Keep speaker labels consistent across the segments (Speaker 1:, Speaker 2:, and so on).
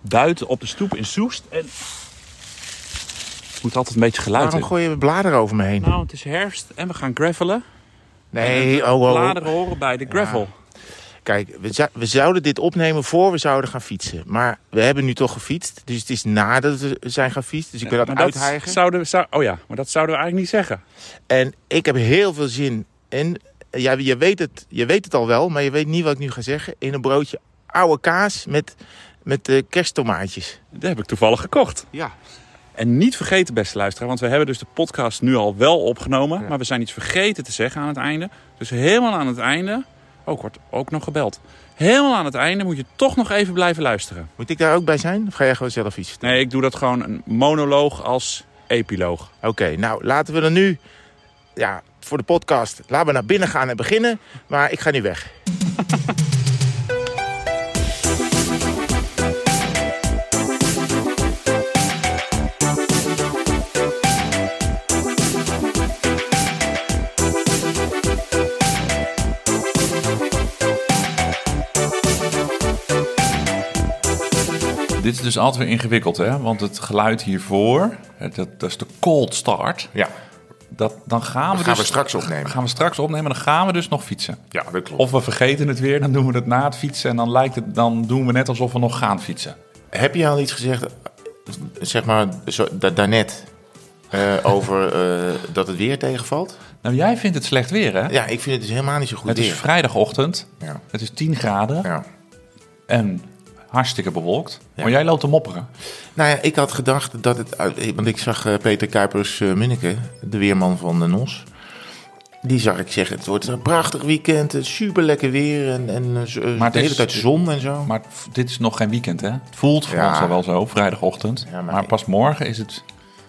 Speaker 1: buiten op de stoep in Soest. En het moet altijd een beetje geluid
Speaker 2: Waarom
Speaker 1: in.
Speaker 2: gooi je bladeren over me heen?
Speaker 1: Nou, het is herfst en we gaan gravelen.
Speaker 2: Nee,
Speaker 3: eh,
Speaker 2: oh, oh, oh.
Speaker 1: Bladeren horen bij de gravel.
Speaker 2: Kijk, we, zou- we zouden dit opnemen voor we zouden gaan fietsen. Maar we hebben nu toch gefietst. Dus het is nadat we zijn gaan fietsen. Dus ik wil dat
Speaker 1: Maar
Speaker 2: uithijgen.
Speaker 1: zouden we, zou- oh ja, maar dat zouden we eigenlijk niet zeggen.
Speaker 2: En ik heb heel veel zin in. eh, Ja, je, weet het, je weet het al wel, maar je weet niet wat ik nu ga zeggen. In een broodje oude kaas met, met eh, kersttomaatjes.
Speaker 1: Dat heb ik toevallig gekocht.
Speaker 2: Ja.
Speaker 1: En niet vergeten, beste luisteraar, want we hebben dus de podcast nu al wel opgenomen. Maar we zijn iets vergeten te zeggen aan het einde. Dus helemaal aan het einde, ook wordt ook nog gebeld. Helemaal aan het einde moet je toch nog even blijven luisteren.
Speaker 2: Moet ik daar ook bij zijn? Of ga jij gewoon zelf iets vertellen?
Speaker 1: Nee, ik doe dat gewoon een monoloog als epiloog.
Speaker 2: Oké, nou laten we dan nu... Ja, voor de podcast. Laten we naar binnen gaan en beginnen. Maar ik ga nu weg.
Speaker 4: Dit is dus altijd weer ingewikkeld, hè? Want het geluid hiervoor, hè, dat, dat is de cold start.
Speaker 3: Ja,
Speaker 4: Dat, dan gaan we,
Speaker 3: gaan
Speaker 4: dus,
Speaker 3: we straks opnemen.
Speaker 4: Gaan we straks opnemen, dan gaan we dus nog fietsen.
Speaker 3: ja dat klopt.
Speaker 4: Of we vergeten het weer, dan doen we het na het fietsen. En dan, lijkt het, dan doen we net alsof we nog gaan fietsen.
Speaker 2: Heb je al iets gezegd, zeg maar, zo, da- daarnet... eh, over eh, dat het weer tegenvalt?
Speaker 4: Nou, jij vindt het slecht weer, hè?
Speaker 2: Ja, ik vind het dus helemaal niet zo goed
Speaker 4: het is
Speaker 2: weer.
Speaker 4: vrijdagochtend,
Speaker 3: Ja.
Speaker 4: het is 10 graden
Speaker 3: Ja.
Speaker 4: en hartstikke bewolkt. Maar jij loopt te mopperen.
Speaker 2: Nou ja, ik had gedacht dat het. uit- Want ik zag eh, Peter Kuipers eh, Munneke, de weerman van de NOS. Die zag ik zeggen: het wordt een prachtig weekend, super lekker weer en, en eh, z- eh,
Speaker 4: het
Speaker 2: de hele
Speaker 4: is-
Speaker 2: tijd zon en zo.
Speaker 4: Maar het- dit is nog geen weekend, hè? Het voelt voor
Speaker 2: Ja.
Speaker 4: ons al wel zo, vrijdagochtend.
Speaker 2: Ja, maar
Speaker 4: maar
Speaker 2: ik-
Speaker 4: pas morgen is het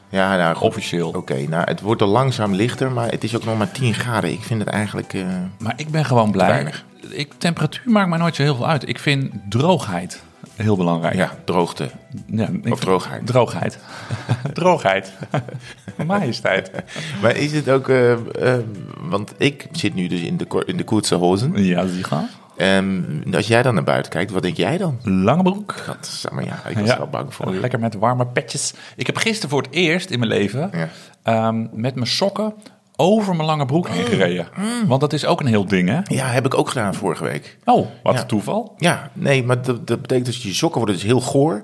Speaker 2: ja, nou goed.
Speaker 4: officieel.
Speaker 2: Oké, nou het wordt al langzaam lichter, maar het is ook nog maar 10 graden. Ik vind het eigenlijk. eh,
Speaker 4: Maar ik ben gewoon blij.
Speaker 2: Weinig.
Speaker 4: Ik, temperatuur maakt mij nooit zo heel veel uit. Ik vind droogheid heel belangrijk.
Speaker 2: ja, droogte.
Speaker 4: Ja, ik
Speaker 2: Of droogheid.
Speaker 4: Droogheid. droogheid. Majesteit.
Speaker 2: Maar is het ook. eh, eh, want ik zit nu dus in de, ko- in de koetse hozen.
Speaker 4: Ja, zie je gaan.
Speaker 2: En Ehm, als jij dan naar buiten kijkt, wat denk jij dan?
Speaker 4: Lange broek.
Speaker 2: Dat, is- maar ja, ik was
Speaker 4: Ja.
Speaker 2: er al bang voor.
Speaker 4: Lekker met warme petjes. Ik heb gisteren voor het eerst in mijn leven
Speaker 2: Ja.
Speaker 4: ehm, met mijn sokken over mijn lange broek
Speaker 2: Mm.
Speaker 4: heen gereden. Want dat is ook een heel ding, hè?
Speaker 2: Ja, heb ik ook gedaan vorige week.
Speaker 4: Oh, wat
Speaker 2: Ja.
Speaker 4: een toeval.
Speaker 2: Ja, nee, maar dat, dat betekent dus je sokken worden dus heel goor.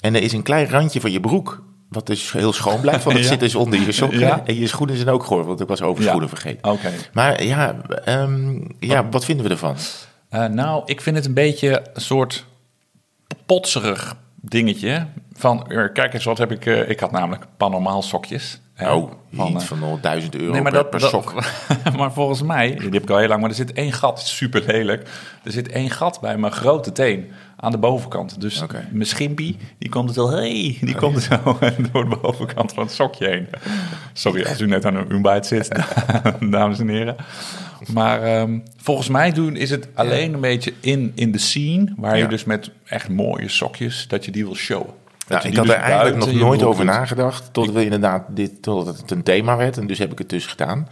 Speaker 2: En er is een klein randje van je broek, wat dus heel schoon blijft. Want het
Speaker 4: Ja.
Speaker 2: zit dus onder je sokken.
Speaker 4: Ja.
Speaker 2: En je schoenen zijn ook goor, want ik was over
Speaker 4: Ja.
Speaker 2: schoenen vergeten.
Speaker 4: Oké.
Speaker 2: Maar ja, ehm, ja, wat vinden we ervan?
Speaker 4: Eh, nou, ik vind het een beetje een soort potserig dingetje. Van, eh, kijk eens, wat heb ik... eh, ik had namelijk panomaal sokjes. hè,
Speaker 2: Oh,
Speaker 4: van,
Speaker 2: niet
Speaker 4: eh,
Speaker 2: van al 1000 euro
Speaker 4: Nee, maar
Speaker 2: per,
Speaker 4: dat,
Speaker 2: per
Speaker 4: dat-
Speaker 2: sok.
Speaker 4: maar volgens mij, die heb ik al heel lang, maar er zit één gat, super lelijk. Er zit één gat bij mijn grote teen aan de bovenkant. Dus
Speaker 2: Oké.
Speaker 4: mijn schimpie, die komt het al, hey, die komt zo door de bovenkant van het sokje heen. Sorry als u net aan een ontbijt zit, dames en heren. Maar ehm, volgens mij doen is het alleen een beetje in, in de scene, waar
Speaker 2: Ja.
Speaker 4: je dus met echt mooie sokjes, dat je die wil showen. Dat
Speaker 2: Nou,
Speaker 4: je
Speaker 2: ik
Speaker 4: die
Speaker 2: had er
Speaker 4: dus
Speaker 2: eigenlijk nog
Speaker 4: buiten je
Speaker 2: nooit
Speaker 4: broek
Speaker 2: over
Speaker 4: doet.
Speaker 2: nagedacht. Tot we inderdaad dit, totdat het een thema werd. En dus heb ik het dus gedaan.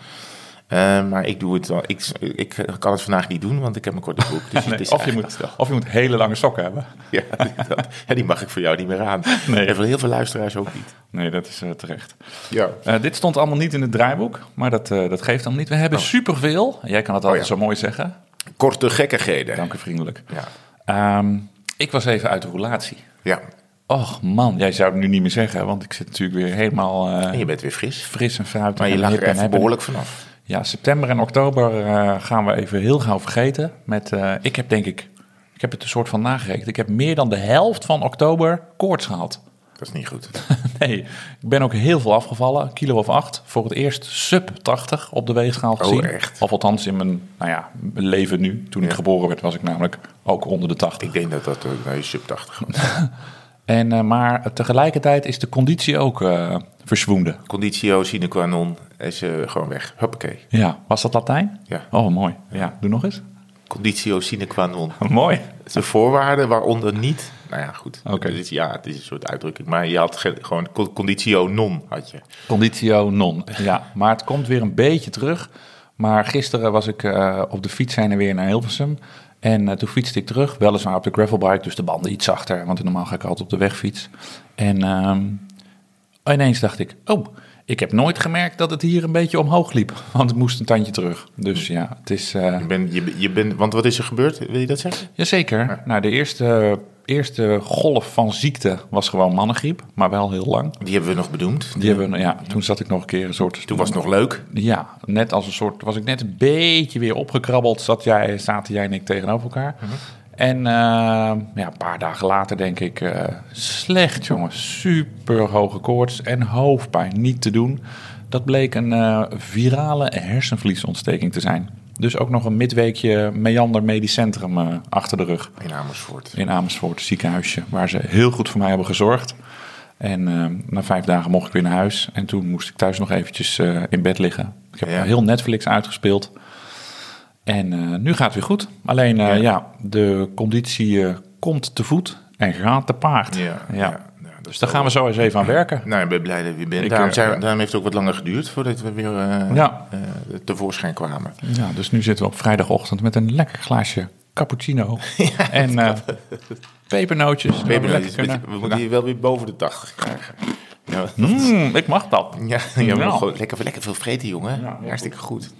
Speaker 2: Eh, maar ik doe het wel. Ik, ik kan het vandaag niet doen, want ik heb een korte broek. Dus het
Speaker 4: Nee,
Speaker 2: is
Speaker 4: of, je
Speaker 2: eigenlijk
Speaker 4: moet, of je moet hele lange sokken hebben.
Speaker 2: Ja, dat- ja, die mag ik voor jou niet meer aan.
Speaker 4: Nee.
Speaker 2: En voor heel veel luisteraars ook niet.
Speaker 4: Nee, dat is eh, terecht.
Speaker 2: Ja.
Speaker 4: Eh, dit stond allemaal niet in het draaiboek, maar dat, eh, dat geeft allemaal niet. We hebben superveel. Jij kan het altijd
Speaker 2: Oh ja.
Speaker 4: zo mooi zeggen.
Speaker 2: Korte gekkigheden.
Speaker 4: Dank u vriendelijk.
Speaker 2: Ja.
Speaker 4: Ehm, ik was even uit de relatie.
Speaker 2: ja.
Speaker 4: Och man, jij zou het nu niet meer zeggen, want ik zit natuurlijk weer helemaal eh,
Speaker 2: En je bent weer fris.
Speaker 4: fris en fruit.
Speaker 2: Maar je
Speaker 4: en
Speaker 2: lag
Speaker 4: hip
Speaker 2: er
Speaker 4: en
Speaker 2: even
Speaker 4: happy.
Speaker 2: behoorlijk vanaf.
Speaker 4: Ja, september en oktober eh, gaan we even heel gauw vergeten. Met, eh, ik heb denk ik, ik heb het een soort van nagerekend. Ik heb meer dan de helft van oktober koorts gehad.
Speaker 2: Dat is niet goed.
Speaker 4: Nee, ik ben ook heel veel afgevallen. Kilo of acht. Voor het eerst sub 80 op de weegschaal gezien.
Speaker 2: Oh, echt?
Speaker 4: Of althans in mijn nou ja, mijn leven nu. Toen ik geboren werd was ik namelijk ook onder de 80.
Speaker 2: Ik denk dat dat eh, bij sub 80 was.
Speaker 4: En, eh, maar tegelijkertijd is de conditie ook eh verzwoende.
Speaker 2: Conditio sine qua non is eh, gewoon weg. Huppakee.
Speaker 4: Ja, was dat Latijn?
Speaker 2: Ja.
Speaker 4: Oh, mooi. Ja, doe nog eens.
Speaker 2: Conditio sine qua non.
Speaker 4: mooi.
Speaker 2: Het is een voorwaarde waaronder niet... Nou ja, goed.
Speaker 4: Oké.
Speaker 2: Dit is, ja, het is een soort uitdrukking. Maar je had ge- gewoon con- conditio non had je.
Speaker 4: Conditio non. Ja, maar het komt weer een beetje terug. Maar gisteren was ik eh, op de fiets heen en weer naar Hilversum. En eh, toen fietste ik terug, weliswaar op de gravelbike, dus de banden iets zachter, want normaal ga ik altijd op de weg fiets. En ehm, ineens dacht ik, oh, ik heb nooit gemerkt dat het hier een beetje omhoog liep, want het moest een tandje terug. Dus ja, het is... eh,
Speaker 2: Je bent, je, je bent, want wat is er gebeurd? Wil je dat zeggen?
Speaker 4: Jazeker. Nou, de eerste, eerste golf van ziekte was gewoon mannengriep, maar wel heel lang.
Speaker 2: Die hebben we nog bedoemd.
Speaker 4: Die hebben, we- ja, toen zat ik nog een keer een soort...
Speaker 2: Toen was het nog leuk.
Speaker 4: Ja, net als een soort... Was ik net een beetje weer opgekrabbeld, zat jij, zaten jij en ik tegenover elkaar. En eh, ja, een paar dagen later denk ik... eh, slecht, jongen. Super hoge koorts en hoofdpijn. Niet te doen. Dat bleek een eh, virale hersenvliesontsteking te zijn. Dus ook nog een midweekje Meander Medisch Centrum eh, achter de rug
Speaker 2: In Amersfoort.
Speaker 4: in Amersfoort, ziekenhuisje, waar ze heel goed voor mij hebben gezorgd. En eh, na vijf dagen mocht ik weer naar huis. En toen moest ik thuis nog eventjes eh, in bed liggen. Ik heb
Speaker 2: Ja.
Speaker 4: heel Netflix uitgespeeld. En eh, nu gaat het weer goed. Alleen eh,
Speaker 2: Ja.
Speaker 4: ja. de conditie eh, komt te voet en gaat te paard.
Speaker 2: Ja, ja, ja, dat
Speaker 4: dus daar gaan we zo eens even aan werken.
Speaker 2: Nou, ik ben blij dat je weer bent.
Speaker 4: Ik,
Speaker 2: Daarom,
Speaker 4: eh,
Speaker 2: zijn, we-
Speaker 4: ja.
Speaker 2: daarom heeft het ook wat langer geduurd voordat we weer eh,
Speaker 4: Ja.
Speaker 2: eh, tevoorschijn kwamen.
Speaker 4: Ja, dus nu zitten we op vrijdagochtend met een lekker glaasje cappuccino. en eh pepernootjes.
Speaker 2: We, hebben-
Speaker 4: Lekker
Speaker 2: we
Speaker 4: kunnen.
Speaker 2: moeten hier wel weer boven de dag krijgen. Ja,
Speaker 4: Mm, ik mag dat.
Speaker 2: ja, ja, maar
Speaker 4: Nou.
Speaker 2: gewoon lekker, lekker veel vreten, jongen.
Speaker 4: Ja, heel
Speaker 2: Hartstikke goed.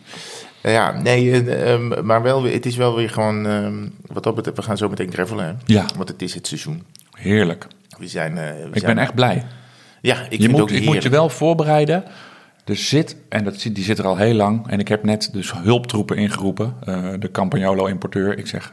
Speaker 2: Nou Ja, nee, eh, ehm, maar wel, weer- het is wel weer gewoon, ehm, wat dat betreft, we gaan zo meteen gravelen, hè?
Speaker 4: Ja.
Speaker 2: Want het is het seizoen.
Speaker 4: Heerlijk.
Speaker 2: We zijn, eh, we
Speaker 4: Ik
Speaker 2: zijn-
Speaker 4: ben echt blij.
Speaker 2: Ja, ik
Speaker 4: je
Speaker 2: vind
Speaker 4: moet,
Speaker 2: ook
Speaker 4: ik moet je
Speaker 2: heerlijk.
Speaker 4: wel voorbereiden. Er zit, en dat, zit- die zit er al heel lang. En ik heb net dus hulptroepen ingeroepen. eh, de Campagnolo-importeur. Ik zeg,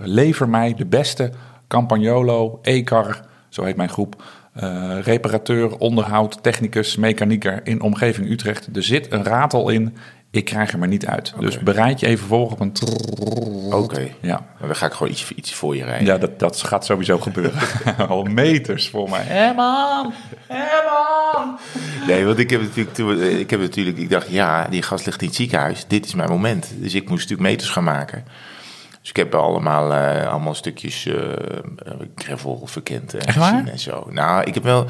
Speaker 4: lever mij de beste Campagnolo, Ecar, zo heet mijn groep. eh, reparateur, onderhoud, technicus, mechanieker in omgeving Utrecht. Er zit een ratel in. Ik krijg hem er niet uit. Dus bereid je even voor op een... trrrrrrrrrrrrrrrrrrrrrrrrrrrrr.
Speaker 2: Oké.
Speaker 4: Ja.
Speaker 2: Nou, Dan ga ik gewoon iets, iets voor je rijden.
Speaker 4: Ja, dat, dat gaat sowieso gebeuren. Al meters voor mij. Hé man, hé man.
Speaker 2: Nee, want ik heb natuurlijk, toen- eh, ik heb natuurlijk, ik dacht, ja, die gast ligt in het ziekenhuis. Dit is mijn moment. Dus ik moest natuurlijk meters gaan maken. Dus ik heb allemaal, eh, allemaal stukjes eh eh, gravel verkend en
Speaker 4: Echt waar?
Speaker 2: gezien en zo. Nou, ik heb wel,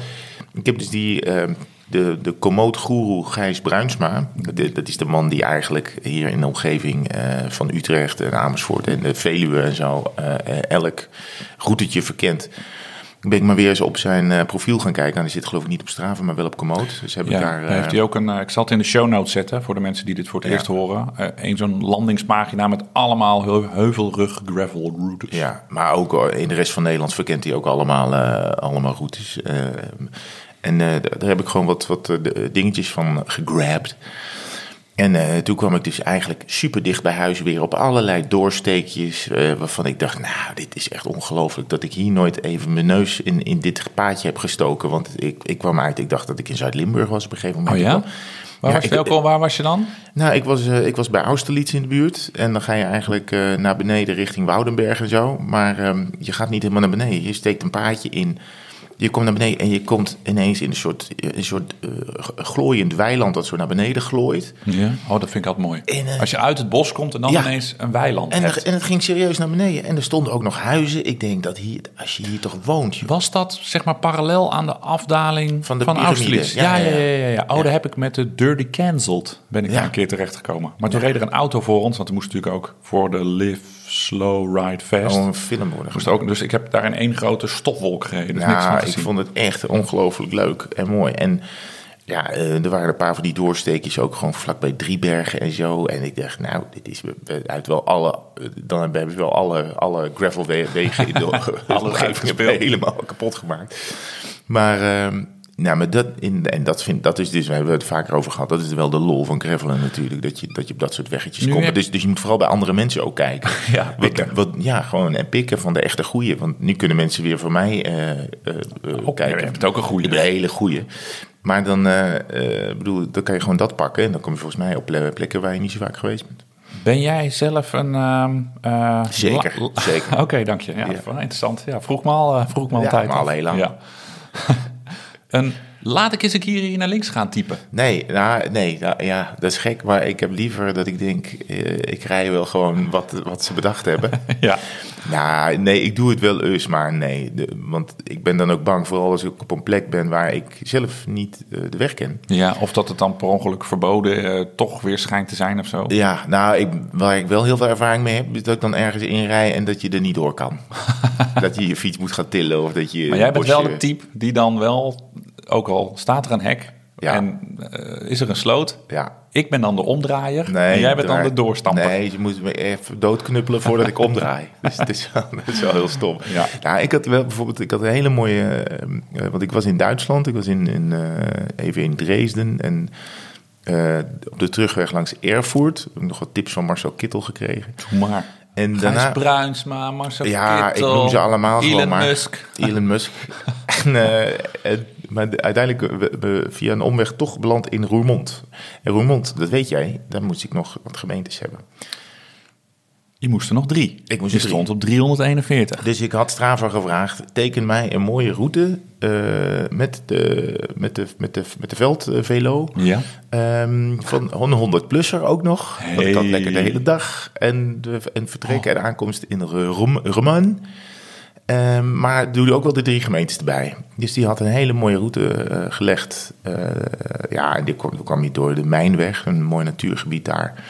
Speaker 2: ik heb dus die, eh, de, de komoot-goeroe Gijs Bruinsma. Dat, dat is de man die eigenlijk hier in de omgeving eh, van Utrecht en Amersfoort en de Veluwe en zo eh, eh, elk routetje verkent. Ik ben ik maar weer eens op zijn eh, profiel gaan kijken. En die zit geloof ik niet op Strava, maar wel op Komoot. Dus heb
Speaker 4: Ja,
Speaker 2: ik daar...
Speaker 4: daar heeft
Speaker 2: eh,
Speaker 4: hij ook een. eh, Ik zal het in de show notes zetten voor de mensen die dit voor het
Speaker 2: Ja.
Speaker 4: eerst horen. Eh, een zo'n landingspagina met allemaal heu- heuvelrug gravel routes.
Speaker 2: Ja, maar ook eh, in de rest van Nederland verkent hij ook allemaal, eh, allemaal routes. Eh, en eh, d- daar heb ik gewoon wat, wat eh, de- dingetjes van gegrabt. En eh, toen kwam ik dus eigenlijk super dicht bij huis weer op allerlei doorsteekjes. eh, waarvan ik dacht, nou, dit is echt ongelooflijk dat ik hier nooit even mijn neus in, in dit paadje heb gestoken. Want ik, ik kwam uit, ik dacht dat ik in Zuid-Limburg was op een gegeven
Speaker 4: Oh
Speaker 2: moment.
Speaker 4: ja? Waar,
Speaker 2: Ja,
Speaker 4: was je,
Speaker 2: ik-
Speaker 4: welkom, waar was je dan?
Speaker 2: Nou, ik was, eh, ik was bij Austerlitz in de buurt. En dan ga je eigenlijk eh, naar beneden richting Woudenberg en zo. Maar ehm, je gaat niet helemaal naar beneden. Je steekt een paadje in. Je komt naar beneden en je komt ineens in een soort, een soort eh, g- glooiend weiland dat zo naar beneden glooit.
Speaker 4: Ja. Oh, dat vind ik altijd mooi.
Speaker 2: In, eh,
Speaker 4: Als je uit het bos komt en dan
Speaker 2: Ja.
Speaker 4: ineens een weiland
Speaker 2: En,
Speaker 4: hebt.
Speaker 2: er- en het ging serieus naar beneden. En er stonden ook nog huizen. Ik denk dat hier, als je hier toch woont, joh.
Speaker 4: Was dat zeg maar parallel aan de afdaling
Speaker 2: Van
Speaker 4: van,
Speaker 2: de piramide.
Speaker 4: Austerlitz?
Speaker 2: Ja,
Speaker 4: Ja ja,
Speaker 2: ja,
Speaker 4: ja, ja, ja. Oh, daar heb ik met de Dirty Cancelled ben ik
Speaker 2: Ja.
Speaker 4: daar een keer terechtgekomen. Maar toen reed er een auto voor ons, want er moest natuurlijk ook voor de Live Slow Ride Fest.
Speaker 2: gewoon een film worden.
Speaker 4: Moest ook, dus ik heb daar in één grote stofwolk gereden. Dus niks van
Speaker 2: ja,
Speaker 4: gezien.
Speaker 2: ik vond het echt ongelooflijk leuk en mooi. En ja, eh, er waren een paar van die doorsteekjes ook gewoon vlakbij Driebergen en zo. En ik dacht, nou, dit is uit wel alle, eh, dan hebben ze wel alle, alle gravelwegen in de omgeving
Speaker 4: uitgespeeld.
Speaker 2: helemaal kapot gemaakt. Maar, ehm, nou, maar dat, in, en dat, vind, dat is dus, we hebben het vaker over gehad, dat is wel de lol van gravelen natuurlijk. Dat je, dat je op dat soort weggetjes
Speaker 4: Nu
Speaker 2: komt.
Speaker 4: heb-
Speaker 2: Dus, dus je moet vooral bij andere mensen ook kijken.
Speaker 4: Ja,
Speaker 2: wat,
Speaker 4: pikken.
Speaker 2: wat, ja, gewoon en pikken van de echte goeie. Want nu kunnen mensen weer voor mij eh, eh, eh,
Speaker 4: Ook,
Speaker 2: kijken.
Speaker 4: je hebt ook een goeie. dus.
Speaker 2: Ik heb Een hele goeie. Maar dan, eh, eh, bedoel, dan kan je gewoon dat pakken. En dan kom je volgens mij op ple- plekken waar je niet zo vaak geweest bent.
Speaker 4: Ben jij zelf een... ehm, eh,
Speaker 2: Zeker,
Speaker 4: la- la-
Speaker 2: zeker.
Speaker 4: Oké, dank je. Ja,
Speaker 2: Ja.
Speaker 4: van- interessant. Ja, vroeg me al, eh, vroeg me al
Speaker 2: Ja,
Speaker 4: tijd
Speaker 2: maar al
Speaker 4: af.
Speaker 2: heel lang.
Speaker 4: Ja. een Laat ik eens een keer hier naar links gaan typen.
Speaker 2: Nee, nou, nee nou, ja, dat is gek. Maar ik heb liever dat ik denk, eh, ik rij wel gewoon wat, wat ze bedacht hebben.
Speaker 4: Ja.
Speaker 2: Nou, nee, ik doe het wel eens, maar nee. De- want ik ben dan ook bang, vooral als ik op een plek ben waar ik zelf niet eh, de weg ken.
Speaker 4: ja, of dat het dan per ongeluk verboden eh, toch weer schijnt te zijn of zo.
Speaker 2: Ja, nou, ik, waar ik wel heel veel ervaring mee heb, is dat ik dan ergens inrij en dat je er niet door kan. dat je je fiets moet gaan tillen of dat je.
Speaker 4: Maar
Speaker 2: een
Speaker 4: jij bent
Speaker 2: eh, bosje-
Speaker 4: wel de type die dan wel, ook al staat er een hek
Speaker 2: Ja.
Speaker 4: en eh, is er een sloot.
Speaker 2: Ja.
Speaker 4: Ik ben dan de omdraaier
Speaker 2: Nee,
Speaker 4: en jij bent dan
Speaker 2: daar-
Speaker 4: de doorstamper.
Speaker 2: Nee, je moet me even doodknuppelen voordat ik omdraai. Dus het is, wel- het is wel heel stom.
Speaker 4: Ja.
Speaker 2: Nou, ik had wel bijvoorbeeld, ik had een hele mooie, eh, eh, want ik was in Duitsland, ik was in, in, eh, even in Dresden en eh, op de terugweg langs Erfurt, heb ik nog wat tips van Marcel Kittel gekregen.
Speaker 4: Doe maar.
Speaker 2: En
Speaker 4: Gijs
Speaker 2: daarna,
Speaker 4: Bruinsma, Marcel
Speaker 2: ja,
Speaker 4: Kittel,
Speaker 2: ik noem ze allemaal
Speaker 4: Elon
Speaker 2: gewoon maar.
Speaker 4: Musk.
Speaker 2: Elon Musk. en, eh, en- maar de- uiteindelijk we, we via een omweg toch beland in Roermond. En Roermond, dat weet jij, daar moest ik nog wat gemeentes hebben.
Speaker 4: Je moest er nog drie.
Speaker 2: Ik moest
Speaker 4: je
Speaker 2: er drie.
Speaker 4: stond op 341.
Speaker 2: Dus ik had Strava gevraagd, teken mij een mooie route eh, met, de, met, de, met, de, met de veldvelo.
Speaker 4: Ja.
Speaker 2: Ehm, van een 100-plusser ook nog. Want ik had
Speaker 4: Hey.
Speaker 2: lekker de hele dag. En, de, en vertrek en aankomst in Rum- Rummen. Ehm, maar doe er ook wel de drie gemeentes erbij. Dus die had een hele mooie route eh, gelegd. Eh, ja, en die kwam, toen kwam je door de Mijnweg, een mooi natuurgebied daar.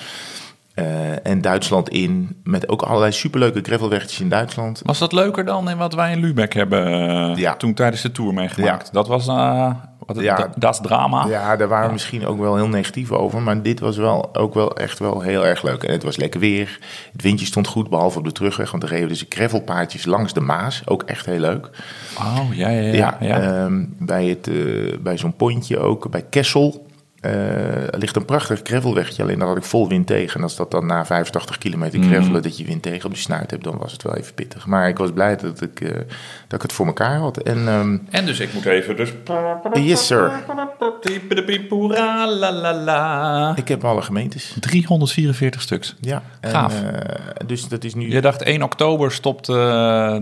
Speaker 2: Eh, en Duitsland in, met ook allerlei superleuke gravelwegjes in Duitsland.
Speaker 4: Was dat leuker dan in wat wij in Lübeck hebben eh,
Speaker 2: Ja.
Speaker 4: toen tijdens de tour meegemaakt? Dat was eh wat het,
Speaker 2: Ja.
Speaker 4: da- das drama.
Speaker 2: Ja, daar waren we misschien ook wel heel negatief over. Maar dit was wel ook wel echt wel heel erg leuk. En het was lekker weer. Het windje stond goed, behalve op de terugweg. Want er reden we dus gravelpaadjes langs de Maas. Ook echt heel leuk.
Speaker 4: Oh, ja, ja, ja.
Speaker 2: Ja,
Speaker 4: ja.
Speaker 2: ehm, bij, het, eh, bij zo'n pontje ook, bij Kessel. eh, er ligt een prachtig gravelwegje, alleen daar had ik vol wind tegen. En als dat dan na 85 kilometer
Speaker 4: Mhm.
Speaker 2: gravelen, dat je wind tegen op de snuit hebt, dan was het wel even pittig. Maar ik was blij dat ik, eh, dat ik het voor elkaar had. En ehm,
Speaker 4: En dus ik moet even dus...
Speaker 2: yes sir,
Speaker 4: Hoera, la, la, la.
Speaker 2: ik heb alle gemeentes.
Speaker 4: 344 stuks.
Speaker 2: Ja, en,
Speaker 4: Gaaf.
Speaker 2: eh, dus dat is nu...
Speaker 4: Je dacht 1 oktober stopt eh,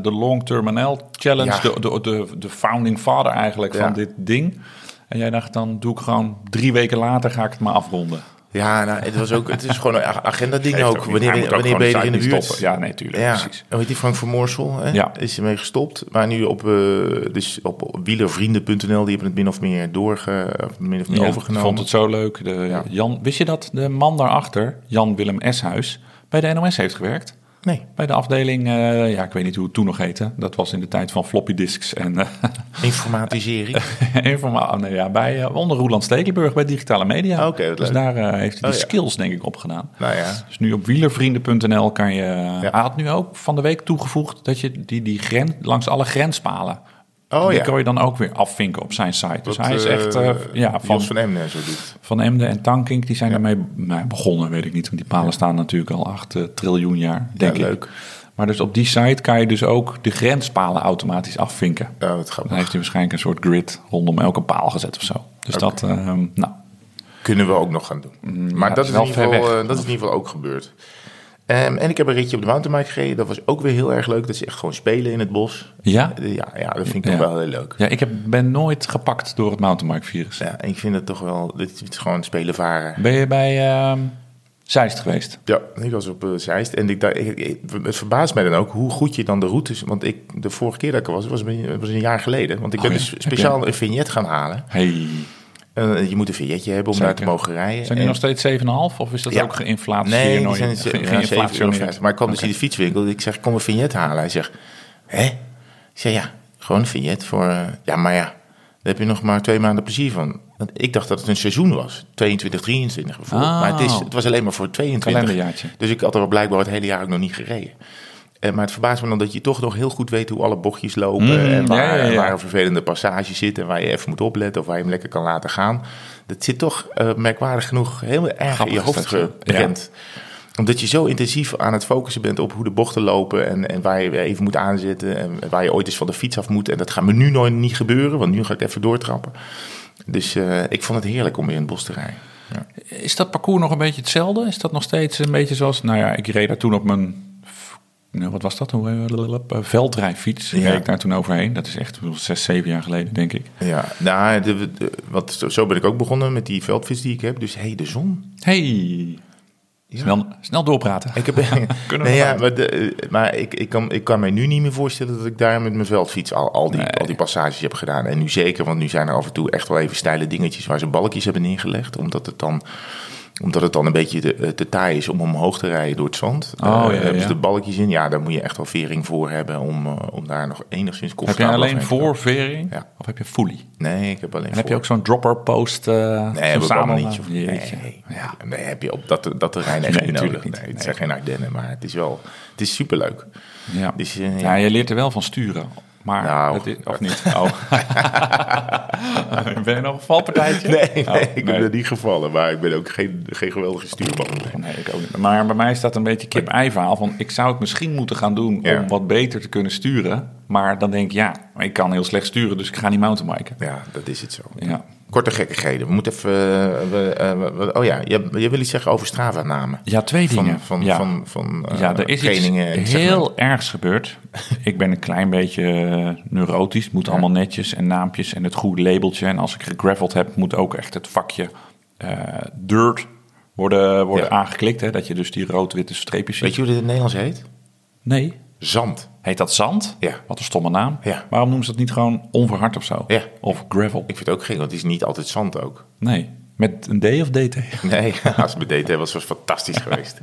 Speaker 4: de Long Terminal Challenge,
Speaker 2: Ja.
Speaker 4: de, de, de, de founding father eigenlijk
Speaker 2: Ja.
Speaker 4: van dit ding. En jij dacht dan doe ik gewoon drie weken later ga ik het maar afronden.
Speaker 2: Ja, nou, het, was ook, het is gewoon een a- agenda-ding
Speaker 4: Geeft
Speaker 2: ook.
Speaker 4: ook niet.
Speaker 2: Wanneer,
Speaker 4: Hij moet ook
Speaker 2: wanneer
Speaker 4: gewoon
Speaker 2: ben
Speaker 4: de
Speaker 2: je er in de
Speaker 4: site niet
Speaker 2: buurt?
Speaker 4: stoppen. Ja, nee, tuurlijk,
Speaker 2: Ja,
Speaker 4: precies.
Speaker 2: Hoe heet die Frank van Moorsel? Hè?
Speaker 4: Ja.
Speaker 2: Is ermee gestopt. Maar nu op, eh, dus op wielervrienden.nl, die hebben het min of meer, doorge, of min of meer
Speaker 4: ik
Speaker 2: overgenomen.
Speaker 4: vond het zo leuk. De, Jan, wist je dat de man daarachter, Jan Willem Eshuis, bij de NOS heeft gewerkt?
Speaker 2: Nee,
Speaker 4: Bij de afdeling, eh, ja, ik weet niet hoe het toen nog heette. Dat was in de tijd van floppy disks en eh,
Speaker 2: informatisering.
Speaker 4: informa- oh, nee, ja, bij, eh, onder Roeland Stekelenburg bij digitale media.
Speaker 2: Oké, wat
Speaker 4: dus
Speaker 2: leuk.
Speaker 4: daar eh, heeft hij
Speaker 2: Oh,
Speaker 4: die
Speaker 2: ja.
Speaker 4: skills denk ik opgedaan.
Speaker 2: nou ja,
Speaker 4: Dus nu op wielervrienden.nl kan je. Hij had nu ook van de week toegevoegd dat je die, die gren, langs alle grenspalen.
Speaker 2: Oh
Speaker 4: die
Speaker 2: ja.
Speaker 4: kan je dan ook weer afvinken op zijn site. Dus
Speaker 2: dat,
Speaker 4: hij is
Speaker 2: eh,
Speaker 4: echt eh, ja, van,
Speaker 2: Jos van Emden zo doet.
Speaker 4: van Emden en Tankink, die zijn daarmee nou, begonnen, weet ik niet. Want die palen staan natuurlijk al 8 triljoen jaar, denk ik.
Speaker 2: leuk.
Speaker 4: Maar dus op die site kan je dus ook de grenspalen automatisch afvinken.
Speaker 2: Ja, wat grappig.
Speaker 4: Dan heeft hij waarschijnlijk een soort grid rondom elke paal gezet of zo. Dus dat, ehm, nou,
Speaker 2: Kunnen we ook nog gaan doen. maar
Speaker 4: Mm, ja, het
Speaker 2: dat, is
Speaker 4: is
Speaker 2: in
Speaker 4: wel
Speaker 2: ieder
Speaker 4: ver
Speaker 2: geval,
Speaker 4: weg.
Speaker 2: eh, dat is in ieder geval ook gebeurd. Ehm, en ik heb een ritje op de mountainbike gereden. Dat was ook weer heel erg leuk. Dat is echt gewoon spelen in het bos.
Speaker 4: Ja?
Speaker 2: Eh, Ja, ja dat vind ik
Speaker 4: Ja.
Speaker 2: toch wel heel leuk.
Speaker 4: ja, ik heb, ben nooit gepakt door het mountainbike-virus.
Speaker 2: Ja, ik vind het toch wel. Dit is gewoon spelen varen.
Speaker 4: Ben je bij ehm Zeist geweest?
Speaker 2: Ja, ik was op eh, Zeist en ik, dacht- ik, ik- het verbaast mij dan ook hoe goed je dan de routes. Want ik, de vorige keer dat ik er was, was, een- was een jaar geleden. Want ik
Speaker 4: Oh
Speaker 2: ben
Speaker 4: ja,
Speaker 2: dus
Speaker 4: heb
Speaker 2: speciaal een vignet gaan halen.
Speaker 4: Hey.
Speaker 2: Eh, je moet een vignetje hebben om
Speaker 4: Zeker.
Speaker 2: daar te mogen rijden.
Speaker 4: Zijn die
Speaker 2: En-
Speaker 4: nog steeds 7,5 of is dat
Speaker 2: Ja.
Speaker 4: ook geïnflatie?
Speaker 2: Nee, die zijn ze- ja, 7,50 euro. Maar ik kwam dus in
Speaker 4: niet.
Speaker 2: de fietswinkel. Ik zeg, kom een vignet halen. Hij zegt, hè? Ik zeg, ja, gewoon een vignet voor... eh, ja, maar ja, daar heb je nog maar twee maanden plezier van. Want ik dacht dat het een seizoen was. 22, 23 bijvoorbeeld.
Speaker 4: Oh.
Speaker 2: Maar het, is, het was alleen maar voor 22.
Speaker 4: Kalenderjaartje.
Speaker 2: Dus ik had er blijkbaar het hele jaar ook nog niet gereden. Eh, maar het verbaast me dan dat je toch nog heel goed weet hoe alle bochtjes lopen. en waar,
Speaker 4: Mm, ja, ja, ja.
Speaker 2: en waar een vervelende passage zit. En waar je even moet opletten. Of waar je hem lekker kan laten gaan. Dat zit toch eh, merkwaardig genoeg heel erg in je
Speaker 4: Grappig
Speaker 2: hoofd
Speaker 4: is dat, ja.
Speaker 2: geprent omdat je zo intensief aan het focussen bent op hoe de bochten lopen en, en waar je weer even moet aanzetten en waar je ooit eens van de fiets af moet. En dat gaat me nu nooit niet gebeuren, want nu ga ik even doortrappen. Dus eh, ik vond het heerlijk om weer in het bos te rijden. Ja.
Speaker 4: Is dat parcours nog een beetje hetzelfde? Is dat nog steeds een beetje zoals... Nou ja, ik reed daar toen op mijn v- nou, wat was dat? Hoe, eh, veldrijfiets.
Speaker 2: Ja.
Speaker 4: Reed ik daar toen overheen. Dat is echt ik bedoel, zes, zeven jaar geleden, denk ik.
Speaker 2: Ja, nou, de, de- wat, zo- zo ben ik ook begonnen met die veldvis die ik heb. Dus hé, hey, de zon.
Speaker 4: Hey,
Speaker 2: Ja.
Speaker 4: snel, snel doorpraten.
Speaker 2: Ik heb, Kunnen nee,
Speaker 4: nog
Speaker 2: ja,
Speaker 4: aan?
Speaker 2: maar de- eh, maar ik, ik, kan, ik kan mij nu niet meer voorstellen dat ik daar met mijn veldfiets al, al, die,
Speaker 4: Nee.
Speaker 2: al die passages heb gedaan. En nu zeker, want nu zijn er af en toe echt wel even steile dingetjes waar ze balkjes hebben neergelegd. Omdat het dan, omdat het dan een beetje te, eh, te taai is om omhoog te rijden door het zand.
Speaker 4: Oh,
Speaker 2: Eh,
Speaker 4: ja,
Speaker 2: hebben
Speaker 4: ja.
Speaker 2: ze de balkjes in? Ja, daar moet je echt wel vering voor hebben om, eh, om daar nog enigszins
Speaker 4: heb
Speaker 2: comfortabel
Speaker 4: jij alleen
Speaker 2: overheen te komen.
Speaker 4: voorvering
Speaker 2: Ja.
Speaker 4: of heb je fully?
Speaker 2: Nee, ik heb alleen
Speaker 4: En heb je
Speaker 2: voor.
Speaker 4: ook zo'n dropper post? eh zo'n
Speaker 2: Nee, hebben we allemaal niet.
Speaker 4: samenlaag?
Speaker 2: joh.
Speaker 4: Jeetje.
Speaker 2: Nee,
Speaker 4: Ja.
Speaker 2: nee, heb je op dat, dat terrein echt
Speaker 4: Nee,
Speaker 2: niet
Speaker 4: natuurlijk
Speaker 2: nodig.
Speaker 4: niet.
Speaker 2: Nee, het
Speaker 4: Nee.
Speaker 2: zijn geen Ardennen, maar het is wel... Het is superleuk.
Speaker 4: Ja.
Speaker 2: Dus, eh,
Speaker 4: ja, je leert er wel van sturen. Maar
Speaker 2: Nou.
Speaker 4: het is, of niet? Oh. ben je nog een valpartijtje?
Speaker 2: Nee, nee,
Speaker 4: Oh,
Speaker 2: ik ben er niet gevallen, maar ik ben ook geen, geen geweldige stuurman. Nee.
Speaker 4: Nee, ik ook niet. Maar bij mij is dat een beetje kip-ei verhaal. Van, ik zou het misschien moeten gaan doen
Speaker 2: Ja.
Speaker 4: om wat beter te kunnen sturen. Maar dan denk ik, ja, maar ik kan heel slecht sturen, dus ik ga niet mountainbiken.
Speaker 2: Ja, dat is het zo.
Speaker 4: Ja.
Speaker 2: Korte gekkigheden. We moeten even... eh, we, eh, we- oh ja, je, je wil iets zeggen over Strava-namen.
Speaker 4: ja, twee
Speaker 2: Van,
Speaker 4: dingen.
Speaker 2: van,
Speaker 4: ja.
Speaker 2: van, van eh,
Speaker 4: ja, er is iets
Speaker 2: trainingen. en segmenten.
Speaker 4: heel ergs gebeurd. ik ben een klein beetje eh, neurotisch. Het moet allemaal netjes en naampjes en het goede labeltje. En als ik gegraveld heb, moet ook echt het vakje eh, dirt worden, worden
Speaker 2: Ja.
Speaker 4: aangeklikt. Hè? Dat je dus die rood-witte streepjes ziet.
Speaker 2: Weet je hoe dit in het Nederlands heet?
Speaker 4: Nee.
Speaker 2: Zand.
Speaker 4: Heet dat zand?
Speaker 2: Ja.
Speaker 4: Wat een stomme naam.
Speaker 2: Ja.
Speaker 4: Waarom noemen ze dat niet gewoon onverhard of zo?
Speaker 2: Ja.
Speaker 4: Of gravel?
Speaker 2: Ik vind het ook gek, want het is niet altijd zand ook.
Speaker 4: Nee. Met een D of DT?
Speaker 2: Nee, als het met DT was, was het fantastisch geweest.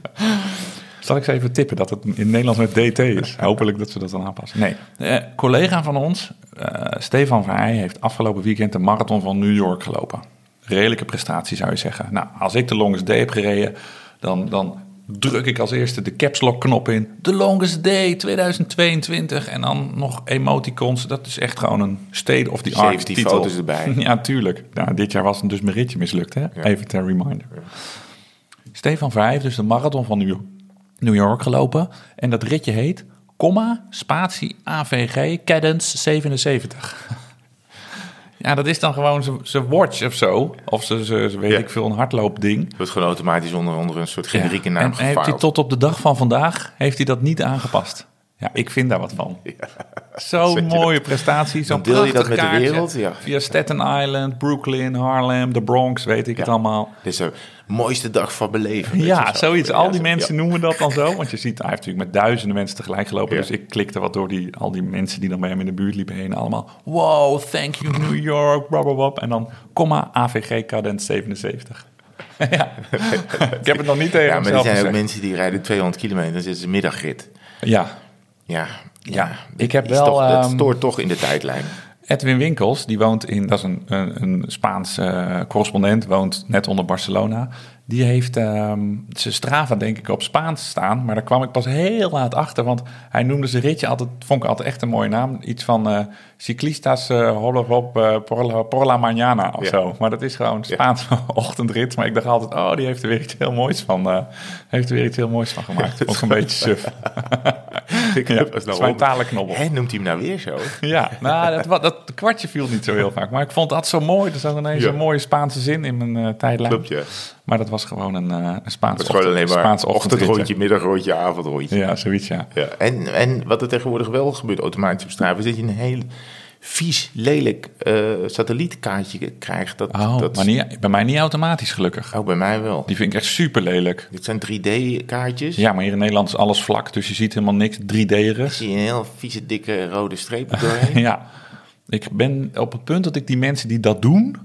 Speaker 4: Zal ik ze even tippen dat het in Nederland met DT is? Hopelijk dat ze dat dan aanpassen. Nee. Eh, collega van ons, eh, Stefan Vrij, heeft afgelopen weekend de marathon van New York gelopen. Redelijke prestatie zou je zeggen. Nou, als ik de longest day heb gereden, dan, dan druk ik als eerste de caps lock knop in. De longest day 2022. En dan nog emoticons. Dat is echt gewoon een state of the art
Speaker 2: 17
Speaker 4: titel.
Speaker 2: foto's erbij.
Speaker 4: Ja, tuurlijk. Nou, dit jaar was het dus mijn ritje mislukt, hè? Even ter reminder. Stefan Vrij heeft dus de marathon van New York, New York gelopen. En dat ritje heet, comma, spatie, AVG, cadence 77. ja, dat is dan gewoon zijn watch of zo. Of ze, ze, ze weet
Speaker 2: Ja.
Speaker 4: ik veel, een hardloopding.
Speaker 2: Dat wordt gewoon automatisch onder, onder een soort generieke
Speaker 4: Ja,
Speaker 2: naam
Speaker 4: en heeft hij
Speaker 2: gevaarlijk.
Speaker 4: tot op de dag van vandaag heeft hij dat niet aangepast. Ja, ik vind daar wat van.
Speaker 2: zet
Speaker 4: Zo'n
Speaker 2: je
Speaker 4: mooie prestatie, zo'n
Speaker 2: deel je dat
Speaker 4: prachtig
Speaker 2: met de
Speaker 4: kaartje.
Speaker 2: wereld, ja.
Speaker 4: Via Staten Island, Brooklyn, Harlem, de Bronx, weet ik het
Speaker 2: Ja.
Speaker 4: allemaal.
Speaker 2: Dit is de mooiste dag van mijn leven. weet
Speaker 4: Ja,
Speaker 2: je zo.
Speaker 4: zoiets.
Speaker 2: Ja,
Speaker 4: Al die
Speaker 2: zo-
Speaker 4: mensen
Speaker 2: ja.
Speaker 4: noemen dat dan zo. Want je ziet, hij heeft natuurlijk met duizenden mensen tegelijk gelopen.
Speaker 2: Ja.
Speaker 4: Dus ik klikte wat door die, al die mensen die dan bij hem in de buurt liepen heen. Allemaal, wow, thank you New York, blablabla. En dan, comma, AVG cadent 77. ja, ik heb het nog niet tegen
Speaker 2: Ja, maar er
Speaker 4: mezelf
Speaker 2: zijn ook
Speaker 4: gezegd.
Speaker 2: mensen die rijden 200 kilometer, dus dan zitten ze middagrit.
Speaker 4: Ja,
Speaker 2: Ja,
Speaker 4: Ja,
Speaker 2: dat
Speaker 4: ik heb
Speaker 2: is
Speaker 4: wel,
Speaker 2: Toch, dat
Speaker 4: ehm,
Speaker 2: stoort toch in de tijdlijn.
Speaker 4: Edwin Winkels, die woont in, dat is een, een, een Spaans eh, correspondent, woont net onder Barcelona. Die heeft ehm, zijn Strava denk ik op Spaans staan, maar daar kwam ik pas heel laat achter, want hij noemde zijn ritje altijd, vond ik altijd echt een mooie naam, iets van eh, Ciclistas eh Holop eh, por, la, por la Mañana of
Speaker 2: Ja.
Speaker 4: zo. Maar dat is gewoon Spaans ochtendrit, maar ik dacht altijd, oh die heeft er weer iets heel moois van, eh, heeft er weer iets heel moois van gemaakt. Ook een beetje suf.
Speaker 2: Ik
Speaker 4: Ja, het is mijn talenknobbel.
Speaker 2: Hè, noemt hij hem nou weer zo?
Speaker 4: Ja, nou, dat, wa- dat kwartje viel niet zo heel vaak. Maar ik vond dat zo mooi. Er zat ineens
Speaker 2: Ja.
Speaker 4: een mooie Spaanse zin in mijn eh tijdlijn.
Speaker 2: Klopt, ja.
Speaker 4: Maar dat was gewoon een, eh een Spaans
Speaker 2: Het is gewoon alleen
Speaker 4: ochtend-
Speaker 2: maar
Speaker 4: Spaans ochtendritje.
Speaker 2: ochtendrondje, middagrondje, avondrondje. Ja.
Speaker 4: Ja, zoiets, ja.
Speaker 2: En, en wat er tegenwoordig wel gebeurt automatisch op straat, is dat je een heel vies, lelijk eh, satellietkaartje krijgt. Dat,
Speaker 4: Oh,
Speaker 2: dat
Speaker 4: maar niet, bij mij niet automatisch, gelukkig.
Speaker 2: oh, bij mij wel.
Speaker 4: Die vind ik echt super lelijk.
Speaker 2: Dit zijn 3D-kaartjes.
Speaker 4: Ja, maar hier in Nederland is alles vlak, dus je ziet helemaal niks 3D'erig.
Speaker 2: Zie je een heel vieze, dikke rode streep er doorheen.
Speaker 4: Ja, ik ben op het punt dat ik die mensen die dat doen,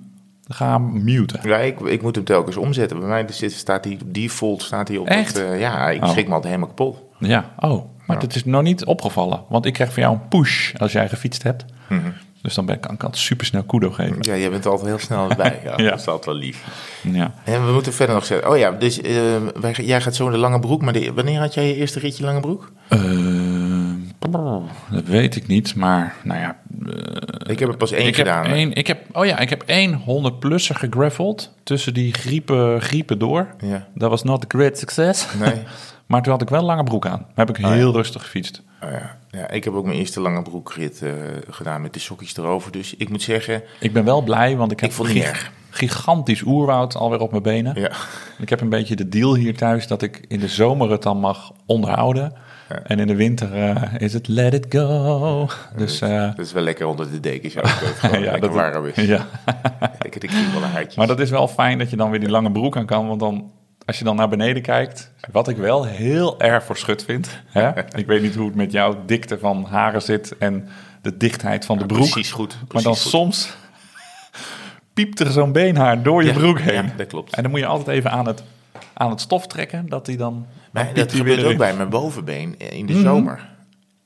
Speaker 4: ga muten.
Speaker 2: Ja, ik, ik moet hem telkens omzetten. Bij mij zit, staat hij op default staat hij op
Speaker 4: Echt?
Speaker 2: het, eh, ja, ik
Speaker 4: Oh.
Speaker 2: schrik me altijd helemaal kapot.
Speaker 4: Ja, oh, maar dat is nog niet opgevallen. Want ik krijg van jou een push als jij gefietst hebt.
Speaker 2: Mhm.
Speaker 4: Dus dan ben ik, kan ik altijd supersnel kudo geven.
Speaker 2: Ja, jij bent er altijd heel snel bij. Ja,
Speaker 4: Ja.
Speaker 2: Dat is altijd wel lief.
Speaker 4: Ja.
Speaker 2: En we moeten verder nog zeggen. Oh ja, dus eh, wij, jij gaat zo in de lange broek. Maar de- wanneer had jij je eerste ritje lange broek?
Speaker 4: Eh, dat weet ik niet, maar nou ja.
Speaker 2: Ik heb er pas één
Speaker 4: Eh, Ik heb,
Speaker 2: gedaan.
Speaker 4: één, ik heb, oh ja, ik heb één 100-plusser gegraveld tussen die griepen, griepen door.
Speaker 2: Ja.
Speaker 4: Dat was not a great success.
Speaker 2: Nee.
Speaker 4: maar toen had ik wel een lange broek aan. Dan heb ik heel rustig gefietst.
Speaker 2: Oh ja. Ja, ik heb ook mijn eerste lange broekrit eh, gedaan met de sokjes erover. Dus ik moet zeggen,
Speaker 4: Ik ben wel blij, want ik heb
Speaker 2: ik vond het niet
Speaker 4: giga-
Speaker 2: erg.
Speaker 4: gigantisch oerwoud alweer op mijn benen.
Speaker 2: Ja.
Speaker 4: Ik heb een beetje de deal hier thuis dat ik in de zomer het dan mag onderhouden. En in de winter eh, is het let it go. Dus eh,
Speaker 2: Dat is wel lekker onder de dekens. Ja, dat het gewoon
Speaker 4: ja,
Speaker 2: lekker
Speaker 4: dat
Speaker 2: warm is.
Speaker 4: Ja.
Speaker 2: Lekker de kriebelhaartjes.
Speaker 4: Maar dat is wel fijn dat je dan weer die lange broek aan kan. Want dan, als je dan naar beneden kijkt. Wat ik wel heel erg voor schut vind. Hè? Ik weet niet hoe het met jouw dikte van haren zit. En de dichtheid van de broek.
Speaker 2: Precies goed. Precies
Speaker 4: maar dan
Speaker 2: goed.
Speaker 4: soms piept er zo'n beenhaar door je
Speaker 2: Ja,
Speaker 4: broek
Speaker 2: ja,
Speaker 4: heen.
Speaker 2: dat klopt.
Speaker 4: En dan moet je altijd even aan het, aan het stof trekken. Dat die dan. dan
Speaker 2: Maar
Speaker 4: piept
Speaker 2: dat
Speaker 4: die
Speaker 2: gebeurt
Speaker 4: weer
Speaker 2: ook
Speaker 4: erin.
Speaker 2: bij mijn bovenbeen eh, in de
Speaker 4: Mhm.
Speaker 2: zomer.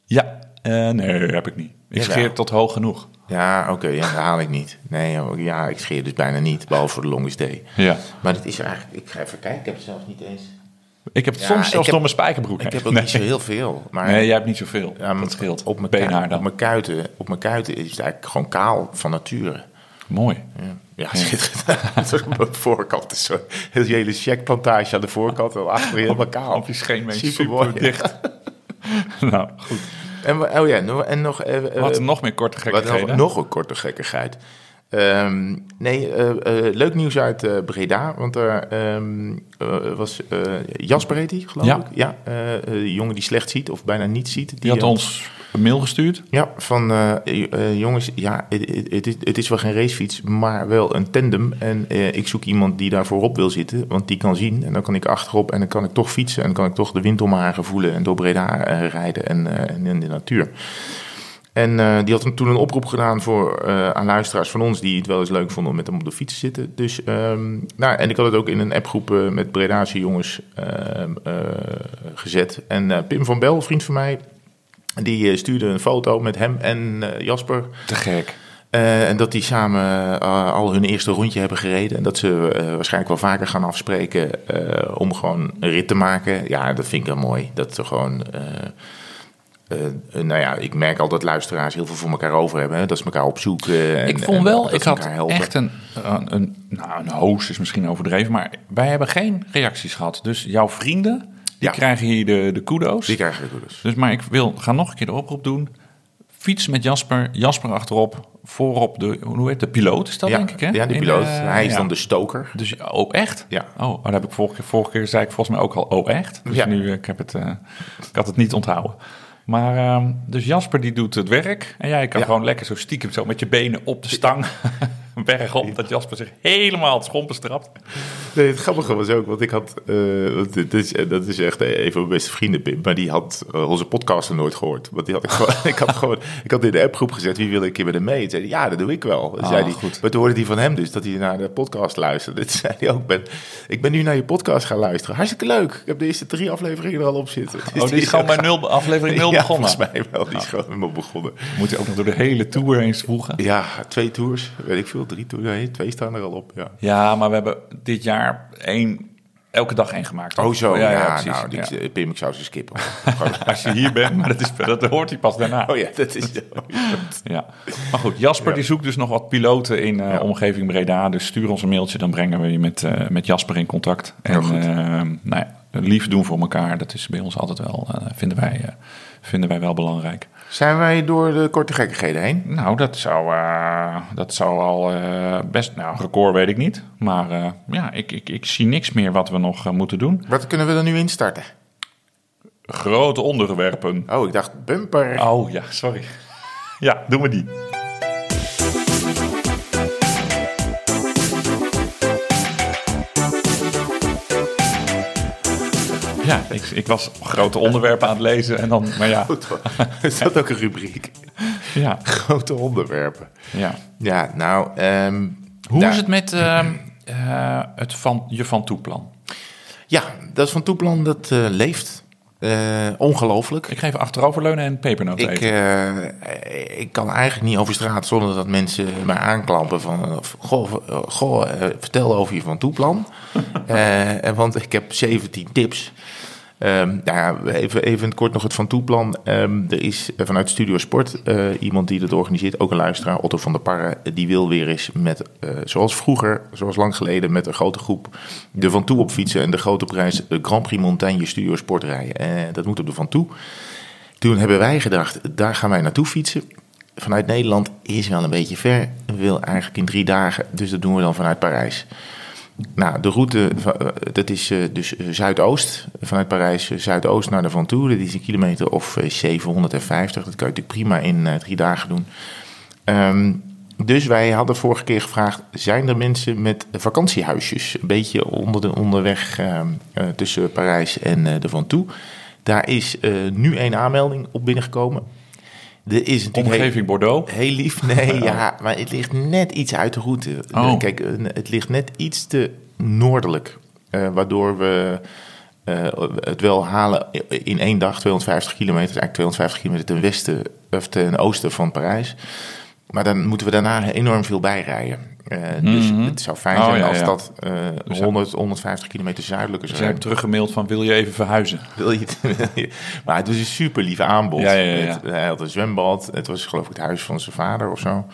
Speaker 4: Ja, eh, nee, heb ik niet. Ik
Speaker 2: Jawel.
Speaker 4: scheer tot hoog genoeg.
Speaker 2: Ja, oké, ja, dat haal ik niet. Nee, oh, ja, ik scheer dus bijna niet, behalve voor de longest day.
Speaker 4: Ja.
Speaker 2: Maar dat is eigenlijk, ik ga even kijken, ik heb het zelfs niet eens.
Speaker 4: Ik heb het
Speaker 2: Ja,
Speaker 4: soms
Speaker 2: ik
Speaker 4: zelfs
Speaker 2: heb-
Speaker 4: door mijn spijkerbroek
Speaker 2: Ik
Speaker 4: heen.
Speaker 2: heb ook
Speaker 4: Nee.
Speaker 2: niet zo heel veel. Maar
Speaker 4: Nee, jij hebt niet zoveel.
Speaker 2: Ja, maar
Speaker 4: dat scheelt.
Speaker 2: Op mijn,
Speaker 4: beenhaar
Speaker 2: kuiten,
Speaker 4: dan.
Speaker 2: op, mijn kuiten, op mijn kuiten is het eigenlijk gewoon kaal van nature.
Speaker 4: Mooi.
Speaker 2: Ja, ja schitterend. Op de voorkant is zo'n hele- hele checkplantage aan de voorkant. En achter helemaal kaal.
Speaker 4: Op je scheenbeen
Speaker 2: Supermooi.
Speaker 4: super dicht. nou, goed.
Speaker 2: En, we- oh ja, nog- en nog... eh, eh,
Speaker 4: Wat nog meer korte
Speaker 2: Wat nog,
Speaker 4: gekkigheden.
Speaker 2: nog een korte gekkigheid. Ehm, nee, eh, eh, leuk nieuws uit eh, Breda. Want daar ehm, eh, was eh, Jasper heet hij, geloof
Speaker 4: Ja.
Speaker 2: ik. Ja, eh, eh, die jongen die slecht ziet of bijna niet ziet. Die,
Speaker 4: Die had
Speaker 2: eh,
Speaker 4: ons een mail gestuurd.
Speaker 2: Ja, van eh, eh, jongens, ja, het- het het is- het is wel geen racefiets, maar wel een tandem. En eh, ik zoek iemand die daar voorop wil zitten, want die kan zien. En dan kan ik achterop en dan kan ik toch fietsen. En dan kan ik toch de wind om mijn haren voelen en door Breda eh, rijden en, eh, en in de natuur. En eh, die had hem toen een oproep gedaan voor, eh, aan luisteraars van ons die het wel eens leuk vonden om met hem op de fiets te zitten. Dus, ehm, nou, en ik had het ook in een appgroep eh, met Bredaanse jongens ehm, eh, gezet. En eh, Pim van Bel, vriend van mij, die eh, stuurde een foto met hem en eh, Jasper.
Speaker 4: Te gek.
Speaker 2: Eh, en dat die samen eh, al hun eerste rondje hebben gereden. En dat ze eh, waarschijnlijk wel vaker gaan afspreken eh, om gewoon een rit te maken. Ja, dat vind ik wel mooi. Dat ze gewoon. eh, eh, eh, nou ja, ik merk al dat luisteraars heel veel voor elkaar over hebben. Hè? Dat ze elkaar opzoeken. en-
Speaker 4: ik vond
Speaker 2: en
Speaker 4: wel,
Speaker 2: dat
Speaker 4: ik
Speaker 2: ze
Speaker 4: had
Speaker 2: elkaar helpen.
Speaker 4: echt een, een, een, nou, een hoos is misschien overdreven, maar wij hebben geen reacties gehad. Dus jouw vrienden, die
Speaker 2: Ja.
Speaker 4: krijgen hier de, de kudo's.
Speaker 2: Die krijgen de goeders.
Speaker 4: Dus, maar ik wil, ga nog een keer de oproep doen. Fiets met Jasper, Jasper achterop, voorop de, hoe heet het, de piloot is dat
Speaker 2: Ja,
Speaker 4: denk ik hè?
Speaker 2: ja, die
Speaker 4: In,
Speaker 2: piloot.
Speaker 4: eh,
Speaker 2: Hij is
Speaker 4: ja.
Speaker 2: dan de stoker.
Speaker 4: Dus, oh, echt?
Speaker 2: Ja.
Speaker 4: Oh, maar dat heb ik vorige keer, vorige keer zei ik volgens mij ook al, oh, echt? Dus
Speaker 2: Ja.
Speaker 4: nu, eh, ik, heb het, eh, ik had het niet onthouden. Maar, ehm, dus Jasper die doet het werk. En jij kan
Speaker 2: Ja.
Speaker 4: gewoon lekker zo stiekem zo met je benen op de stang bergop. Dat Jasper zich helemaal het schompen strapt.
Speaker 2: Nee, het grappige was ook, want ik had, eh, want dit is, dat is echt een van mijn beste vrienden, Pim, maar die had eh, onze podcast nog nooit gehoord. Want die had ik gewoon, ik had gewoon, ik had in de appgroep gezet, wie wil een keer met hem mee? Toen zei hij, ja, dat doe ik wel. Toen
Speaker 4: Ah,
Speaker 2: zei hij,
Speaker 4: goed.
Speaker 2: Maar toen hoorde hij van hem dus, dat hij naar de podcast luisterde. Toen zei hij ook, ben, ik ben nu naar je podcast gaan luisteren. Hartstikke leuk. Ik heb de eerste drie afleveringen er al op zitten. Dus
Speaker 4: Oh, die is gewoon bij
Speaker 2: ook-
Speaker 4: nul, aflevering nul
Speaker 2: ja,
Speaker 4: begonnen. Ah.
Speaker 2: volgens mij wel. Die is gewoon helemaal begonnen.
Speaker 4: Moet je ook nog door de hele tour eens voegen.
Speaker 2: Ja, twee tours, weet ik veel, drie tours. Nee, twee staan er al op, ja.
Speaker 4: Ja, maar we hebben dit jaar één, elke dag één gemaakt.
Speaker 2: Oh zo, ja, nou,
Speaker 4: Ja.
Speaker 2: die, Pim, ik zou ze skippen.
Speaker 4: Als je hier bent, maar dat, is, dat hoort hij pas daarna.
Speaker 2: Oh ja, dat is
Speaker 4: Ja, maar goed, Jasper die zoekt dus nog wat piloten in eh, omgeving Breda. Dus stuur ons een mailtje, dan brengen we je met, eh, met Jasper in contact. En eh,
Speaker 2: goed.
Speaker 4: nou ja, lief doen voor elkaar, dat is bij ons altijd wel, eh, vinden, wij, eh, vinden wij wel belangrijk.
Speaker 2: Zijn wij door de korte gekkigheden heen?
Speaker 4: Nou, dat zou, eh, dat zou al eh, best, nou, record weet ik niet. Maar eh, ja, ik, ik, ik zie niks meer wat we nog eh, moeten doen.
Speaker 2: Wat kunnen we er nu instarten?
Speaker 4: Grote onderwerpen.
Speaker 2: Oh, ik dacht bumper.
Speaker 4: Oh ja, sorry. Ja, doen we die. Ja, ik, ik was grote onderwerpen aan het lezen en dan, maar ja,
Speaker 2: Oh. Is dat ook een rubriek?
Speaker 4: ja,
Speaker 2: Grote onderwerpen.
Speaker 4: ja.
Speaker 2: Ja, nou... ehm,
Speaker 4: Hoe
Speaker 2: daar-
Speaker 4: is het met ehm, eh, het van, je van toeplan?
Speaker 2: Ja, dat van Toeplan, dat eh, leeft. Eh, ongelooflijk.
Speaker 4: Ik ga even achteroverleunen en pepernoot
Speaker 2: Ik,
Speaker 4: eten.
Speaker 2: eh, ik kan eigenlijk niet over straat zonder dat mensen mij aanklampen van... eh, Goh, eh, goh eh, vertel over je Van Toeplan. Eh, en want ik heb 17 tips. Ehm, nou ja, even, even kort nog het Van Toeplan. Ehm, er is eh, vanuit Studio Sport eh, iemand die dat organiseert, ook een luisteraar, Otto van der Parre. Die wil weer eens met, eh, zoals vroeger, zoals lang geleden, met een grote groep de Van Toe op fietsen. En de grote prijs eh, Grand Prix Montagne Studio Sport rijden. Eh, dat moet op de Van Toe. Toen hebben wij gedacht, daar gaan wij naartoe fietsen. vanuit Nederland is wel een beetje ver. We willen eigenlijk in drie dagen, dus dat doen we dan vanuit Parijs. Nou, de route, va- dat is eh, dus eh, Zuidoost, vanuit Parijs eh, Zuidoost naar de Ventoux. Die is een kilometer of eh, 750, dat kan je natuurlijk prima in eh, drie dagen doen. Ehm, dus wij hadden vorige keer gevraagd: zijn er mensen met vakantiehuisjes? Een beetje onder de onderweg ehm, eh, tussen Parijs en eh de Van Toe. Daar is eh, nu één aanmelding op binnengekomen. Er is natuurlijk heel-
Speaker 4: Omgeving Bordeaux.
Speaker 2: Heel lief. Nee, ja, maar het ligt net iets uit de route.
Speaker 4: Oh.
Speaker 2: Kijk, eh, het ligt net iets te noordelijk. eh, waardoor we eh, het wel halen in één dag 250 kilometer, eigenlijk 250 kilometer ten westen of ten oosten van Parijs. Maar dan moeten we daarna enorm veel bijrijden. Eh, Dus het zou fijn
Speaker 4: Oh,
Speaker 2: zijn
Speaker 4: ja,
Speaker 2: als
Speaker 4: ja.
Speaker 2: dat eh,
Speaker 4: Dus ja.
Speaker 2: 100, 150 kilometer zuidelijker
Speaker 4: Ze
Speaker 2: zou zijn.
Speaker 4: hebben teruggemaild van wil je even verhuizen?
Speaker 2: Wil je het? wil je- Maar het was een super lief aanbod.
Speaker 4: Ja, ja, ja.
Speaker 2: Het- eh, hij had een zwembad. Het was geloof ik het huis van zijn vader of zo.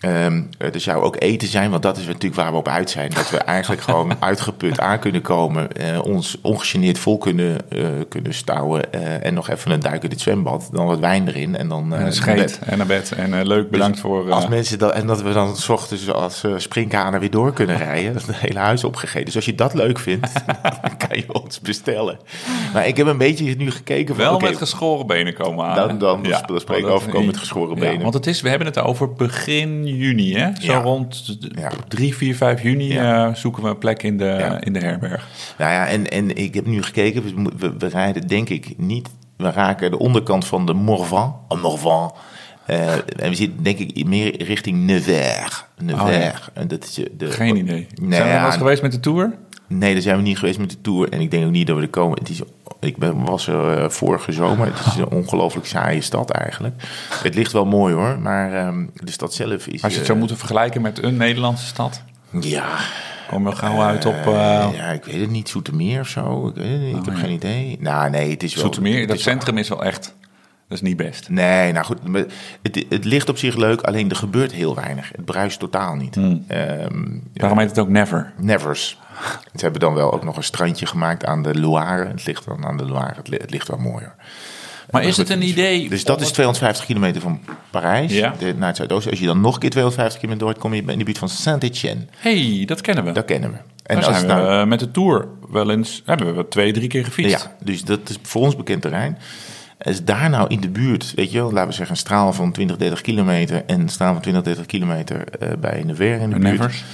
Speaker 2: Ehm, er zou ook eten zijn, want dat is natuurlijk waar we op uit zijn. Dat we eigenlijk gewoon uitgeput aan kunnen komen. eh, ons ongegeneerd vol kunnen, eh, kunnen stouwen. eh, en nog even een duik in het zwembad. Dan wat wijn erin. En dan eh,
Speaker 4: En een
Speaker 2: naar
Speaker 4: scheet
Speaker 2: bed.
Speaker 4: en naar bed. En eh, leuk, bedankt voor... eh,
Speaker 2: Dus Als mensen dat, en dat we dan s ochtends als eh springkanen weer door kunnen rijden. Dat is het hele huis opgegeten. Dus als je dat leuk vindt, dan kan je ons bestellen. Maar ik heb een beetje nu gekeken van...
Speaker 4: wel
Speaker 2: oké,
Speaker 4: met geschoren benen komen aan.
Speaker 2: dan, dan
Speaker 4: hè?
Speaker 2: sp- spreken we
Speaker 4: want
Speaker 2: over komen met
Speaker 4: Oh, dat-
Speaker 2: geschoren
Speaker 4: ja,
Speaker 2: benen.
Speaker 4: want het is, we hebben het over begin juni, hè? Zo
Speaker 2: Ja.
Speaker 4: rond d-
Speaker 2: Ja.
Speaker 4: 3, 4, 5 juni
Speaker 2: Ja.
Speaker 4: eh, zoeken we een plek in de,
Speaker 2: Ja.
Speaker 4: in de herberg.
Speaker 2: Nou ja, en, en ik heb nu gekeken. dus We, mo- we, we rijden denk ik niet... We raken de onderkant van de Morvan. Een Morvan. Eh, en we zitten denk ik meer richting Nevers. Nevers. en dat is eh, de,
Speaker 4: Oh, Geen idee. Zijn
Speaker 2: Nee,
Speaker 4: we wel
Speaker 2: ja,
Speaker 4: eens geweest met de tour?
Speaker 2: Nee, daar zijn we niet geweest met de tour. En ik denk ook niet dat we er komen. Het is, ik ben, was er eh, vorige zomer. Het is een ongelooflijk saaie stad eigenlijk. Het ligt wel mooi hoor, maar ehm, de stad zelf is.
Speaker 4: Als je het
Speaker 2: eh,
Speaker 4: zou moeten vergelijken met een Nederlandse stad,
Speaker 2: Ja,
Speaker 4: komen we gauw uit op... eh,
Speaker 2: eh, ja, ik weet het niet. Zoetermeer of zo. Ik, weet het niet, ik heb geen idee. Nou, nee, het is wel.
Speaker 4: Oh, Zoetermeer,
Speaker 2: het
Speaker 4: dat
Speaker 2: is wel-
Speaker 4: centrum is wel echt. Dat is niet best.
Speaker 2: Nee, nou goed, maar het, het ligt op zich leuk, alleen er gebeurt heel weinig. Het bruist totaal niet.
Speaker 4: Hmm.
Speaker 2: Ehm,
Speaker 4: Daarom heet het ook Never.
Speaker 2: Nevers. Ze hebben dan wel ook nog een strandje gemaakt aan de Loire. Het ligt dan aan de Loire. Het, li- het ligt wel mooier.
Speaker 4: Maar is het een idee?
Speaker 2: Dus dat
Speaker 4: om
Speaker 2: is
Speaker 4: het-
Speaker 2: 250 kilometer van Parijs
Speaker 4: Ja.
Speaker 2: de- naar het zuidoosten. Als je dan nog een keer 250 kilometer doorheen kom je in de buurt van Saint-Etienne.
Speaker 4: hey, dat kennen we.
Speaker 2: Dat kennen we. En
Speaker 4: Daar
Speaker 2: als
Speaker 4: zijn
Speaker 2: het
Speaker 4: we
Speaker 2: nou-
Speaker 4: eh, met de tour wel eens hebben we twee, drie keer gefietst.
Speaker 2: ja, dus dat is voor ons bekend terrein. Is daar nou in de buurt, weet je wel, laten we zeggen een straal van 20, 30 kilometer en een straal van 20, 30 kilometer eh, bij Nevers in de
Speaker 4: Bij
Speaker 2: buurt.
Speaker 4: Nevers.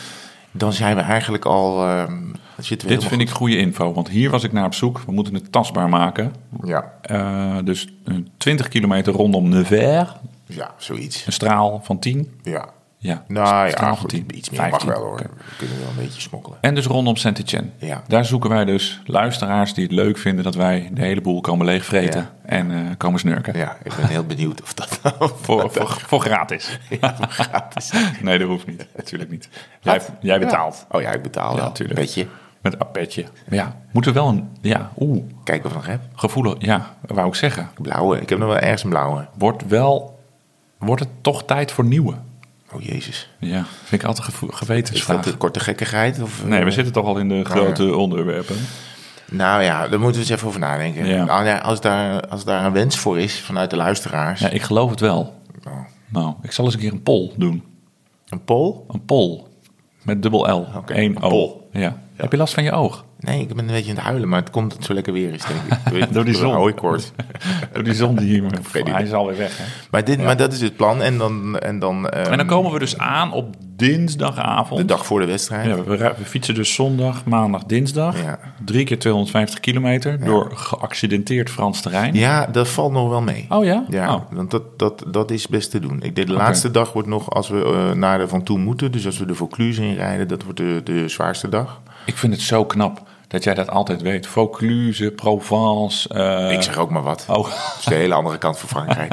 Speaker 2: Dan zijn we eigenlijk al. ehm, dan zitten we
Speaker 4: Dit vind ik goede info, want hier was ik naar op zoek. We moeten het tastbaar maken.
Speaker 2: ik. Ja,
Speaker 4: Eh, dus eh, 20 kilometer rondom Nevers,
Speaker 2: ja, zoiets.
Speaker 4: een straal van 10.
Speaker 2: Ja.
Speaker 4: Ja,
Speaker 2: Nou
Speaker 4: een straal
Speaker 2: ja,
Speaker 4: van
Speaker 2: goed,
Speaker 4: 10,
Speaker 2: iets meer
Speaker 4: 15.
Speaker 2: mag wel hoor.
Speaker 4: Oké.
Speaker 2: We kunnen wel een beetje smokkelen.
Speaker 4: En dus rondom Saint-Etienne.
Speaker 2: Ja.
Speaker 4: Daar zoeken wij dus luisteraars die het leuk vinden dat wij de hele boel komen leegvreten
Speaker 2: Ja.
Speaker 4: en eh, komen snurken.
Speaker 2: Ja, ik ben heel benieuwd of dat nou
Speaker 4: Voor, voor, voor gratis. nee, dat hoeft niet. Natuurlijk niet. Jij,
Speaker 2: Wat?
Speaker 4: jij betaalt.
Speaker 2: Ja. Oh ja, ik betaal
Speaker 4: Ja,
Speaker 2: wel.
Speaker 4: natuurlijk.
Speaker 2: Weet je,
Speaker 4: Met een petje. Ja, moeten we wel een... Ja, oeh,
Speaker 2: kijken of ik nog heb.
Speaker 4: gevoelig. Ja, wou ik zeggen.
Speaker 2: Blauwe, ik heb nog wel ergens een blauwe.
Speaker 4: Wordt wel... Wordt het toch tijd voor nieuwe?
Speaker 2: Oh jezus.
Speaker 4: Ja, vind ik altijd gevo-
Speaker 2: Is dat Ah,
Speaker 4: gewetensvraag.
Speaker 2: de korte gekkigheid? Of, eh?
Speaker 4: Nee, we zitten toch al in de grote onderwerpen.
Speaker 2: Nou ja, daar moeten we eens even over nadenken.
Speaker 4: Ja.
Speaker 2: Nou ja, als, daar, als daar een wens voor is vanuit de luisteraars.
Speaker 4: Ja, ik geloof het wel.
Speaker 2: Nou,
Speaker 4: Nou, ik zal eens een keer een poll doen.
Speaker 2: een pol?
Speaker 4: Een poll. Met dubbel L.
Speaker 2: Oké,
Speaker 4: Eén
Speaker 2: een
Speaker 4: O.
Speaker 2: poll.
Speaker 4: Ja. Heb je last van je oog?
Speaker 2: Nee, ik ben een beetje aan het huilen, maar het komt dat het zo lekker weer is, denk ik. Door,
Speaker 4: die zon.
Speaker 2: een hooikoorts.
Speaker 4: Door die zon die hier... Hij
Speaker 2: idee.
Speaker 4: is alweer weg, hè?
Speaker 2: Maar, dit, maar dat is het plan. En dan, en dan, ehm,
Speaker 4: En dan komen we dus aan op dinsdagavond.
Speaker 2: de dag voor de wedstrijd.
Speaker 4: Ja, we, we fietsen dus zondag, maandag, dinsdag.
Speaker 2: Ja.
Speaker 4: Drie keer 250 kilometer door geaccidenteerd Frans terrein.
Speaker 2: Ja, dat valt nog wel mee.
Speaker 4: Oh ja?
Speaker 2: Ja,
Speaker 4: Oh.
Speaker 2: want dat, dat, dat is best te doen. Ik denk de laatste dag wordt nog, als we eh, naar de Van Toe moeten, dus als we de Vaucluse inrijden, dat wordt de, de zwaarste dag.
Speaker 4: Ik vind het zo knap dat jij dat altijd weet. Vaucluse, Provence. eh,
Speaker 2: ik zeg ook maar wat.
Speaker 4: Oh,
Speaker 2: Dat is de hele andere kant van Frankrijk.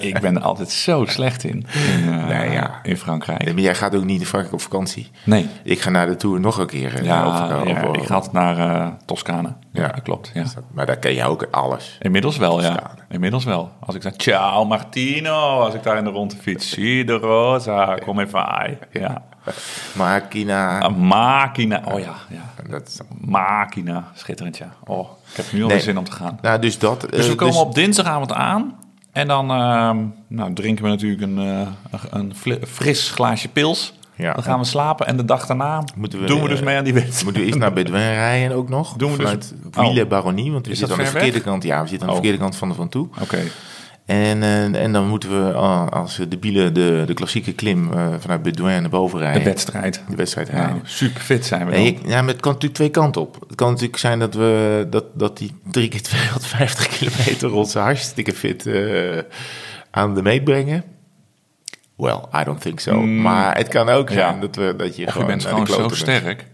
Speaker 4: ik ben er altijd zo slecht in. In, eh,
Speaker 2: Nee, ja.
Speaker 4: in Frankrijk.
Speaker 2: Nee, maar jij gaat ook niet in Frankrijk op vakantie.
Speaker 4: Nee.
Speaker 2: Ik ga naar de Tour nog een keer. eh,
Speaker 4: Ja,
Speaker 2: op- op-
Speaker 4: ja,
Speaker 2: op-
Speaker 4: ik ga altijd naar eh Toscane. Ja,
Speaker 2: Ja.
Speaker 4: dat klopt. Ja.
Speaker 2: Maar daar ken je ook alles.
Speaker 4: Inmiddels wel, ja.
Speaker 2: Toscane.
Speaker 4: Inmiddels wel. Als ik zeg, ciao Martino, als ik daar in de ronde fiets. Si de rosa, kom even ai. Ja. Oh.
Speaker 2: Maar Kina...
Speaker 4: Een Machina. Oh ja, ja.
Speaker 2: dat is-
Speaker 4: Machina, schitterend ja. Oh, ik heb nu al
Speaker 2: Nee.
Speaker 4: weer zin om te gaan.
Speaker 2: nou, dus dat...
Speaker 4: Dus we komen
Speaker 2: op.
Speaker 4: op dinsdagavond aan. En dan ehm, nou, drinken we natuurlijk een, eh, een fli- fris glaasje pils.
Speaker 2: Ja.
Speaker 4: dan gaan we slapen en de dag daarna
Speaker 2: Moeten we,
Speaker 4: doen we dus
Speaker 2: eh,
Speaker 4: mee aan die wedstrijd.
Speaker 2: Moeten we eerst naar Bedouin rijden ook nog?
Speaker 4: Doen we dus-
Speaker 2: Vanuit
Speaker 4: Oh.
Speaker 2: Wielerbaronie, want we
Speaker 4: Is
Speaker 2: zitten
Speaker 4: dat
Speaker 2: aan de
Speaker 4: ver weg?
Speaker 2: verkeerde kant. Ja, we zitten aan
Speaker 4: Oh.
Speaker 2: de verkeerde kant van de Van Toe.
Speaker 4: Oké,
Speaker 2: En, eh, en dan moeten we ah, als de bielen de, de klassieke klim eh, vanuit Bedouin naar boven
Speaker 4: de
Speaker 2: rijden.
Speaker 4: wedstrijd.
Speaker 2: De wedstrijd
Speaker 4: Nou,
Speaker 2: rijden.
Speaker 4: super fit zijn we
Speaker 2: Ja,
Speaker 4: dan.
Speaker 2: je- ja, maar het kan natuurlijk twee kanten op. Het kan natuurlijk zijn dat, we, dat, dat die drie keer 250 kilometer onze hartstikke fit eh, aan de meet brengen. Well, I don't think so.
Speaker 4: Mm.
Speaker 2: Maar het kan ook
Speaker 4: Ja.
Speaker 2: zijn dat, we, dat je
Speaker 4: Of je
Speaker 2: gewoon
Speaker 4: bent
Speaker 2: naar de
Speaker 4: gewoon zo
Speaker 2: kloten bent.
Speaker 4: sterk.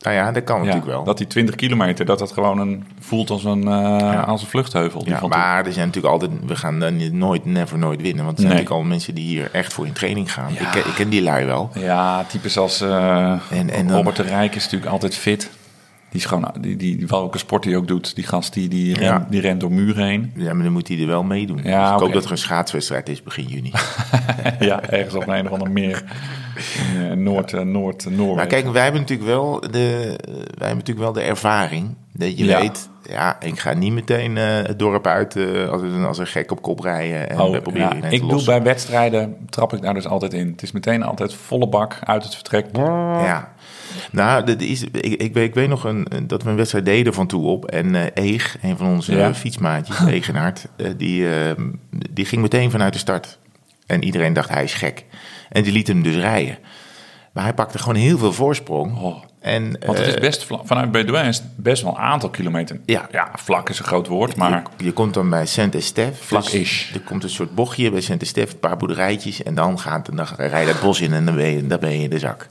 Speaker 2: Nou ja, dat kan
Speaker 4: Ja,
Speaker 2: natuurlijk wel.
Speaker 4: dat die 20 kilometer, dat dat gewoon een, voelt als een, eh, als een vluchtheuvel. Die
Speaker 2: Ja,
Speaker 4: van
Speaker 2: maar er zijn natuurlijk altijd, we gaan dan nooit, never nooit winnen. Want er zijn
Speaker 4: Nee.
Speaker 2: natuurlijk al mensen die hier echt voor in training gaan.
Speaker 4: Ja.
Speaker 2: Ik, ken- ik ken die lui wel.
Speaker 4: toen. ja types als eh,
Speaker 2: En- en dan-
Speaker 4: Robert de Rijk is natuurlijk altijd fit. Die is gewoon, die, die, die- welke sport hij ook doet, die gast die, die,
Speaker 2: Ja.
Speaker 4: rent, die rent door muren heen.
Speaker 2: Ja, maar dan moet hij er wel meedoen.
Speaker 4: Ja,
Speaker 2: dus ik hoop
Speaker 4: oké.
Speaker 2: dat er een schaatswedstrijd is begin juni.
Speaker 4: ja, ergens op een of ander meer. In, eh, Noord, eh, Noord, Noorwegen.
Speaker 2: maar kijk, wij hebben natuurlijk wel de, eh, wij hebben natuurlijk wel de ervaring. Dat je
Speaker 4: Ja.
Speaker 2: weet, ja, ik ga niet meteen eh, het dorp uit eh, als, een, als een gek op kop rijden. En we
Speaker 4: Oh,
Speaker 2: proberen
Speaker 4: ja,
Speaker 2: iedereen
Speaker 4: ik
Speaker 2: te
Speaker 4: doe
Speaker 2: lossen.
Speaker 4: bij wedstrijden, trap ik daar dus altijd in. Het is meteen altijd volle bak uit het vertrek.
Speaker 2: Ja. Nou, dat is, ik, ik, weet, ik weet nog een, een- dat we een wedstrijd deden van toe op. En eh, Eeg, een van onze
Speaker 4: Ja.
Speaker 2: eh, fietsmaatjes, Egenaard, eh, die, eh, die ging meteen vanuit de start. En iedereen dacht, hij is gek. En die liet hem dus rijden. Maar hij pakte gewoon heel veel voorsprong.
Speaker 4: Oh.
Speaker 2: En,
Speaker 4: Want het is
Speaker 2: eh,
Speaker 4: best vla- vanuit Bedouin is het best wel een aantal kilometer.
Speaker 2: Ja.
Speaker 4: vlak is een groot woord, maar
Speaker 2: je, je komt dan bij Saint-Estève.
Speaker 4: Vlak is.
Speaker 2: Dus er komt een soort bochtje bij Saint-Estève, een paar boerderijtjes. En dan, gaat, dan rij je dat bos in en dan ben je, dan ben je in de zak.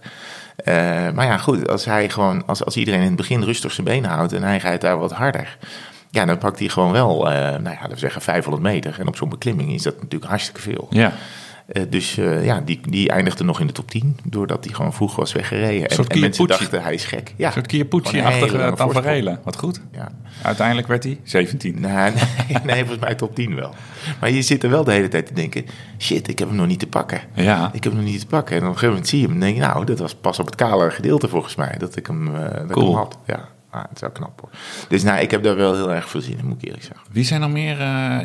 Speaker 2: Eh, maar ja, goed, als, hij gewoon, als, als iedereen in het begin rustig zijn been houdt en hij rijdt daar wat harder. Ja, dan pakt hij gewoon wel, eh, nou ja, laten we zeggen 500 meter. En op zo'n beklimming is dat natuurlijk hartstikke veel.
Speaker 4: ja,
Speaker 2: Eh, dus eh, ja, die, die eindigde nog in de top 10, doordat hij gewoon vroeg was weggereden. En,
Speaker 4: soort
Speaker 2: en mensen
Speaker 4: Kiyoputsi.
Speaker 2: dachten, hij is gek. Ja,
Speaker 4: een soort
Speaker 2: Gewoon een hele
Speaker 4: Kierpoetsie-achtige
Speaker 2: lange voorsprong.
Speaker 4: tafereelen. Wat goed.
Speaker 2: Ja.
Speaker 4: Uiteindelijk werd hij 17.
Speaker 2: Nou, nee, nee, volgens mij top 10 wel. Maar je zit er wel de hele tijd te denken: shit, ik heb hem nog niet te pakken.
Speaker 4: Ja.
Speaker 2: Ik heb hem nog niet te pakken. En op een gegeven moment zie je hem. en denk je, nou, dat was pas op het kale gedeelte volgens mij. Dat ik hem, eh, dat ik
Speaker 4: Cool.
Speaker 2: hem had. Ja, ah, het is wel knap hoor. Dus nou, ik heb daar wel heel erg veel zin in, moet ik eerlijk zeggen.
Speaker 4: Wie zijn er meer? eh,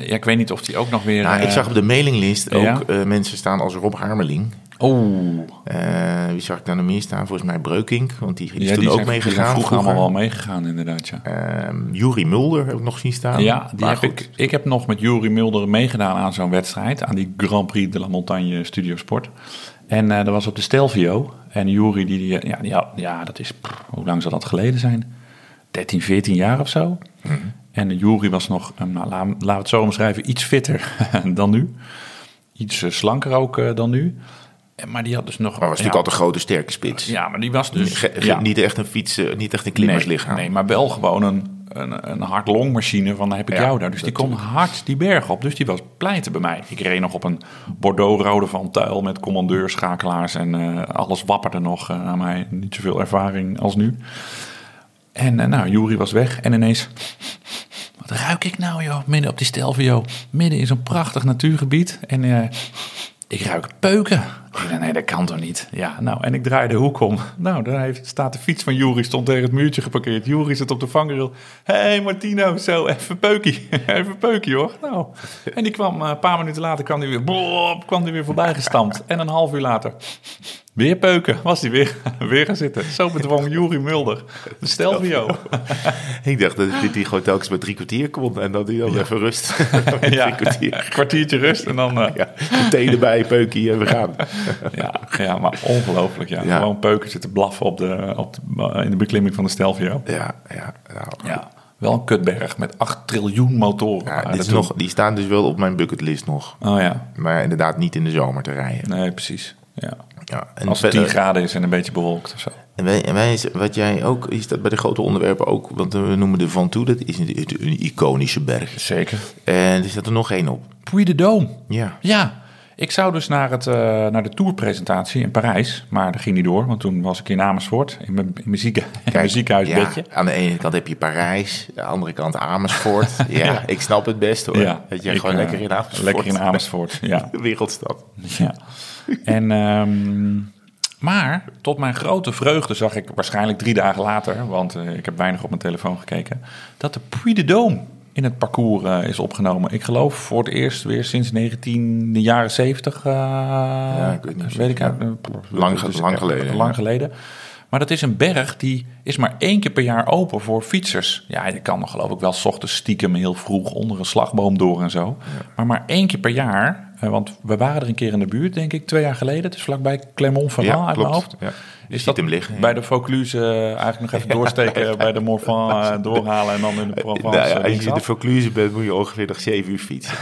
Speaker 4: ja, ik weet niet of die ook nog weer...
Speaker 2: Nou, ik
Speaker 4: eh,
Speaker 2: zag op de mailinglist ook
Speaker 4: Ja?
Speaker 2: eh, mensen staan als Rob Harmeling.
Speaker 4: Oeh,
Speaker 2: Eh, wie zag ik daar nog meer staan? Volgens mij Breukink, want die, die is
Speaker 4: ja,
Speaker 2: toen
Speaker 4: die
Speaker 2: ook
Speaker 4: zijn- die zijn
Speaker 2: meegegaan.
Speaker 4: vroeger
Speaker 2: vroeger.
Speaker 4: allemaal wel meegegaan inderdaad, ja.
Speaker 2: Ehm, Juri Mulder heb ik nog zien staan.
Speaker 4: Ja, die
Speaker 2: Maar
Speaker 4: heb
Speaker 2: goed,
Speaker 4: ik, ik heb nog met Jury Mulder meegedaan aan zo'n wedstrijd. Aan die Grand Prix de la Montagne Studiosport. En eh, dat was op de Stelvio. En Jury, die, die, eh, ja, die, had- ja, dat is, pff, hoe lang zal dat geleden zijn? 13, 14 jaar of zo.
Speaker 2: Mhm.
Speaker 4: En Jury was nog, eh, nou, laat- laten we het zo omschrijven, iets fitter dan nu. Iets eh, slanker ook eh, dan nu. En, maar die had dus nog...
Speaker 2: Maar was
Speaker 4: ja,
Speaker 2: natuurlijk altijd een grote, sterke spits.
Speaker 4: Ja, maar die was dus...
Speaker 2: Ge- ge-
Speaker 4: ja.
Speaker 2: Niet echt een fietsen, niet echt een
Speaker 4: Nee,
Speaker 2: klimmerslichaam.
Speaker 4: Nee, maar wel gewoon een, een, een hard-longmachine van heb ik
Speaker 2: Ja,
Speaker 4: jou daar. Dus die kon hard die berg op. Dus die was pleiten bij mij. Ik reed nog op een Bordeaux-rode van tuil met commandeurschakelaars. En eh, alles wapperde nog eh, aan mij. Niet zoveel ervaring als nu. En eh, nou, Juri was weg. En ineens... Wat ruik ik nou, joh? Midden op die Stelvio. Midden in zo'n prachtig natuurgebied. En eh, ik ruik peuken. Ik dacht, nee, dat kan toch niet? Ja, nou, en ik draai de hoek om. Nou, daar heeft, staat de fiets van Juri, stond tegen het muurtje geparkeerd. Juri zit op de vangrail. Hé, hey, Martino, zo, even peukie. even peukie, hoor. Nou, en die kwam, eh, een paar minuten later kwam die weer, blop, kwam die weer voorbij gestampt. En een half uur later, weer peuken, was die weer, weer gaan zitten. Zo bedwong Juri Mulder. De Stelvio.
Speaker 2: Ik dacht dat dit die gewoon telkens met drie kwartier kon en dat hij dan even rust. met drie kwartier.
Speaker 4: kwartiertje rust en dan... eh,
Speaker 2: Ja, meteen erbij, peukie en we gaan.
Speaker 4: Ja, ja maar ongelooflijk. Ja.
Speaker 2: Ja.
Speaker 4: Gewoon peuken zitten blaffen op de, op de- in de beklimming van de Stelvio.
Speaker 2: Ja, ja, nou.
Speaker 4: Ja, wel een kutberg met 8 triljoen motoren.
Speaker 2: Ja,
Speaker 4: Ah,
Speaker 2: dit
Speaker 4: dat
Speaker 2: is
Speaker 4: doe-
Speaker 2: nog, die staan dus wel op mijn bucketlist nog.
Speaker 4: Oh ja,
Speaker 2: Maar inderdaad niet in de zomer te rijden.
Speaker 4: nee, precies. Ja.
Speaker 2: Ja, en
Speaker 4: Als het 10
Speaker 2: verder-
Speaker 4: graden is en een beetje bewolkt of zo.
Speaker 2: En wij, en wij, wat jij ook, is dat bij de grote onderwerpen ook, want we noemen de Van Toe, dat is een, een iconische berg.
Speaker 4: Zeker.
Speaker 2: En er staat er nog één op.
Speaker 4: Puy de Dome.
Speaker 2: Ja.
Speaker 4: Ja, ik zou dus naar, het, eh, naar de tourpresentatie in Parijs. Maar dat ging niet door, want toen was ik in Amersfoort. In mijn, in mijn, zieke- in mijn ziekenhuisbedje.
Speaker 2: Ja, aan de ene kant heb je Parijs, aan de andere kant Amersfoort. ja, ik snap het best hoor. dat je
Speaker 4: ik,
Speaker 2: gewoon
Speaker 4: eh,
Speaker 2: lekker in Amersfoort.
Speaker 4: Lekker in Amersfoort, ja.
Speaker 2: De wereldstad.
Speaker 4: Ja. En, ehm, maar tot mijn grote vreugde zag ik waarschijnlijk drie dagen later, want eh, ik heb weinig op mijn telefoon gekeken, dat de Puy de Dôme in het parcours eh, is opgenomen. Ik geloof voor het eerst weer sinds 19 de jaren 70. eh,
Speaker 2: ik weet niet
Speaker 4: ik uit-
Speaker 2: Lang
Speaker 4: het is
Speaker 2: lang
Speaker 4: echt
Speaker 2: geleden,
Speaker 4: Lang
Speaker 2: ja.
Speaker 4: geleden. Maar dat is een berg die is maar één keer per jaar open voor fietsers. Ja, je kan nog geloof ik wel 's ochtends stiekem heel vroeg onder een slagboom door en zo. Maar maar één keer per jaar, eh, want we waren er een keer in de buurt, denk ik, twee jaar geleden. Het is vlakbij Clermont-Verland
Speaker 2: Ja,
Speaker 4: uit
Speaker 2: klopt.
Speaker 4: mijn hoofd.
Speaker 2: Ja. Je
Speaker 4: Is
Speaker 2: ziet
Speaker 4: dat
Speaker 2: hem liggen, ja.
Speaker 4: bij de Vaucluse eh, eigenlijk nog even doorsteken bij de Morvan eh, doorhalen en dan in de Provence
Speaker 2: Nou ja,
Speaker 4: eh,
Speaker 2: als je in
Speaker 4: linksaf?
Speaker 2: de Vaucluse bent, moet je ongeveer nog 7 uur fietsen.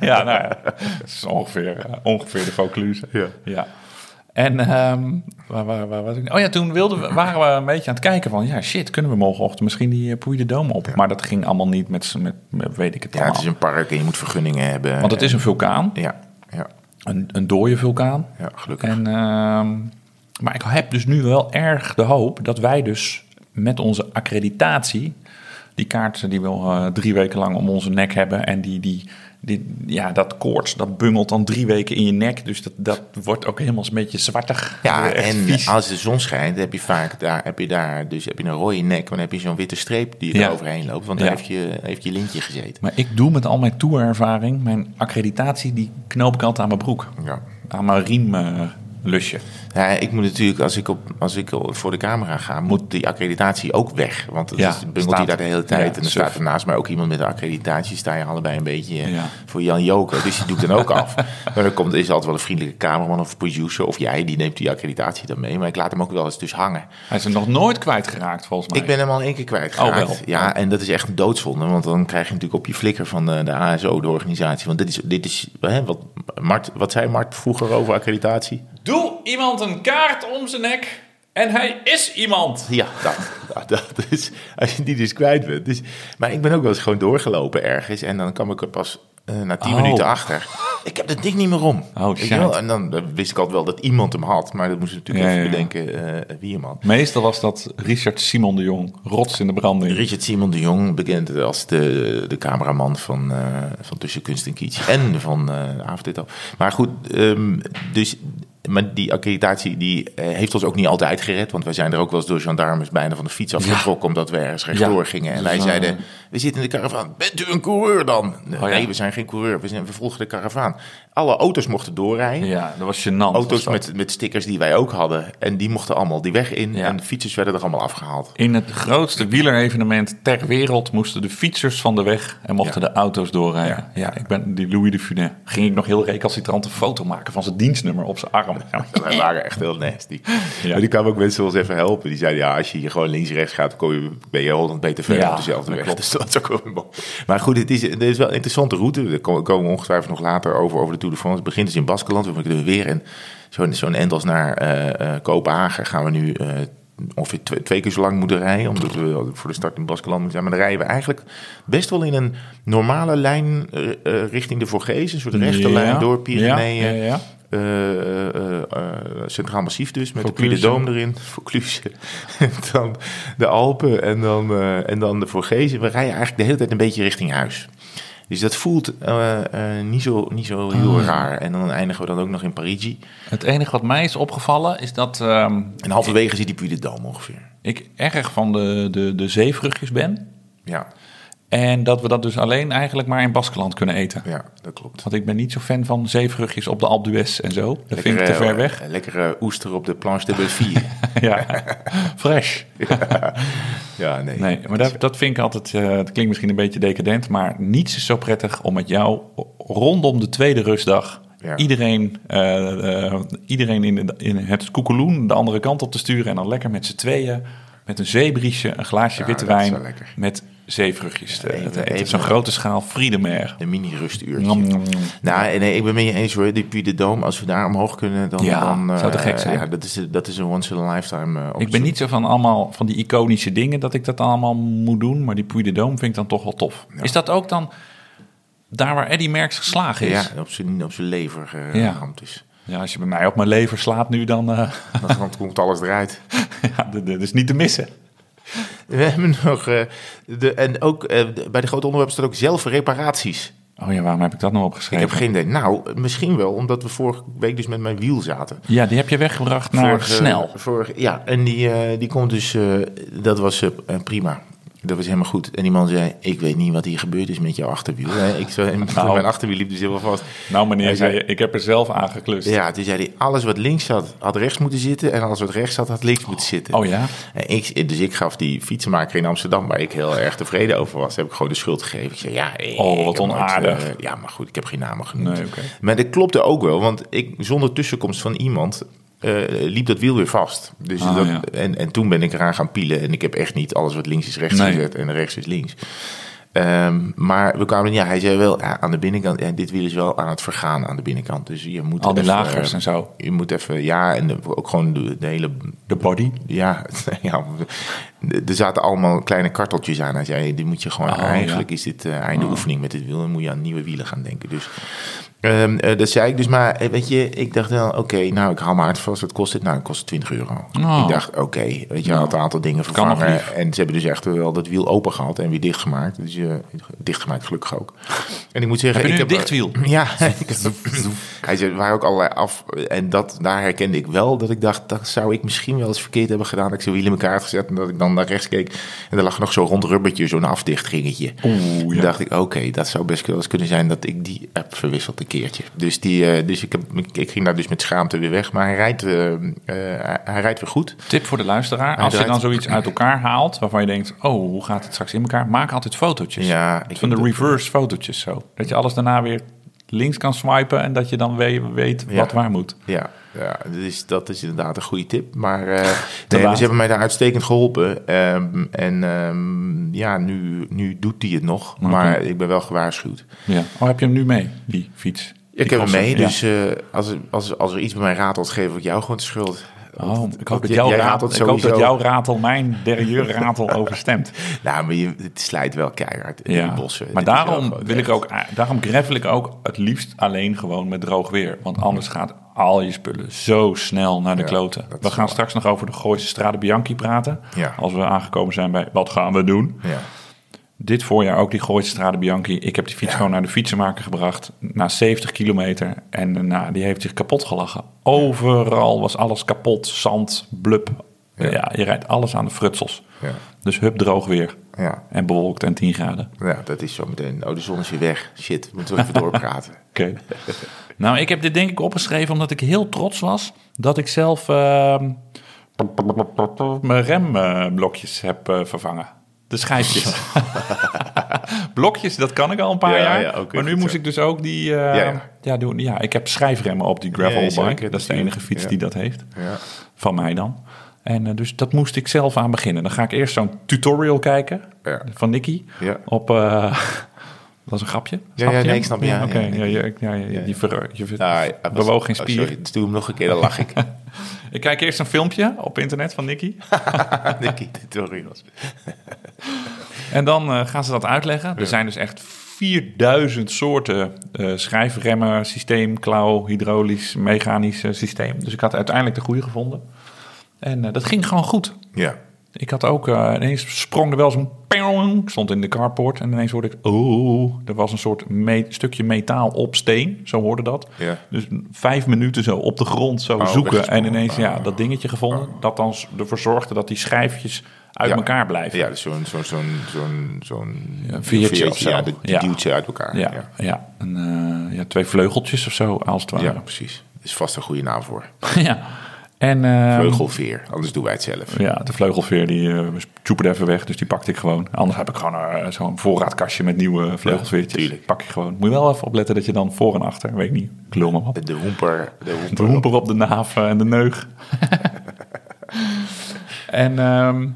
Speaker 4: Ja, nou ja, dat is ongeveer, eh, ongeveer de Vaucluse.
Speaker 2: Ja.
Speaker 4: En ehm, waar, waar, waar was ik? Oh ja, toen wilden we, waren we een beetje aan het kijken van... ja, shit, kunnen we morgenochtend misschien die eh, Puy de Dome op? Maar dat ging allemaal niet met, z'n- met, met weet ik het
Speaker 2: Ja, het
Speaker 4: allemaal.
Speaker 2: is een park en je moet vergunningen hebben.
Speaker 4: Want het is een vulkaan,
Speaker 2: Ja, ja,
Speaker 4: een, een dode vulkaan.
Speaker 2: ja gelukkig.
Speaker 4: En, ehm, maar ik heb dus nu wel erg de hoop dat wij dus met onze accreditatie... die kaart die we al, eh, drie weken lang om onze nek hebben... en die, die, die, ja, dat koorts, dat bungelt dan drie weken in je nek. Dus dat, dat wordt ook helemaal een beetje zwartig. Eh,
Speaker 2: Ja,
Speaker 4: Echt
Speaker 2: en
Speaker 4: vies.
Speaker 2: als de zon schijnt, heb je vaak daar, heb je daar, dus heb je een rode nek, maar dan heb je zo'n witte streep die er
Speaker 4: Ja.
Speaker 2: overheen loopt, want daar
Speaker 4: Ja.
Speaker 2: heeft, je, heeft je lintje gezeten.
Speaker 4: Maar ik doe met al mijn tourervaring, mijn accreditatie... die knoop ik altijd aan mijn broek.
Speaker 2: Ja.
Speaker 4: Aan mijn riemlusje.
Speaker 2: Ja, ik moet natuurlijk, als ik, op, als ik voor de camera ga, moet die accreditatie ook weg. Want dan
Speaker 4: Ja,
Speaker 2: bungelt
Speaker 4: staat-
Speaker 2: hij daar de hele tijd.
Speaker 4: ja,
Speaker 2: en dan
Speaker 4: suf.
Speaker 2: staat er naast mij ook iemand met een accreditatie. Sta je allebei een beetje eh,
Speaker 4: Ja.
Speaker 2: voor Jan Joker. Dus die doet dan ook af. Maar dan komt, is altijd wel een vriendelijke cameraman of producer of jij. Die neemt die accreditatie dan mee. Maar ik laat hem ook wel eens dus hangen.
Speaker 4: Hij is er nog nooit kwijtgeraakt, volgens mij.
Speaker 2: Ik ben hem al in één keer kwijtgeraakt.
Speaker 4: Oh, wel.
Speaker 2: Ja, en dat is echt een doodzonde. Want dan krijg je natuurlijk op je flikker van de, de ASO, de organisatie. Want dit is, dit is hè, wat, Mart, wat zei Mart vroeger over accreditatie?
Speaker 4: Doe iemand een kaart om zijn nek en hij is iemand.
Speaker 2: Ja, dat, dat, Nou, dat is, als je die dus kwijt bent. Dus, maar ik ben ook wel eens gewoon doorgelopen ergens. En dan kwam ik er pas eh, na tien
Speaker 4: Oh.
Speaker 2: minuten achter. Ik heb dat ding niet meer om.
Speaker 4: Oh,
Speaker 2: Weet je wel?
Speaker 4: shit.
Speaker 2: En dan eh, wist ik altijd wel dat iemand hem had. Maar dat moest ik natuurlijk
Speaker 4: Ja,
Speaker 2: even
Speaker 4: ja, ja.
Speaker 2: bedenken eh, wie hem had.
Speaker 4: Meestal was dat Richard Simon de Jong, rots in de branding.
Speaker 2: Richard Simon de Jong, bekend als de, de cameraman van, eh, van Tussen Kunst en Kitsch en van eh Avondetap. Maar goed, ehm, dus, maar die accreditatie die, eh, heeft ons ook niet altijd gered. Want wij zijn er ook wel eens door gendarmes bijna van de fiets afgetrokken... omdat we ergens rechtdoor
Speaker 4: Ja.
Speaker 2: gingen. En
Speaker 4: Dus
Speaker 2: wij
Speaker 4: dan,
Speaker 2: zeiden, we zitten in de karavaan. Bent u een coureur dan? Nee,
Speaker 4: Oh ja.
Speaker 2: we zijn geen coureur. We, zijn, we volgen de karavaan. Alle auto's mochten doorrijden.
Speaker 4: Ja, dat was gênant. was
Speaker 2: Auto's
Speaker 4: dat.
Speaker 2: met, met stickers die wij ook hadden. En die mochten allemaal die weg in.
Speaker 4: Ja.
Speaker 2: En de fietsers werden er allemaal afgehaald.
Speaker 4: In het grootste wielerevenement ter wereld moesten de fietsers van de weg en mochten de auto's doorrijden. Ja, ik ben die Louis de Funès. Ging ik nog heel recalcitrant een foto maken van zijn dienstnummer op zijn arm.
Speaker 2: Wij waren echt heel nasty.
Speaker 4: Ja.
Speaker 2: Maar die kwamen ook mensen ons even helpen. Die zeiden, ja, als je hier gewoon links-rechts gaat, dan kom je, ben je 100 meter verder
Speaker 4: Ja,
Speaker 2: op dezelfde
Speaker 4: dat
Speaker 2: weg.
Speaker 4: klopt.
Speaker 2: Dus dat is ook wel weer mooi. Maar goed, het is, het is wel een interessante route. Daar ko- komen we ongetwijfeld nog later over, over de Tour de France. Het begint dus in Baskeland. We kunnen weer in zo'n zo'n end als naar eh, eh, Kopenhagen gaan we nu... eh, ongeveer twee, twee keer zo lang moeten rijden, omdat we voor de start in Baskeland moeten zijn. Maar dan rijden we eigenlijk best wel in een normale lijn eh, eh, richting de Vorgees. Een soort rechte
Speaker 4: Ja.
Speaker 2: lijn door Pyreneeën.
Speaker 4: Ja, ja, ja.
Speaker 2: Eh, eh, eh, eh, Centraal Massief dus, met
Speaker 4: Vaucluse.
Speaker 2: de Puy de Dôme erin, Vaucluse, en dan de Alpen en dan, eh, en dan de Vorgezen. We rijden eigenlijk de hele tijd een beetje richting huis. Dus dat voelt eh, eh, niet, zo, niet zo heel
Speaker 4: Ah.
Speaker 2: raar. En dan eindigen we dan ook nog in Parigi.
Speaker 4: Het enige wat mij is opgevallen is dat ehm,
Speaker 2: En halverwege zit die Puy de Dôme ongeveer.
Speaker 4: ik erg van de, de, de zeevruchtjes ben.
Speaker 2: Ja,
Speaker 4: En dat we dat dus alleen eigenlijk maar in Baskeland kunnen eten.
Speaker 2: ja dat klopt.
Speaker 4: Want ik ben niet zo fan van zeevruchtjes op de Alpe d'Huez en zo. Dat vind ik te
Speaker 2: Lekkere,
Speaker 4: ver weg.
Speaker 2: eh, Lekkere oester op de planche de Belleville.
Speaker 4: ja, fresh.
Speaker 2: ja, nee.
Speaker 4: Nee, maar dat, dat vind ik altijd, eh, het klinkt misschien een beetje decadent, maar niets is zo prettig om met jou rondom de tweede rustdag
Speaker 2: Ja.
Speaker 4: iedereen, eh, eh, iedereen in, de- in het koekeloen de andere kant op te sturen en dan lekker met z'n tweeën, met een zeebriesje, een glaasje
Speaker 2: Ja,
Speaker 4: witte
Speaker 2: dat is
Speaker 4: wijn,
Speaker 2: wel lekker.
Speaker 4: met zeevruchtjes te,
Speaker 2: Ja, even-
Speaker 4: te eten.
Speaker 2: even-
Speaker 4: Zo'n grote schaal Friedemer.
Speaker 2: Een mini-rustuurtje.
Speaker 4: Nom, nom, nom.
Speaker 2: Nou, nee, ik ben met je eens hoor. Die Puy de Dome, als we daar omhoog kunnen, dan...
Speaker 4: Ja,
Speaker 2: dan, eh,
Speaker 4: zou te gek zijn.
Speaker 2: Ja, dat is, dat is een once in a lifetime eh,
Speaker 4: Ik ben niet zo van allemaal van die iconische dingen dat ik dat allemaal moet doen, maar die Puy de Dôme vind ik dan toch wel tof. Is dat ook dan daar waar Eddy Merckx geslagen is?
Speaker 2: Ja, op zijn, op zijn lever eh
Speaker 4: Ja.
Speaker 2: geramd is.
Speaker 4: Ja, als je bij mij op mijn lever slaat nu, dan eh,
Speaker 2: Dan komt alles eruit.
Speaker 4: ja, dat dat is niet te missen.
Speaker 2: We hebben nog... eh, de, en ook eh, de- bij de grote onderwerpen staat ook zelfreparaties.
Speaker 4: Oh ja, waarom heb ik dat nou
Speaker 2: Ik
Speaker 4: opgeschreven?
Speaker 2: heb geen idee. Nou, misschien wel, omdat we vorige week dus met mijn wiel zaten.
Speaker 4: Ja, die heb je weggebracht naar
Speaker 2: Vorige-
Speaker 4: snel.
Speaker 2: vorige- ja, en die, eh, die komt dus... eh, dat was eh, prima. dat was helemaal goed. En die man zei, ik weet niet wat hier gebeurd is met jouw achterwiel. Hè. Ik zei,
Speaker 4: Nou.
Speaker 2: Mijn achterwiel liep dus helemaal vast.
Speaker 4: Nou meneer,
Speaker 2: Hij zei-
Speaker 4: zei je, ik heb er zelf aan geklust.
Speaker 2: Ja, toen zei hij, alles wat links zat, had rechts moeten zitten. En alles wat rechts zat, had links moeten zitten.
Speaker 4: Oh ja?
Speaker 2: En ik, dus ik gaf die fietsenmaker in Amsterdam, waar ik heel erg tevreden over was, heb ik gewoon de schuld gegeven. Ik zei, ja, eh,
Speaker 4: Oh,
Speaker 2: ik
Speaker 4: wat
Speaker 2: heb nooit,
Speaker 4: onaardig.
Speaker 2: eh, ja, maar goed, ik heb geen namen genoemd.
Speaker 4: Nee, oké.
Speaker 2: Maar dat klopte ook wel, want ik, zonder tussenkomst van iemand eh, liep dat wiel weer vast. Dus
Speaker 4: Ah,
Speaker 2: dat,
Speaker 4: ja.
Speaker 2: en, en toen ben ik eraan gaan pielen en ik heb echt niet alles wat links is rechts
Speaker 4: Nee.
Speaker 2: gezet en rechts is links. Ehm, maar we kwamen, ja, hij zei wel ja, aan de binnenkant, ja, dit wiel is wel aan het vergaan aan de binnenkant. Dus je moet
Speaker 4: Al die
Speaker 2: even,
Speaker 4: lagers
Speaker 2: eh,
Speaker 4: en zo.
Speaker 2: Je moet even, ja, en de- ook gewoon de- de hele
Speaker 4: De body?
Speaker 2: ja, ja, er zaten allemaal kleine karteltjes aan. Hij zei, dit moet je gewoon,
Speaker 4: Oh,
Speaker 2: eigenlijk
Speaker 4: ja. Oh.
Speaker 2: is dit eh, einde oefening met dit wiel. Dan moet je aan nieuwe wielen gaan denken. Dus ehm, eh, dat zei ik dus. Maar eh, weet je, ik dacht wel, oké, nou, ik haal mijn hart vast. Wat kost dit? Nou, het kost 20 euro.
Speaker 4: Oh.
Speaker 2: Ik dacht, oké, weet je, hij had een aantal dingen
Speaker 4: Kan nog
Speaker 2: vervangen.
Speaker 4: lief.
Speaker 2: En ze hebben dus echt wel dat wiel open gehad en weer dichtgemaakt. Dus eh, dichtgemaakt, gelukkig ook. En ik moet zeggen...
Speaker 4: Heb je nu
Speaker 2: ik
Speaker 4: een dichtwiel?
Speaker 2: Ja. ik heb- hij zei, er waren ook allerlei af... En dat, daar herkende ik wel dat ik dacht... dat zou ik misschien wel eens verkeerd hebben gedaan. Dat ik zijn wiel in elkaar had gezet en dat ik dan naar rechts keek. En er lag nog zo'n rond rubbertje, zo'n afdichtringetje.
Speaker 4: Oeh,
Speaker 2: Toen
Speaker 4: ja.
Speaker 2: dacht ik, oké, dat zou best wel eens kunnen zijn dat ik die heb verwisseld een keertje. Dus, die, eh, dus ik, heb, ik, ik ging daar dus met schaamte weer weg. Maar hij rijdt, eh, eh, hij- hij rijdt weer goed.
Speaker 4: Tip voor de luisteraar. Als je
Speaker 2: draait-
Speaker 4: dan zoiets uit elkaar haalt waarvan je denkt, oh, hoe gaat het straks in elkaar? Maak altijd fotootjes.
Speaker 2: Ja, ik
Speaker 4: Van
Speaker 2: vind
Speaker 4: de
Speaker 2: dat-
Speaker 4: reverse fotootjes zo. Dat je alles daarna weer links kan swipen en dat je dan we- weet wat
Speaker 2: Ja.
Speaker 4: waar moet.
Speaker 2: Ja, ja dus dat is inderdaad een goede tip. Maar eh, nee,
Speaker 4: laat.
Speaker 2: ze hebben mij daar uitstekend geholpen. Ehm, en ehm, ja, nu, nu doet hij het nog. Maar ik ben wel gewaarschuwd.
Speaker 4: Ja. Oh, heb je hem nu mee, die fiets?
Speaker 2: Ik heb hem
Speaker 4: crosser,
Speaker 2: mee,
Speaker 4: ja.
Speaker 2: dus eh, als, er- als, als er iets bij mij ratelt, geef ik jou gewoon de schuld.
Speaker 4: Oh, ik hoop dat,
Speaker 2: jij-
Speaker 4: jouw
Speaker 2: jij
Speaker 4: ratel,
Speaker 2: ratelt
Speaker 4: ik hoop dat
Speaker 2: sowieso.
Speaker 4: jouw ratel mijn derrière ratel overstemt.
Speaker 2: Nou, maar je, het slijt wel keihard in die bossen.
Speaker 4: Maar
Speaker 2: Dit is wel
Speaker 4: daarom
Speaker 2: gewoon
Speaker 4: wil ik
Speaker 2: echt-
Speaker 4: ook, eh, daarom gravel ik ook het liefst alleen gewoon met droog weer. Want anders gaat al je spullen zo snel naar de
Speaker 2: Ja,
Speaker 4: kloten.
Speaker 2: dat
Speaker 4: We
Speaker 2: is
Speaker 4: gaan
Speaker 2: waar.
Speaker 4: straks nog over de Gooise Strade Bianchi praten.
Speaker 2: Ja.
Speaker 4: Als we aangekomen zijn bij wat gaan we doen.
Speaker 2: Ja.
Speaker 4: Dit voorjaar ook die Gooise Strade Bianchi. Ik heb die fiets gewoon naar de fietsenmaker gebracht. Na 70 kilometer. En eh, nou, die heeft zich kapot gelachen. Overal was alles kapot. Zand, blub. Ja,
Speaker 2: Ja.
Speaker 4: je rijdt alles aan de frutsels.
Speaker 2: Ja.
Speaker 4: Dus hup droog weer.
Speaker 2: Ja.
Speaker 4: En bewolkt en 10 graden.
Speaker 2: Ja, dat is zo meteen. Oh, de zon is weer weg. Shit, moeten we even doorpraten.
Speaker 4: Oké. nou, ik heb dit denk ik opgeschreven omdat ik heel trots was dat ik zelf ehm, mijn remblokjes heb eh, vervangen. De schijfjes. Blokjes, dat kan ik al een paar
Speaker 2: Ja,
Speaker 4: jaar.
Speaker 2: ja, oké,
Speaker 4: maar nu
Speaker 2: goed
Speaker 4: moest
Speaker 2: zo.
Speaker 4: ik dus ook die... eh,
Speaker 2: Ja,
Speaker 4: ja,
Speaker 2: ja.
Speaker 4: doen, ja, ik heb schijfremmen op die gravelbike.
Speaker 2: Ja, zeker,
Speaker 4: dat is de enige fiets
Speaker 2: ja.
Speaker 4: die dat heeft.
Speaker 2: Ja.
Speaker 4: Van mij dan. En eh, dus dat moest ik zelf aan beginnen. Dan ga ik eerst zo'n tutorial kijken
Speaker 2: Ja.
Speaker 4: van Nicky.
Speaker 2: Ja.
Speaker 4: Op, eh, dat is een grapje.
Speaker 2: ja,
Speaker 4: je
Speaker 2: nee,
Speaker 4: hem?
Speaker 2: ik snap je, ja,
Speaker 4: Oké,
Speaker 2: ja,
Speaker 4: ja, ja, ja, ja, ja, die ver, je ver-
Speaker 2: Nou, hij was-
Speaker 4: bewoog geen
Speaker 2: oh,
Speaker 4: spier.
Speaker 2: sorry, doe hem nog een keer, dan lach ik.
Speaker 4: ik kijk eerst een filmpje op internet van Nicky.
Speaker 2: Nicky tutorials.
Speaker 4: En dan eh, gaan ze dat uitleggen. Er zijn dus echt 4000 soorten eh, schijfremmen, systeem, klauw, hydraulisch, mechanisch eh, systeem. Dus ik had uiteindelijk de goede gevonden. En eh, dat ging gewoon goed.
Speaker 2: Ja.
Speaker 4: Ik had ook eh, ineens sprong er wel zo'n ping. Ik stond in de carport en ineens hoorde ik oh, er was een soort me- stukje metaal op steen, zo hoorde dat.
Speaker 2: Ja. Oh,
Speaker 4: Dus vijf minuten zo op de grond zo zoeken en
Speaker 2: weggesprong.
Speaker 4: ineens ja dat dingetje gevonden dat dan s- ervoor zorgde dat die schijfjes uit
Speaker 2: Oh. Ja.
Speaker 4: elkaar blijven.
Speaker 2: Ja, dus zo'n zo'n zo'n zo'n zo'n
Speaker 4: Een veertje
Speaker 2: veertje,
Speaker 4: of zo.
Speaker 2: Ja, die die
Speaker 4: Ja.
Speaker 2: duwt ze uit elkaar.
Speaker 4: Ja,
Speaker 2: Ja,
Speaker 4: ja. En, eh, ja, twee vleugeltjes of zo als het
Speaker 2: Ja,
Speaker 4: ware.
Speaker 2: precies. Dat is vast een goede naam voor.
Speaker 4: Ja. En eh,
Speaker 2: Vleugelveer, anders doen wij het zelf.
Speaker 4: Ja, de vleugelveer die eh tjoeperde even weg, dus die pakte ik gewoon. Anders heb ik gewoon eh, zo'n voorraadkastje met nieuwe vleugelveertjes.
Speaker 2: tuurlijk.
Speaker 4: Pak ik gewoon. Moet je wel even opletten dat je dan voor en achter, weet ik niet, ik lul maar wat.
Speaker 2: De hoemper. De
Speaker 4: De
Speaker 2: hoemper.
Speaker 4: hoemper op de naaf eh, en de neug. en ehm,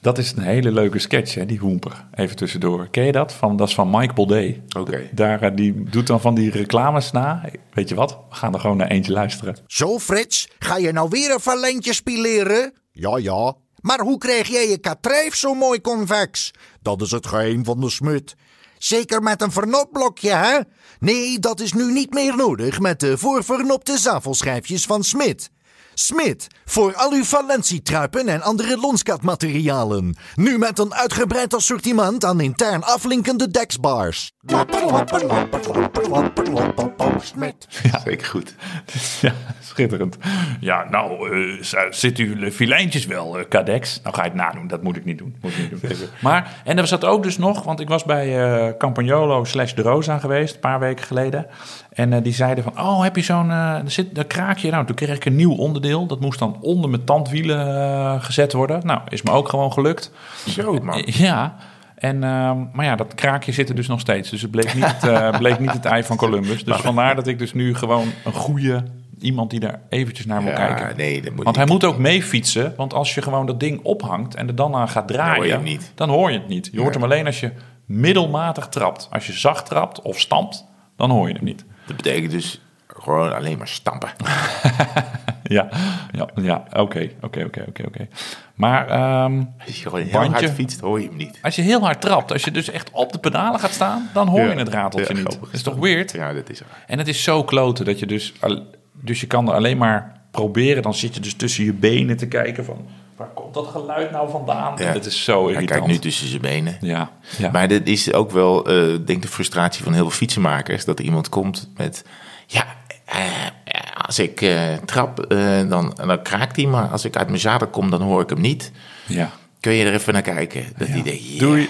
Speaker 4: dat is een hele leuke sketch, hè, die hoemper. Even tussendoor. Ken je dat? Van, dat is van Mike Boldé.
Speaker 2: Oké.
Speaker 4: Daar, eh, die doet dan van die reclames na. Weet je wat? We gaan er gewoon naar eentje luisteren.
Speaker 3: Zo, Frits, ga je nou weer een valentje spileren? Ja, ja. Maar hoe krijg jij je katrijf zo mooi convex? Dat is het geheim van de smut. Zeker met een vernopblokje, hè? Nee, dat is nu niet meer nodig met de voorvernopte zavelschijfjes van Smit. Smit, voor al uw valentietruipen en andere lonskatmaterialen. Nu met een uitgebreid assortiment aan intern aflinkende deksbars.
Speaker 2: Zeker goed.
Speaker 4: Ja, Schitterend. Ja, nou, eh, z- zit u filijntjes wel, eh, Cadex? Nou ga ik nadoen, dat moet ik niet doen. Moet ik niet doen. maar, en er zat ook dus nog, want ik was bij eh Campagnolo slash De Rosa geweest, een paar weken geleden. En eh, die zeiden van, oh, heb je zo'n eh, er zit een kraakje? Nou, toen kreeg ik een nieuw onderdeel. Dat moest dan onder mijn tandwielen eh, gezet worden. Nou, is me ook gewoon gelukt.
Speaker 2: Zo, man.
Speaker 4: Eh, Ja, en, ehm, maar ja, dat kraakje zit er dus nog steeds. Dus het bleek niet, het, eh, bleek niet het ei van Columbus. Dus vandaar dat ik dus nu gewoon een goede iemand die daar eventjes naar wil
Speaker 2: Ja,
Speaker 4: kijken.
Speaker 2: nee, dat moet
Speaker 4: Want hij
Speaker 2: niet.
Speaker 4: moet ook mee fietsen. Want als je gewoon dat ding ophangt en er dan aan gaat draaien,
Speaker 2: hoor je hem niet.
Speaker 4: dan hoor je het niet. Je hoort hem alleen als je middelmatig trapt. Als je zacht trapt of stampt, dan hoor je hem niet.
Speaker 2: Dat betekent dus gewoon alleen maar stampen.
Speaker 4: Ja, ja, ja, oké, oké, oké, oké, oké. Maar ehm,
Speaker 2: Als je gewoon heel
Speaker 4: Bandje.
Speaker 2: hard fietst, hoor je hem niet.
Speaker 4: Als je heel hard trapt, als je dus echt op de pedalen gaat staan, dan hoor je
Speaker 2: Ja.
Speaker 4: het rateltje
Speaker 2: Ja,
Speaker 4: niet.
Speaker 2: grappig.
Speaker 4: Dat is toch weird?
Speaker 2: Ja, dat is raar.
Speaker 4: En het is zo kloten dat je dus, al- dus je kan er alleen maar proberen. Dan zit je dus tussen je benen te kijken van waar komt dat geluid nou vandaan?
Speaker 2: Ja.
Speaker 4: Dat is zo
Speaker 2: Hij
Speaker 4: irritant.
Speaker 2: kijkt nu tussen zijn benen.
Speaker 4: Ja, ja.
Speaker 2: Maar dat is ook wel, eh, ik denk de frustratie van heel veel fietsenmakers. Dat er iemand komt met, ja, eh, eh, als ik eh, trap, eh, dan, dan kraakt hij. Maar als ik uit mijn zadel kom, dan hoor ik hem niet.
Speaker 4: ja.
Speaker 2: Kun je er even naar kijken? Dat die denkt, ja,
Speaker 4: Doei.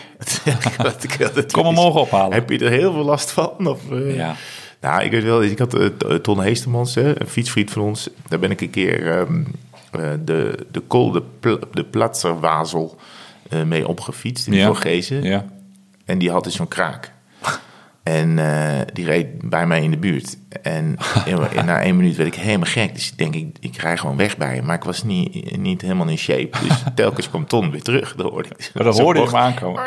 Speaker 2: wat ik- wat het
Speaker 4: Kom hem
Speaker 2: is.
Speaker 4: morgen ophalen.
Speaker 2: Heb je er heel veel last van? Of, eh?
Speaker 4: Ja.
Speaker 2: Nou, ik weet wel, ik had eh, T- Ton Heestemans, hè, een fietsvriend van ons. Daar ben ik een keer ehm, eh, de, de Col de, Pl de Platzerwazel eh, mee opgefietst in
Speaker 4: Ja.
Speaker 2: Voorgezen.
Speaker 4: Ja.
Speaker 2: En die had dus zo'n kraak. En eh, die reed bij mij in de buurt. En in- na één minuut werd ik helemaal gek. Dus ik denk, ik, ik rij gewoon weg bij hem. Maar ik was niet, niet helemaal in shape. Dus telkens kwam Ton weer terug. Dan hoorde ik
Speaker 4: Maar dan hoorde je hem aankomen.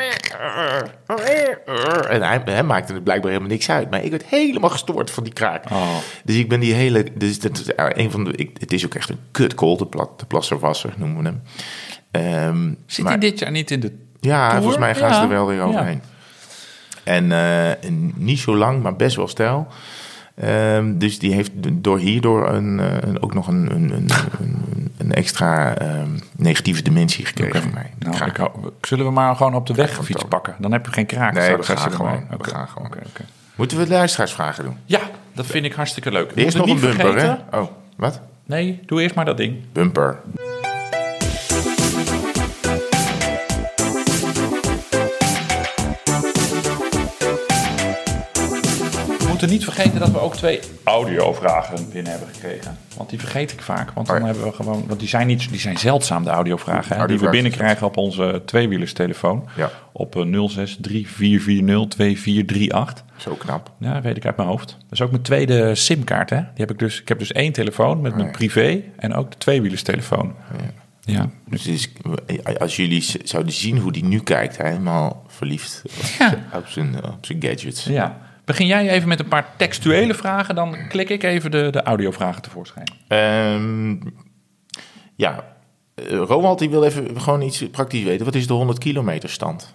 Speaker 2: en hij, hij maakte het blijkbaar helemaal niks uit. Maar ik werd helemaal gestoord van die kraak.
Speaker 4: Oh.
Speaker 2: Dus ik ben die hele. Dus dat, is een van de, ik, het is ook echt een kutkool, de, plat, de plasserwasser noemen we hem. Ehm,
Speaker 4: Zit
Speaker 2: maar-
Speaker 4: hij dit jaar niet in de...
Speaker 2: ja,
Speaker 4: Tour?
Speaker 2: volgens mij gaan ze
Speaker 4: Ja.
Speaker 2: er wel weer overheen. En eh, niet zo lang, maar best wel stijl. Ehm, dus die heeft door hierdoor een, eh, een- ook nog een, een, een, een- een extra ehm, negatieve dimensie gekregen van mij.
Speaker 4: Nou,
Speaker 2: Kraak.
Speaker 4: ik hou- zullen we maar gewoon op de weg fiets
Speaker 2: ook.
Speaker 4: pakken? Dan heb je geen kraak.
Speaker 2: Nee,
Speaker 4: Zo,
Speaker 2: we
Speaker 4: dat
Speaker 2: gaan
Speaker 4: zit er
Speaker 2: gewoon.
Speaker 4: maar in.
Speaker 2: We
Speaker 4: Oké,
Speaker 2: gaan gewoon.
Speaker 4: oké, oké.
Speaker 2: Moeten we luisteraarsvragen doen?
Speaker 4: Ja, dat vind ik hartstikke leuk. We
Speaker 2: Eerst nog
Speaker 4: moeten
Speaker 2: een
Speaker 4: niet
Speaker 2: bumper,
Speaker 4: vergeten-
Speaker 2: hè? Oh, wat?
Speaker 4: Nee, doe eerst maar dat ding.
Speaker 2: Bumper.
Speaker 4: We moeten niet vergeten dat we ook twee audiovragen binnen hebben gekregen. Want die vergeet ik vaak. Want dan
Speaker 2: Oh ja.
Speaker 4: hebben we gewoon. Want die zijn, niet, die zijn zeldzaam, de audiovragen. Hè, die we
Speaker 2: Audiovragen
Speaker 4: binnenkrijgen op onze tweewielerstelefoon.
Speaker 2: Ja.
Speaker 4: Op eh, 06 3440 2438.
Speaker 2: Zo knap.
Speaker 4: Ja, dat weet ik uit mijn hoofd. Dat is ook mijn tweede simkaart. Hè? Die heb ik, dus, ik heb dus één telefoon met mijn
Speaker 2: Oh ja. Oh
Speaker 4: privé en ook de tweewielerstelefoon. Ja. ja.
Speaker 2: Dus het is- als jullie z- zouden zien hoe die nu kijkt, hij helemaal verliefd
Speaker 4: Ja.
Speaker 2: op zijn, op zijn gadgets.
Speaker 4: Begin jij even met een paar textuele vragen, dan klik ik even de, de audiovragen tevoorschijn.
Speaker 2: Ehm, ja, Eh, Roald die wil even gewoon iets praktisch weten. Wat is de 100 kilometer stand?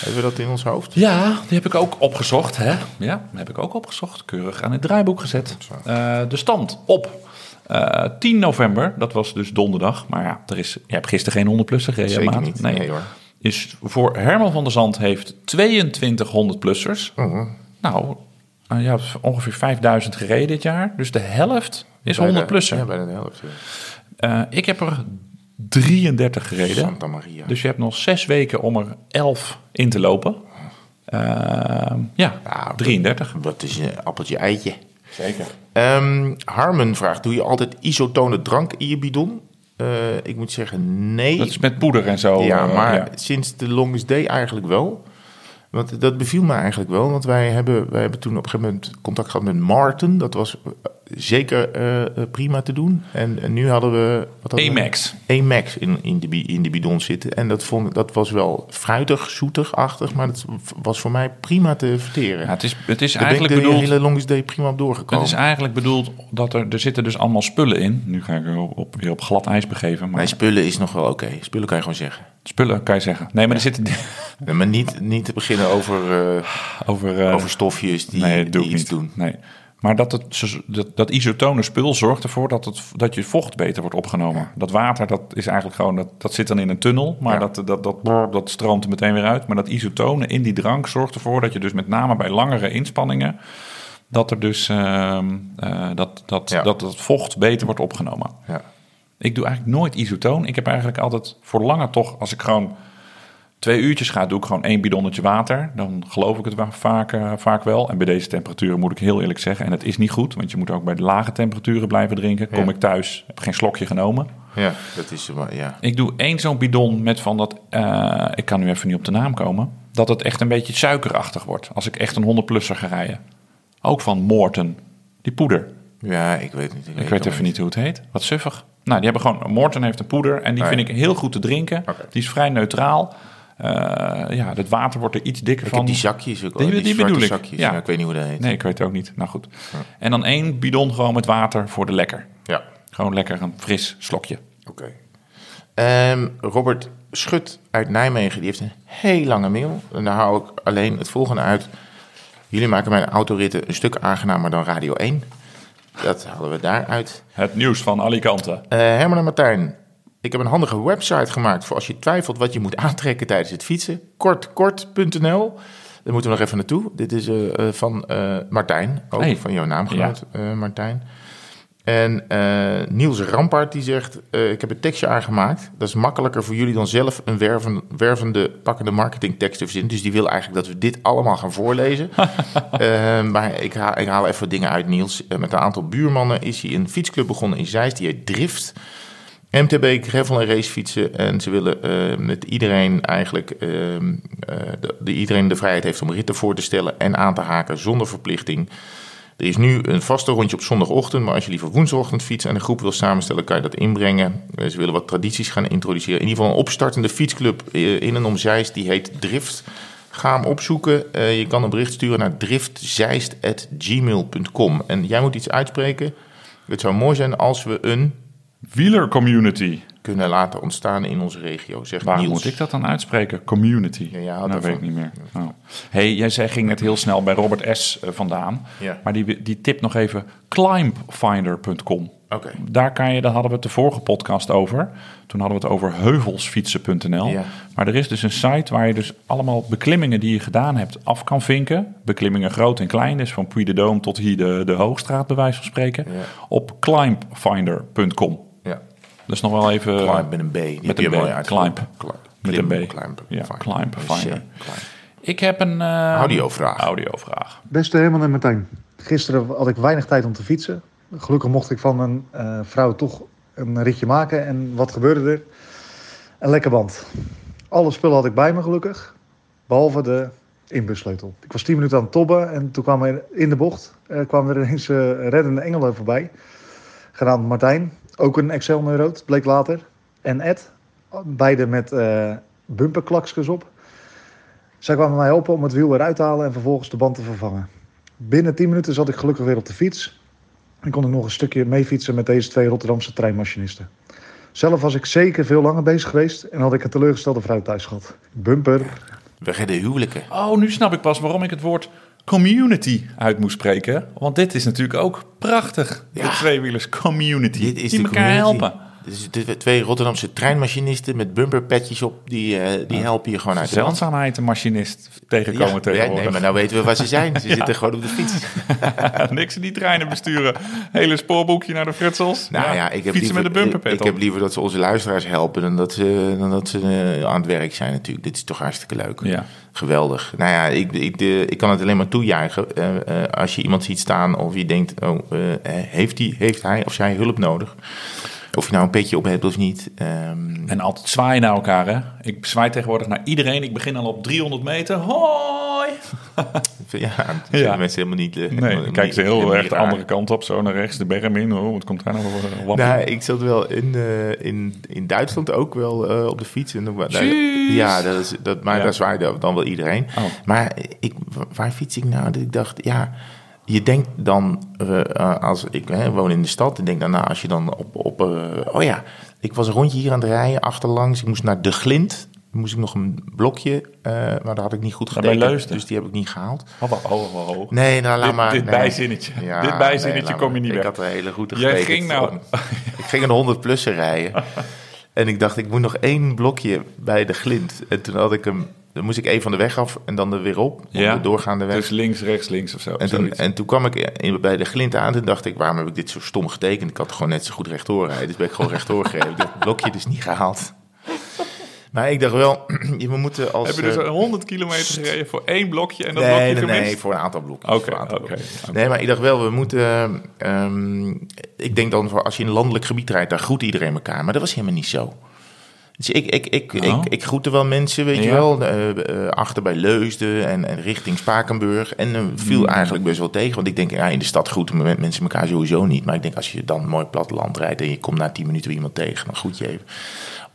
Speaker 2: Hebben we dat in ons hoofd?
Speaker 4: Ja, die heb ik ook opgezocht. Hè? Ja, die heb ik ook opgezocht. Keurig aan het draaiboek gezet. Eh, de stand op eh, 10 november. Dat was dus donderdag. Maar ja, er is, je hebt gisteren geen 100 plus gereden.
Speaker 2: Zeker
Speaker 4: maat.
Speaker 2: niet.
Speaker 4: Nee.
Speaker 2: Nee, hoor.
Speaker 4: Is voor Herman van der Zand heeft 2200 plussers. Nou, eh, ja, ongeveer 5000 gereden dit jaar. Dus de helft is 100 plusser.
Speaker 2: Ja, bijna de helft. ja.
Speaker 4: Eh, ik heb er 33 gereden.
Speaker 2: Santa Maria.
Speaker 4: Dus je hebt nog zes weken om er 11 in te lopen. Ehm, ja,
Speaker 2: Nou,
Speaker 4: 33.
Speaker 2: Wat is een appeltje eitje?
Speaker 4: Zeker.
Speaker 2: Ehm, Harmen vraagt, doe je altijd isotone drank in je bidon? Eh, ik moet zeggen nee.
Speaker 4: Dat is met poeder en zo.
Speaker 2: ja,
Speaker 4: eh,
Speaker 2: maar
Speaker 4: ja.
Speaker 2: sinds de Longest Day eigenlijk wel. Want dat beviel me eigenlijk wel. Want wij hebben, wij hebben toen op een gegeven moment contact gehad met Martin. Dat was eh, zeker eh, eh, prima te doen. En, en nu hadden we... Wat hadden we?
Speaker 4: Amex.
Speaker 2: Amex in, in, de, bi- in de bidon zitten. En dat, vond, dat was wel fruitig, zoetig-achtig. Maar dat was voor mij prima te verteren.
Speaker 4: Ja, het is, het is
Speaker 2: Daar ben ik
Speaker 4: eigenlijk
Speaker 2: de
Speaker 4: bedoeld...
Speaker 2: hele Longest Day prima op
Speaker 4: Het
Speaker 2: doorgekomen.
Speaker 4: is eigenlijk bedoeld dat er, er zitten dus allemaal spullen in. Nu ga ik weer op, op- weer op glad ijs begeven. Maar
Speaker 2: Mijn spullen is nog wel oké. Spullen kan je gewoon zeggen.
Speaker 4: spullen kan je zeggen. Nee, maar er zitten
Speaker 2: Nee, maar niet, niet te beginnen over, eh,
Speaker 4: over, eh,
Speaker 2: over stofjes die,
Speaker 4: nee, dat doe
Speaker 2: die
Speaker 4: ik
Speaker 2: iets
Speaker 4: niet.
Speaker 2: doen.
Speaker 4: Nee. Maar dat, het, zo- dat, dat isotone spul zorgt ervoor dat, het, dat je vocht beter wordt opgenomen. Dat water, dat is eigenlijk gewoon, dat, dat zit dan in een tunnel, maar
Speaker 2: Ja.
Speaker 4: dat, dat, dat, brrr, dat stroomt er meteen weer uit. Maar dat isotone in die drank zorgt ervoor dat je dus met name bij langere inspanningen dat er dus ehm, eh, dat, dat,
Speaker 2: Ja.
Speaker 4: dat het vocht beter wordt opgenomen.
Speaker 2: Ja.
Speaker 4: Ik doe eigenlijk nooit isotoon. Ik heb eigenlijk altijd voor lange toch, als ik gewoon twee uurtjes ga, doe ik gewoon één bidonnetje water. Dan geloof ik het wa- vaak, eh, vaak wel. En bij deze temperaturen moet ik heel eerlijk zeggen, en het is niet goed, want je moet ook bij de lage temperaturen blijven drinken. Kom
Speaker 2: Ja.
Speaker 4: ik thuis, heb geen slokje genomen.
Speaker 2: ja, dat is eh, maar- ja.
Speaker 4: Ik doe één zo'n bidon met van dat, eh, ik kan nu even niet op de naam komen, dat het echt een beetje suikerachtig wordt als ik echt een 100-plusser ga rijden. Ook van Morten, die poeder.
Speaker 2: Ja, ik weet niet.
Speaker 4: Ik weet
Speaker 2: het
Speaker 4: even niet hoe het heet. Wat suffig. Nou, die hebben gewoon. Morton heeft een poeder en die
Speaker 2: Ah, ja.
Speaker 4: vind ik heel goed te drinken.
Speaker 2: Oké.
Speaker 4: Die is vrij neutraal. Eh, ja, het water wordt er iets dikker
Speaker 2: Ik
Speaker 4: van.
Speaker 2: heb die zakjes ook al.
Speaker 4: Die-
Speaker 2: Die,
Speaker 4: die
Speaker 2: zwarte
Speaker 4: bedoel ik,
Speaker 2: zakjes.
Speaker 4: ja.
Speaker 2: Ja. ik weet niet hoe dat heet.
Speaker 4: Nee, ik weet het ook niet. Nou goed. En dan één bidon gewoon met water voor de lekker.
Speaker 2: Ja,
Speaker 4: Gewoon lekker een fris slokje.
Speaker 2: oké. Ehm, Robert Schut uit Nijmegen, die heeft een heel lange mail. En daar hou ik alleen het volgende uit. Jullie maken mijn autoritten een stuk aangenamer dan Radio 1. Dat halen we daaruit.
Speaker 4: Het nieuws van Alicante.
Speaker 2: Eh, Herman en Martijn, ik heb een handige website gemaakt voor als je twijfelt wat je moet aantrekken tijdens het fietsen. Kortkort.nl. Daar moeten we nog even naartoe. Dit is eh, eh, van eh, Martijn, ook
Speaker 4: Hey.
Speaker 2: van jouw naamgenoot eh, Martijn. En eh, Niels Rampart die zegt, eh, ik heb een tekstje aangemaakt. Dat is makkelijker voor jullie dan zelf een werven, wervende, pakkende marketingtekst te verzinnen. Dus die wil eigenlijk dat we dit allemaal gaan voorlezen. Eh, maar ik haal, ik haal even wat dingen uit Niels. Eh, met een aantal buurmannen is hij een fietsclub begonnen in Zeist. Die heet Drift. MTB, gravel en racefietsen. En ze willen eh, met iedereen eigenlijk... ehm, eh, de, de- iedereen de vrijheid heeft om ritten voor te stellen en aan te haken zonder verplichting. Er is nu een vaste rondje op zondagochtend, maar als je liever woensdagochtend fietst en een groep wil samenstellen, kan je dat inbrengen. Eh, Ze willen wat tradities gaan introduceren. In ieder geval een opstartende fietsclub eh, in en om Zeist, die heet Drift. Ga hem opzoeken. Eh, je kan een bericht sturen naar driftzeist.gmail.com. En jij moet iets uitspreken. Het zou mooi zijn als we een
Speaker 4: Wieler community.
Speaker 2: kunnen laten ontstaan in onze regio, zegt
Speaker 4: Waar
Speaker 2: Niels.
Speaker 4: moet ik dat dan uitspreken? Community.
Speaker 2: Ja, jij had
Speaker 4: dat
Speaker 2: ervan.
Speaker 4: weet ik niet meer. Oh. Hey, jij zei, ging net heel snel bij Robert S. eh, vandaan.
Speaker 2: Ja.
Speaker 4: Maar die, die tip nog even: climbfinder.com.
Speaker 2: Oké.
Speaker 4: Daar kan je, daar hadden we het de vorige podcast over. Toen hadden we het over heuvelsfietsen.nl.
Speaker 2: Ja.
Speaker 4: Maar er is dus een site waar je dus allemaal beklimmingen die je gedaan hebt af kan vinken. Beklimmingen groot en klein, dus van Puy de Dome tot hier de, de Hoogstraat, bij wijze van spreken.
Speaker 2: Ja.
Speaker 4: Op climbfinder.com.
Speaker 2: Ja.
Speaker 4: Dat is nog wel even.
Speaker 2: Climb met een B. Die heb
Speaker 4: een
Speaker 2: je
Speaker 4: B.
Speaker 2: mooi uitgesproken.
Speaker 4: Climb.
Speaker 2: Cli-
Speaker 4: Met een
Speaker 2: klim,
Speaker 4: B.
Speaker 2: Climb.
Speaker 4: Ja,
Speaker 2: Find.
Speaker 4: climb, finder.
Speaker 2: Ja, climb.
Speaker 4: Ik heb een. eh,
Speaker 2: Audiovraag.
Speaker 4: Audiovraag.
Speaker 5: Beste Herman en Martijn. Gisteren had ik weinig tijd om te fietsen. Gelukkig mocht ik van mijn eh, vrouw toch een ritje maken. En wat gebeurde er? Een lekke band. Alle spullen had ik bij me gelukkig. Behalve de inbussleutel. Ik was 10 minuten aan het tobben. En toen kwam er in de bocht eh, kwamen er ineens eh, reddende engelen voorbij. Genaamd Martijn. Ook een Excel-neuroot, bleek later. En Ed. Beide met eh bumperklakskes op. Zij kwamen mij helpen om het wiel eruit te halen en vervolgens de band te vervangen. Binnen 10 minuten zat ik gelukkig weer op de fiets. En kon ik nog een stukje meefietsen met deze twee Rotterdamse treinmachinisten. Zelf was ik zeker veel langer bezig geweest en had ik een teleurgestelde vrouw thuis gehad. Bumper.
Speaker 2: We redden huwelijken.
Speaker 4: Oh, nu snap ik pas waarom ik het woord community uit moest spreken. Want dit is natuurlijk ook prachtig. De tweewielers community.
Speaker 2: Dit is
Speaker 4: die
Speaker 2: de
Speaker 4: elkaar
Speaker 2: community.
Speaker 4: helpen.
Speaker 2: Dus de twee Rotterdamse treinmachinisten met bumperpetjes op, die, eh, die helpen je gewoon uit de land.
Speaker 4: Zeldzaamheid een machinist tegenkomen
Speaker 2: Ja, ja, nee,
Speaker 4: tegenwoordig.
Speaker 2: maar nou weten we waar ze zijn. Ze zitten gewoon op de fiets.
Speaker 4: Niks in die treinen besturen. Hele spoorboekje naar de frutsels.
Speaker 2: Nou ja, ik heb,
Speaker 4: Fietsen
Speaker 2: liever,
Speaker 4: met een bumperpet
Speaker 2: ik, ik
Speaker 4: op.
Speaker 2: heb liever dat ze onze luisteraars helpen dan dat ze, dan dat ze eh, aan het werk zijn natuurlijk. Dit is toch hartstikke leuk.
Speaker 4: Ja.
Speaker 2: Geweldig. Nou ja, ik, ik, eh, ik kan het alleen maar toejuichen. Eh, eh, als je iemand ziet staan of je denkt, oh, eh, heeft, die, heeft hij of zij hulp nodig? Of je nou een petje op hebt of niet. Ehm,
Speaker 4: En altijd zwaaien naar elkaar, hè. Ik zwaai tegenwoordig naar iedereen. Ik begin al op 300 meter. Hoi!
Speaker 2: ja, dat
Speaker 4: Ja.
Speaker 2: vinden mensen helemaal niet... eh,
Speaker 4: Nee,
Speaker 2: helemaal
Speaker 4: dan kijken ze
Speaker 2: niet-
Speaker 4: heel
Speaker 2: helemaal
Speaker 4: erg
Speaker 2: niet
Speaker 4: de
Speaker 2: raar.
Speaker 4: andere kant op. Zo naar rechts, de berm in. Oh, wat komt daar nou voor eh, wappie?
Speaker 2: Nou, ik zat wel in, eh, in, in Duitsland ook wel eh, op de fiets. En dan, daar- ja, dat is, dat, maar
Speaker 4: Ja.
Speaker 2: daar zwaaide dan wel iedereen.
Speaker 4: Oh.
Speaker 2: Maar ik, waar fiets ik nou? Dat Ik dacht, ja, je denkt dan, eh, eh, als ik hè, woon in de stad, en denk dan, nou, als je dan op, op eh, oh ja, ik was een rondje hier aan het rijden, achterlangs. Ik moest naar De Glint. Dan moest ik nog een blokje, eh, maar dat had ik niet goed
Speaker 4: bij
Speaker 2: gedaan.
Speaker 4: Leusden.
Speaker 2: Dus die heb ik niet gehaald.
Speaker 4: Oh, oh, oh, oh.
Speaker 2: Nee, nou laat
Speaker 4: Dit-
Speaker 2: maar.
Speaker 4: dit
Speaker 2: nee.
Speaker 4: bijzinnetje. Dit
Speaker 2: nee,
Speaker 4: bijzinnetje
Speaker 2: laat
Speaker 4: kom je
Speaker 2: maar.
Speaker 4: niet
Speaker 2: ik
Speaker 4: weg.
Speaker 2: had een hele goede
Speaker 4: Jij
Speaker 2: getekend
Speaker 4: ging nou-
Speaker 2: om- ik ging een 100 plussen rijden. En ik dacht, ik moet nog één blokje bij de glint. En toen had ik hem Dan moest ik even van de weg af en dan er weer op. Om
Speaker 4: Ja.
Speaker 2: de doorgaande weg.
Speaker 4: Dus links, rechts, links of zo.
Speaker 2: en, toen,
Speaker 4: zoiets.
Speaker 2: en toen kwam ik in- bij de glint aan. Toen dacht ik, waarom heb ik dit zo stom getekend? Ik had gewoon net zo goed rechtdoor rijden. Dus ben ik gewoon rechtdoor gereden. Ik heb het blokje dus niet gehaald. Maar ik dacht wel, je- we moeten als...
Speaker 4: Heb je dus
Speaker 2: eh,
Speaker 4: 100 kilometer gereden voor één blokje en dat
Speaker 2: nee,
Speaker 4: blokje
Speaker 2: nee, nee,
Speaker 4: gemist?
Speaker 2: voor een aantal blokjes.
Speaker 4: Oké,
Speaker 2: voor een aantal
Speaker 4: oké.
Speaker 2: Nee, maar ik dacht wel, we moeten. ehm, ik denk dan, voor als je in een landelijk gebied rijdt, daar groet iedereen elkaar. Maar dat was helemaal niet zo. Dus ik, ik, ik,
Speaker 4: Nou.
Speaker 2: ik, ik groette wel mensen, weet je
Speaker 4: Ja.
Speaker 2: wel. eh, eh, achter bij Leusden en, en richting Spakenburg. En eh, viel
Speaker 4: Hmm.
Speaker 2: eigenlijk best wel tegen. Want ik denk, ja, in de stad groeten me- mensen elkaar sowieso niet. Maar ik denk, als je dan mooi platteland rijdt en je komt na 10 minuten weer iemand tegen, dan groet je even.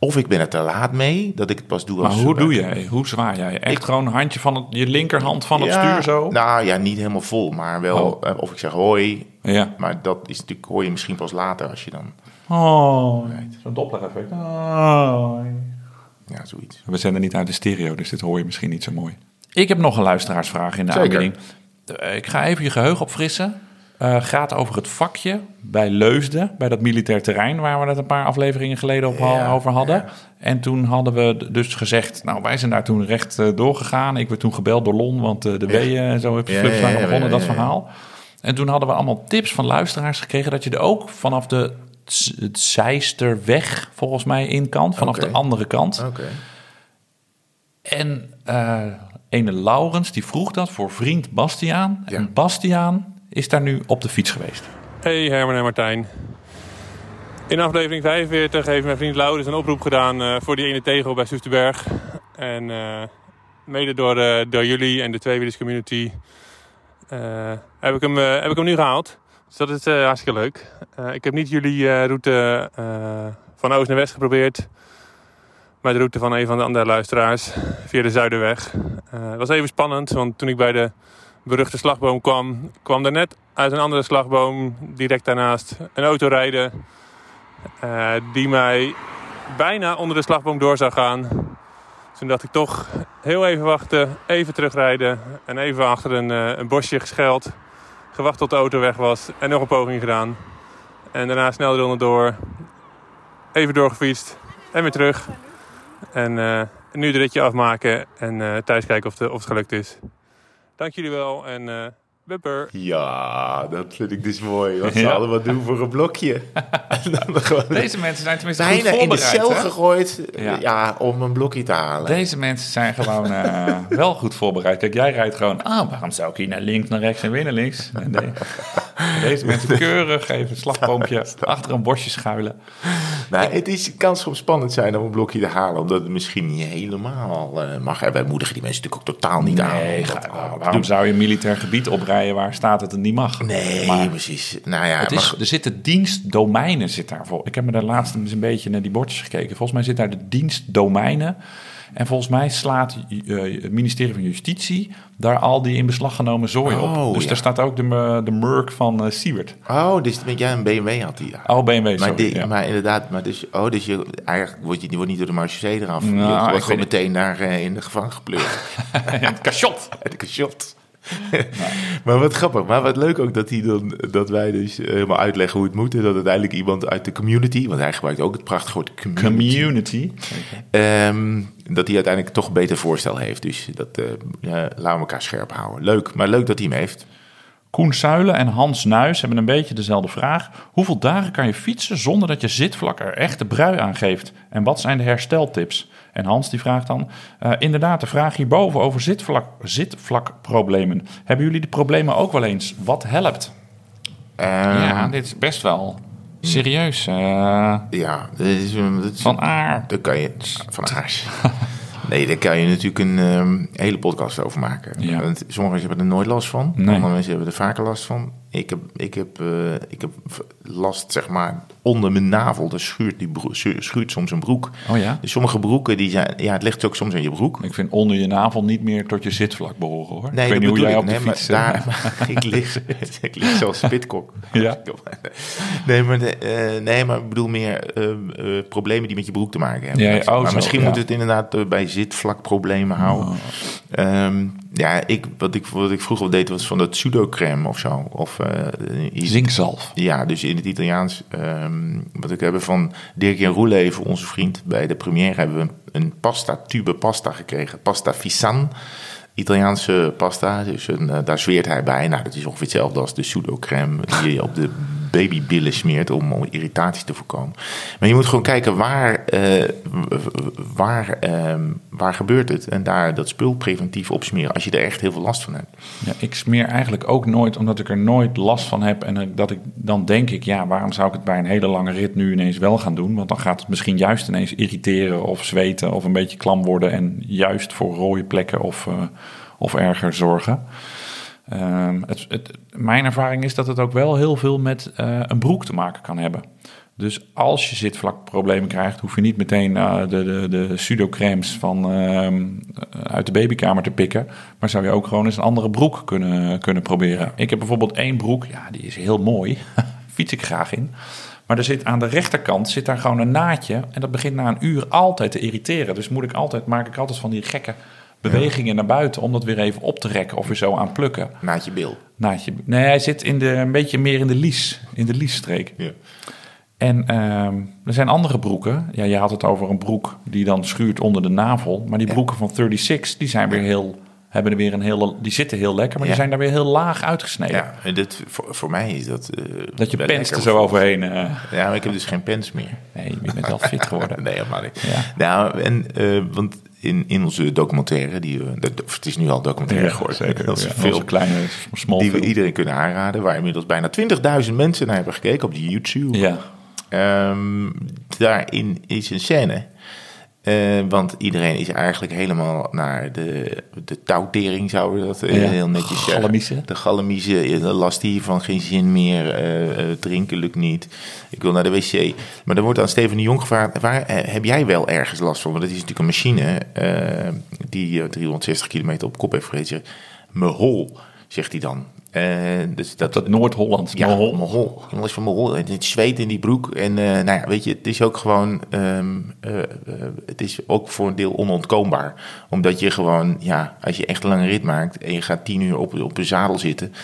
Speaker 2: Of ik ben er te laat mee, dat ik het pas doe als
Speaker 4: Maar hoe
Speaker 2: eh,
Speaker 4: doe jij? Hoe zwaar jij? Echt gewoon een handje van het, je linkerhand van het
Speaker 2: Ja,
Speaker 4: stuur zo?
Speaker 2: Nou ja, niet helemaal vol, maar wel.
Speaker 4: Oh.
Speaker 2: eh, Of ik zeg hoi,
Speaker 4: ja.
Speaker 2: Maar dat is natuurlijk, hoor je misschien pas later als je dan...
Speaker 4: Oh, zo'n Doppler-effect. Oh.
Speaker 2: Ja, zoiets.
Speaker 4: We zenden niet uit de stereo, dus dit hoor je misschien niet zo mooi. Ik heb nog een luisteraarsvraag in de
Speaker 2: Zeker.
Speaker 4: aanbieding. Eh, Ik ga even je geheugen opfrissen. Eh, gaat over het vakje bij Leusden, bij dat militair terrein... waar we het een paar afleveringen geleden op,
Speaker 2: Ja,
Speaker 4: over hadden.
Speaker 2: ja.
Speaker 4: En toen hadden we d- dus gezegd... nou, wij zijn daar toen recht eh, doorgegaan. Ik werd toen gebeld door Lon, want eh, de weeën en zo... heb je
Speaker 2: Ja,
Speaker 4: flups
Speaker 2: ja,
Speaker 4: waren
Speaker 2: ja,
Speaker 4: begonnen,
Speaker 2: ja,
Speaker 4: dat
Speaker 2: ja, ja.
Speaker 4: verhaal. En toen hadden we allemaal tips van luisteraars gekregen... dat je er ook vanaf de Z- het Zijsterweg volgens mij in kan... vanaf
Speaker 2: Oké.
Speaker 4: de andere kant.
Speaker 2: Oké.
Speaker 4: En eh, ene Laurens, die vroeg dat voor vriend Bastiaan. En Bastiaan is daar nu op de fiets geweest.
Speaker 6: Hey Herman en Martijn. In aflevering 45 heeft mijn vriend Laurens een oproep gedaan eh, voor die ene tegel bij Soesterberg. En eh, mede door, eh, door jullie en de tweewielerscommunity eh, heb, ik hem, eh, heb ik hem nu gehaald. Dus dat is eh, hartstikke leuk. Eh, ik heb niet jullie eh, route eh, van oost naar west geprobeerd. Maar de route van een van de andere luisteraars via de Zuiderweg. Eh, Het was even spannend, want toen ik bij de beruchte slagboom kwam, kwam er net uit een andere slagboom direct daarnaast een auto rijden. eh, die mij bijna onder de slagboom door zou gaan. Toen dacht ik toch heel even wachten, even terugrijden en even achter een, eh, een bosje gescheld. Gewacht tot de auto weg was en nog een poging gedaan. En daarna snel eronder door, even doorgefietst en weer terug. En eh, nu het ritje afmaken en eh, thuis kijken of, de, of het gelukt is. Dank jullie wel en eh bumper.
Speaker 2: Ja, dat vind ik dus mooi. Wat ze
Speaker 4: Ja.
Speaker 2: allemaal doen voor een blokje. En dan gewoon
Speaker 4: Deze mensen zijn tenminste goed
Speaker 2: bijna in de
Speaker 4: voorbereid.
Speaker 2: cel
Speaker 4: hè?
Speaker 2: gegooid
Speaker 4: Ja.
Speaker 2: ja. om een blokje te halen.
Speaker 4: Deze mensen zijn gewoon eh, wel goed voorbereid. Kijk, jij rijdt gewoon, ah, waarom zou ik hier naar links, naar rechts en weer naar links? En de- deze mensen keurig even een slagboompje achter een bosje schuilen.
Speaker 2: Nou, het is, het kan soms spannend zijn om een blokje te halen, omdat het misschien niet helemaal eh, mag. En wij moedigen die mensen natuurlijk ook totaal niet aan. om
Speaker 4: Nee,
Speaker 2: dat
Speaker 4: ga-
Speaker 2: allemaal te
Speaker 4: waarom
Speaker 2: doen.
Speaker 4: zou je een militair gebied oprijden waar staat dat het niet mag?
Speaker 2: Nee,
Speaker 4: Maar-
Speaker 2: precies. Nou ja,
Speaker 4: Het
Speaker 2: maar
Speaker 4: is,
Speaker 2: goed.
Speaker 4: er zitten dienstdomeinen zit daarvoor. Ik heb me daar laatst eens een beetje naar die bordjes gekeken. Volgens mij zit daar de dienstdomeinen. En volgens mij slaat eh, het ministerie van Justitie daar al die in beslag genomen zooi op.
Speaker 2: Oh,
Speaker 4: Dus
Speaker 2: ja.
Speaker 4: daar staat ook de, eh, de Merk van eh Siewert.
Speaker 2: Oh, dus met jij een BMW had hij daar.
Speaker 4: Oh, BMW, sorry.
Speaker 2: Maar, die-
Speaker 4: ja.
Speaker 2: maar inderdaad, maar dus, oh, dus je, eigenlijk word je, je wordt niet door de marchusee eraf.
Speaker 4: Nou,
Speaker 2: je
Speaker 4: ik
Speaker 2: wordt
Speaker 4: weet
Speaker 2: gewoon
Speaker 4: niet.
Speaker 2: meteen daar eh, in de gevangen gepleurd.
Speaker 4: het cachot. Nou.
Speaker 2: Uit de cachot. maar wat grappig, maar wat leuk ook dat, hij dan, dat wij dus helemaal uitleggen hoe het moet. En dat uiteindelijk iemand uit de community, want hij gebruikt ook het prachtige woord community.
Speaker 4: Community.
Speaker 2: ehm, dat hij uiteindelijk toch een beter voorstel heeft. Dus dat eh, eh, laten we elkaar scherp houden. Leuk, maar leuk dat hij hem heeft.
Speaker 4: Koen Suilen en Hans Nuis hebben een beetje dezelfde vraag. Hoeveel dagen kan je fietsen zonder dat je zitvlak er echt de brui aan geeft? En wat zijn de hersteltips? En Hans die vraagt dan, eh, inderdaad de vraag hierboven over zitvlak, zitvlakproblemen. Hebben jullie de problemen ook wel eens? Wat helpt?
Speaker 2: Eh,
Speaker 4: ja, dit is best wel serieus. eh,
Speaker 2: ja, dat is, eh, dat is-
Speaker 4: van aard.
Speaker 2: Daar kan je van aars. Nee, daar kan je natuurlijk een ehm, hele podcast over maken.
Speaker 4: Ja.
Speaker 2: Want sommige mensen hebben er nooit last van.
Speaker 4: Nee.
Speaker 2: Andere mensen hebben er vaker last van. Ik heb, ik heb, eh, ik heb v- last, zeg maar, onder mijn navel. Daar schuurt, die broek, schu- schuurt soms een broek.
Speaker 4: Oh ja?
Speaker 2: Dus sommige broeken, die zijn, ja, het ligt ook soms aan je broek.
Speaker 4: Ik vind onder je navel niet meer tot je zitvlak behoren hoor. ik weet
Speaker 2: dat
Speaker 4: niet hoe
Speaker 2: bedoel
Speaker 4: jij
Speaker 2: ik.
Speaker 4: op de
Speaker 2: Nee, maar
Speaker 4: fiets... eh,
Speaker 2: daar, ik, lig, ik lig zoals spitkok.
Speaker 4: Ja.
Speaker 2: Nee, maar, de, eh, nee, maar ik bedoel meer ehm, eh, problemen die met je broek te maken hebben.
Speaker 4: Ja, ja, oh,
Speaker 2: maar
Speaker 4: zo,
Speaker 2: misschien
Speaker 4: ja.
Speaker 2: Oh. moeten we het inderdaad eh, bij zitvlakproblemen houden. Ehm, ja, ik, wat, ik, wat ik vroeger al deed was van dat pseudocreme of zo. Of, eh, iets-
Speaker 4: Zinkzalf.
Speaker 2: Ja, dus in het Italiaans, ehm, wat ik heb van Dirk Jan Roele, even onze vriend bij de première, hebben we een, een pasta, tube pasta gekregen. Pasta Fisan, Italiaanse pasta. Dus een, eh, daar zweert hij bij. Nou, dat is ongeveer hetzelfde als de pseudocreme die je op de babybillen smeert om, om irritaties te voorkomen. Maar je moet gewoon kijken waar, eh, w- w- waar, ehm, waar gebeurt het en daar dat spul preventief opsmeren als je er echt heel veel last van hebt.
Speaker 4: Ja, ik smeer eigenlijk ook nooit, omdat ik er nooit last van heb. En eh, dat ik, dan denk ik, ja, waarom zou ik het bij een hele lange rit nu ineens wel gaan doen? Want dan gaat het misschien juist ineens irriteren of zweten of een beetje klam worden. En juist voor rode plekken of, eh, of erger zorgen. Ehm, het, het, mijn ervaring is dat het ook wel heel veel met eh, een broek te maken kan hebben. Dus als je zitvlakproblemen krijgt, hoef je niet meteen eh, de, de, de pseudocremes van, ehm, uit de babykamer te pikken. Maar zou je ook gewoon eens een andere broek kunnen, kunnen proberen. Ik heb bijvoorbeeld één broek, ja, die is heel mooi. Fiets ik graag in. Maar er zit aan de rechterkant zit daar gewoon een naadje. En dat begint na een uur altijd te irriteren. Dus moet ik altijd, maak ik altijd van die gekke bewegingen naar buiten. Om dat weer even op te rekken of weer zo aan plukken.
Speaker 2: Naad je bil.
Speaker 4: Naadje. Nee, hij zit in de, een beetje meer in de lies. In de liesstreek.
Speaker 2: Ja.
Speaker 4: En ehm, er zijn andere broeken. Ja, je had het over een broek die dan schuurt onder de navel. Maar die broeken van 36, die zijn weer heel. Hebben er weer een hele, die zitten heel lekker, maar die
Speaker 2: Ja.
Speaker 4: zijn daar weer heel laag uitgesneden.
Speaker 2: Ja, en dit, voor, voor mij is dat... eh,
Speaker 4: Dat je
Speaker 2: wel
Speaker 4: pens
Speaker 2: lekker.
Speaker 4: er zo overheen. eh,
Speaker 2: Ja, maar ik heb dus geen pens meer.
Speaker 4: nee, je bent wel fit geworden.
Speaker 2: Nee, helemaal niet.
Speaker 4: Ja.
Speaker 2: Nou, en, eh, want in, in onze documentaire, die we, dat, of het is nu al documentaire geworden, dat is veel
Speaker 4: kleine, small
Speaker 2: die we iedereen kunnen aanraden, waar inmiddels bijna 20.000 mensen naar hebben gekeken op de YouTube.
Speaker 4: Ja,
Speaker 2: Ehm, daarin is een scène. Eh, want iedereen is eigenlijk helemaal naar de, de touwtering, zouden we dat eh,
Speaker 4: Ja.
Speaker 2: heel netjes zeggen.
Speaker 4: Gallemiezen.
Speaker 2: De gallemiezen, eh, de last hiervan, geen zin meer, eh, eh, drinken lukt niet, ik wil naar de wc. Maar dan wordt aan Steven de Jong gevraagd, waar eh, heb jij wel ergens last van? Want het is natuurlijk een machine eh, die eh, 360 kilometer op kop heeft gereden. Zegt, Mijn hol, zegt hij dan. Eh, dus dat,
Speaker 4: dat Noord-Holland.
Speaker 2: ja,
Speaker 4: Noord-
Speaker 2: mijn hol. Jongens van mijn hol. En het zweet in die broek. En eh, nou ja, weet je, het is ook gewoon... ehm, eh, eh, het is ook voor een deel onontkoombaar. Omdat je gewoon, ja, als je echt een lange rit maakt... en je gaat tien uur op, op een zadel zitten...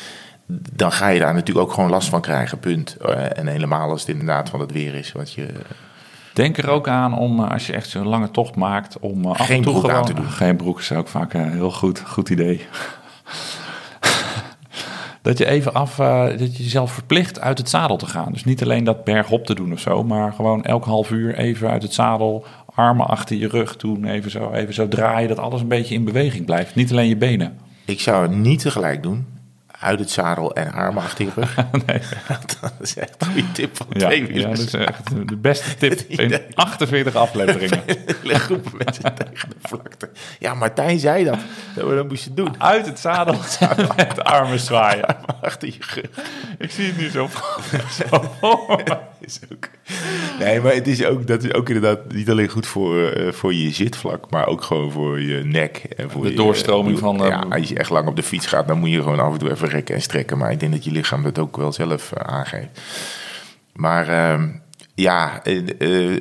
Speaker 2: dan ga je daar natuurlijk ook gewoon last van krijgen, punt. Eh, en helemaal als het inderdaad van het weer is. Wat je,
Speaker 4: Denk er ook aan om, eh, als je echt zo'n lange tocht maakt, om eh, af
Speaker 2: Geen
Speaker 4: en toe
Speaker 2: broek
Speaker 4: gewoon...
Speaker 2: aan te doen.
Speaker 4: Geen broek is ook vaak een heel goed, goed idee. dat je even af, eh, dat je jezelf verplicht uit het zadel te gaan. Dus niet alleen dat bergop te doen of zo, maar gewoon elk half uur even uit het zadel, armen achter je rug doen, even zo, even zo draaien, dat alles een beetje in beweging blijft. Niet alleen je benen.
Speaker 2: ik zou het niet tegelijk doen... Uit het zadel en armen achter je rug.
Speaker 4: Nee.
Speaker 2: Dat is echt een goede tip van
Speaker 4: Ja,
Speaker 2: twee
Speaker 4: ja, dat is echt de beste tip in 48 afleveringen.
Speaker 2: hele groepen mensen tegen de vlakte. Ja, Martijn zei dat. Dat, we dat moest je doen.
Speaker 4: Uit het zadel met de armen zwaaien.
Speaker 2: Achter je rug.
Speaker 4: Ik zie het nu zo. Oh.
Speaker 2: Is ook... Nee, maar het is ook, dat is ook inderdaad niet alleen goed voor, eh, voor je zitvlak, maar ook gewoon voor je nek. En voor
Speaker 4: De
Speaker 2: je-
Speaker 4: doorstroming van, eh,
Speaker 2: Ja, als je echt lang op de fiets gaat, dan moet je gewoon af en toe even rekken en strekken. Maar ik denk dat je lichaam dat ook wel zelf eh, aangeeft. Maar ehm, ja, eh,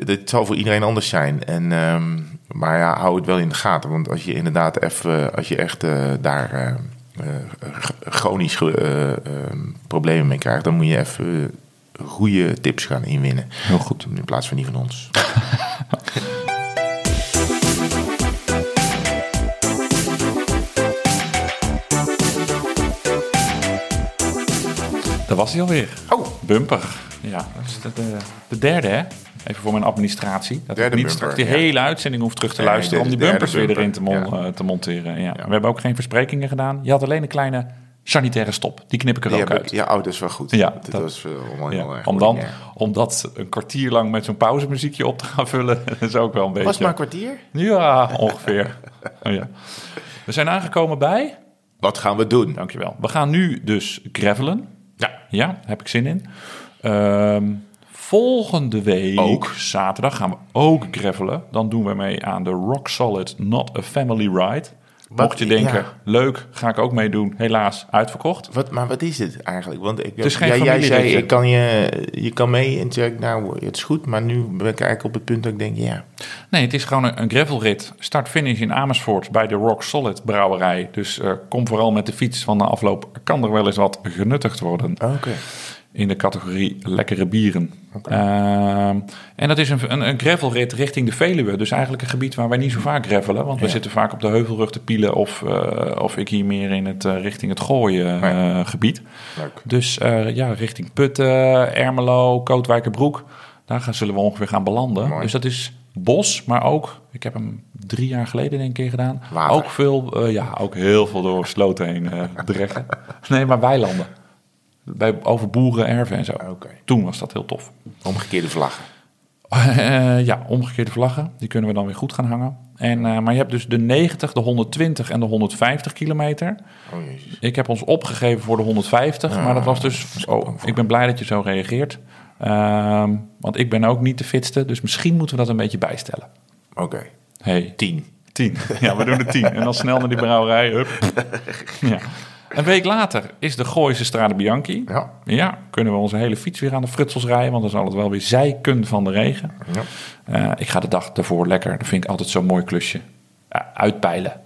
Speaker 2: het zal voor iedereen anders zijn. En, ehm, maar ja, hou het wel in de gaten. Want als je inderdaad even, als je echt eh, daar eh, eh, ch- chronisch ge- eh, ehm, problemen mee krijgt, dan moet je even eh, goede tips gaan inwinnen. Heel goed. In plaats van die van ons.
Speaker 4: Dat was hij alweer.
Speaker 2: Oh.
Speaker 4: Bumper. Ja, dat is de, de, de derde, hè? Even voor mijn administratie. Dat
Speaker 2: eh, Derde
Speaker 4: ik niet
Speaker 2: bumper,
Speaker 4: straks die
Speaker 2: ja.
Speaker 4: hele uitzending hoef terug te
Speaker 2: Nee,
Speaker 4: luisteren...
Speaker 2: dit
Speaker 4: om
Speaker 2: is
Speaker 4: die
Speaker 2: de
Speaker 4: bumpers
Speaker 2: derde
Speaker 4: weer erin te,
Speaker 2: bumper,
Speaker 4: mon- eh, te monteren. Ja. We hebben ook geen versprekingen gedaan. Je had alleen een kleine sanitaire stop. Die knip ik er
Speaker 2: Die
Speaker 4: ook
Speaker 2: heb
Speaker 4: uit.
Speaker 2: ik- ja, oh, dat is wel goed.
Speaker 4: Ja,
Speaker 2: dat,
Speaker 4: dat-
Speaker 2: was eh, allemaal
Speaker 4: Ja,
Speaker 2: heel erg
Speaker 4: om, dan,
Speaker 2: ordinair.
Speaker 4: om dat een kwartier lang met zo'n pauzemuziekje op te gaan vullen... dat is ook wel een beetje...
Speaker 2: Was het maar een kwartier?
Speaker 4: Ja, ongeveer. Oh, ja. We zijn aangekomen bij...
Speaker 2: Wat gaan we doen?
Speaker 4: Dankjewel. We gaan nu dus gravelen.
Speaker 2: Ja.
Speaker 4: Ja, heb ik zin in. Ehm, volgende week,
Speaker 2: Ook.
Speaker 4: zaterdag, gaan we ook gravelen. Dan doen we mee aan de Rock Solid Not a Family Ride. Mocht je denken, leuk, ga ik ook meedoen. Helaas, uitverkocht.
Speaker 2: Wat, maar wat is het eigenlijk? Want ik,
Speaker 4: Het is geen
Speaker 2: jij, jij zei,
Speaker 4: familieritje.
Speaker 2: ik kan je, je kan mee. En toen zei ik, nou, het is goed. Maar nu ben ik eigenlijk op het punt dat ik denk, ja.
Speaker 4: Nee, het is gewoon een, een gravelrit. Start-finish in Amersfoort bij de Rock Solid brouwerij. Dus eh, kom vooral met de fiets, want na afloop kan er wel eens wat genuttigd worden.
Speaker 2: Oké.
Speaker 4: in de categorie lekkere bieren. Ehm, en dat is een, een, een gravelrit richting de Veluwe. Dus eigenlijk een gebied waar wij niet zo vaak gravelen. Want we zitten vaak op de heuvelrug te pielen. Of, eh, of ik hier meer in het, eh, richting het gooien eh, gebied.
Speaker 2: Leuk.
Speaker 4: Dus eh, ja, richting Putten, Ermelo, Kootwijkerbroek. Daar gaan, zullen we ongeveer gaan belanden.
Speaker 2: Mooi.
Speaker 4: Dus dat is bos, maar ook... Ik heb hem drie jaar geleden denk ik een keer gedaan.
Speaker 2: Water.
Speaker 4: Ook veel, eh, ja, ook heel veel door sloten heen eh dreggen. Nee, maar weilanden. Bij, over boeren, erven en zo.
Speaker 2: Oké.
Speaker 4: Toen was dat heel tof.
Speaker 2: Omgekeerde vlaggen.
Speaker 4: Eh, ja, omgekeerde vlaggen. Die kunnen we dan weer goed gaan hangen. En, eh, maar je hebt dus de 90, de 120 en de 150 kilometer.
Speaker 2: Oh jezus.
Speaker 4: Ik heb ons opgegeven voor de 150. maar dat was dus... Oh, ik ben blij dat je zo reageert. Ehm, want ik ben ook niet de fitste. Dus misschien moeten we dat een beetje bijstellen.
Speaker 2: Oké.
Speaker 4: Hey,
Speaker 2: Tien.
Speaker 4: Tien. Ja, we doen er tien. En dan snel naar die brouwerij. Hup. Ja. Een week later is de Gooise Strade Bianchi.
Speaker 2: Ja.
Speaker 4: Ja, kunnen we onze hele fiets weer aan de frutsels rijden. Want dan zal het wel weer zijken van de regen.
Speaker 2: Ja.
Speaker 4: Eh, ik ga de dag daarvoor lekker. Dat vind ik altijd zo'n mooi klusje. Ja, uitpeilen.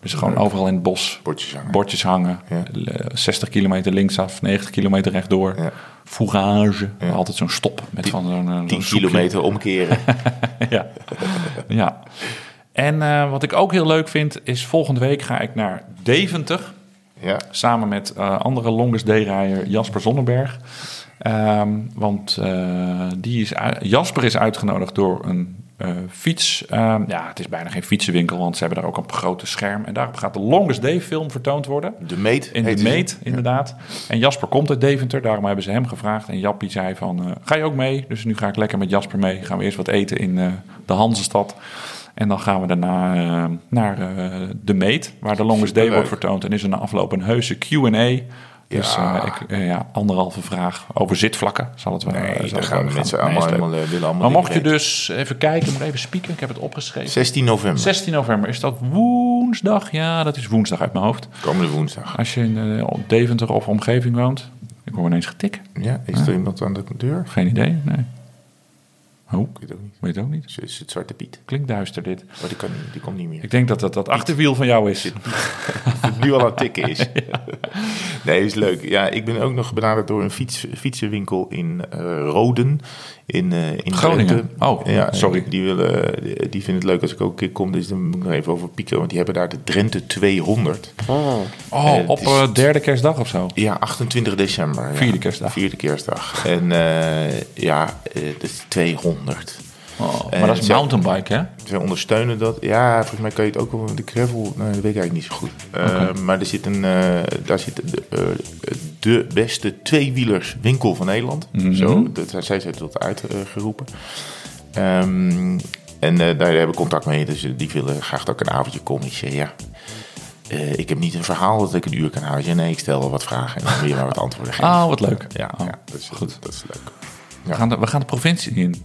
Speaker 4: Dus gewoon overal in het bos.
Speaker 2: Bordjes hangen.
Speaker 4: Bordjes hangen.
Speaker 2: Ja.
Speaker 4: Eh, 60 kilometer linksaf, 90 kilometer rechtdoor.
Speaker 2: Ja.
Speaker 4: Fourage. Altijd zo'n stop. Met van zo'n, eh, zo'n
Speaker 2: Tien
Speaker 4: soepje
Speaker 2: kilometer omkeren.
Speaker 4: ja. ja. En eh, wat ik ook heel leuk vind, is volgende week ga ik naar Deventer.
Speaker 2: ja.
Speaker 4: Samen met eh, andere Longest Day-rijder Jasper Zonneberg. Ehm, want eh, die is uit- Jasper is uitgenodigd door een eh, fiets. ehm, ja, het is bijna geen fietsenwinkel, want ze hebben daar ook een grote scherm. En daarop gaat de Longest Day-film vertoond worden.
Speaker 2: De meet.
Speaker 4: In
Speaker 2: heet
Speaker 4: de
Speaker 2: ze.
Speaker 4: meet, inderdaad. En Jasper komt uit Deventer, daarom hebben ze hem gevraagd. En Jappie zei van, eh, ga je ook mee? Dus nu ga ik lekker met Jasper mee. Gaan we eerst wat eten in eh, de Hanzestad. En dan gaan we daarna eh, naar eh, de meet, waar de Longest Day wordt vertoond. En is er na afloop een heuse Q&A. Dus eh, ik, eh, ja, anderhalve vraag over zitvlakken zal het wel eh,
Speaker 2: Nee,
Speaker 4: zal het
Speaker 2: daar
Speaker 4: wel
Speaker 2: gaan we
Speaker 4: gaan.
Speaker 2: mensen
Speaker 4: Nee,
Speaker 2: allemaal,
Speaker 4: is leuk.
Speaker 2: helemaal, eh, willen allemaal
Speaker 4: Maar mocht je
Speaker 2: dingen
Speaker 4: dus even kijken, moet even spieken. Ik heb het opgeschreven.
Speaker 2: weten. 16 november.
Speaker 4: 16 november, is dat woensdag? Ja, dat is woensdag uit mijn hoofd.
Speaker 2: Komende woensdag.
Speaker 4: Als je in eh, Deventer of omgeving woont. Ik hoor ineens getik.
Speaker 2: Ja, is er iemand aan de deur? Ik
Speaker 4: Geen idee, nee. Oh,
Speaker 2: weet het ook niet.
Speaker 4: weet het ook niet.
Speaker 2: Is is het Zwarte Piet?
Speaker 4: Klinkt duister dit.
Speaker 2: Oh, die, kan, niet- die komt niet meer.
Speaker 4: Ik denk dat dat, dat achterwiel van jou is.
Speaker 2: het nu al aan het tikken is. Nee, is leuk. Ja, ik ben ook nog benaderd door een fiets, fietsenwinkel in eh, Roden. In, eh, in
Speaker 4: Groningen.
Speaker 2: Drenthe.
Speaker 4: Oh, sorry.
Speaker 2: Die, willen, eh, die- die vinden het leuk als ik ook een keer kom. Dus dan moet ik nog even over pieken. Want die hebben daar de Drenthe 200.
Speaker 4: Oh,
Speaker 2: Eh,
Speaker 4: op
Speaker 2: het is-
Speaker 4: eh, derde kerstdag of zo.
Speaker 2: Ja, 28 december. ja.
Speaker 4: Vierde kerstdag.
Speaker 2: Vierde kerstdag. En eh, ja, eh, dat is 200.
Speaker 4: Oh,
Speaker 2: Eh,
Speaker 4: maar dat is
Speaker 2: zo-
Speaker 4: mountainbike, hè?
Speaker 2: Ze ondersteunen dat. Ja, volgens mij kan je het ook op de gravel. Nou, dat weet ik eigenlijk niet zo goed. Eh, Maar er zit een, eh, daar zit de, eh, de beste tweewielerswinkel van Nederland.
Speaker 4: Mhm.
Speaker 2: Zo, dat, zij heeft dat uitgeroepen. eh, Ehm, en eh, daar hebben we contact mee. Dus eh, die willen graag dat ik een avondje kom. Ik zei ja. eh, ik heb niet een verhaal dat ik een uur kan houden. Ik zei, nee, ik stel wel wat vragen en dan wil je maar wat antwoorden geven.
Speaker 4: Oh, wat leuk.
Speaker 2: ja,
Speaker 4: Oh,
Speaker 2: ja, dat is goed. Dat is leuk.
Speaker 4: We, gaan de, we gaan de provincie in.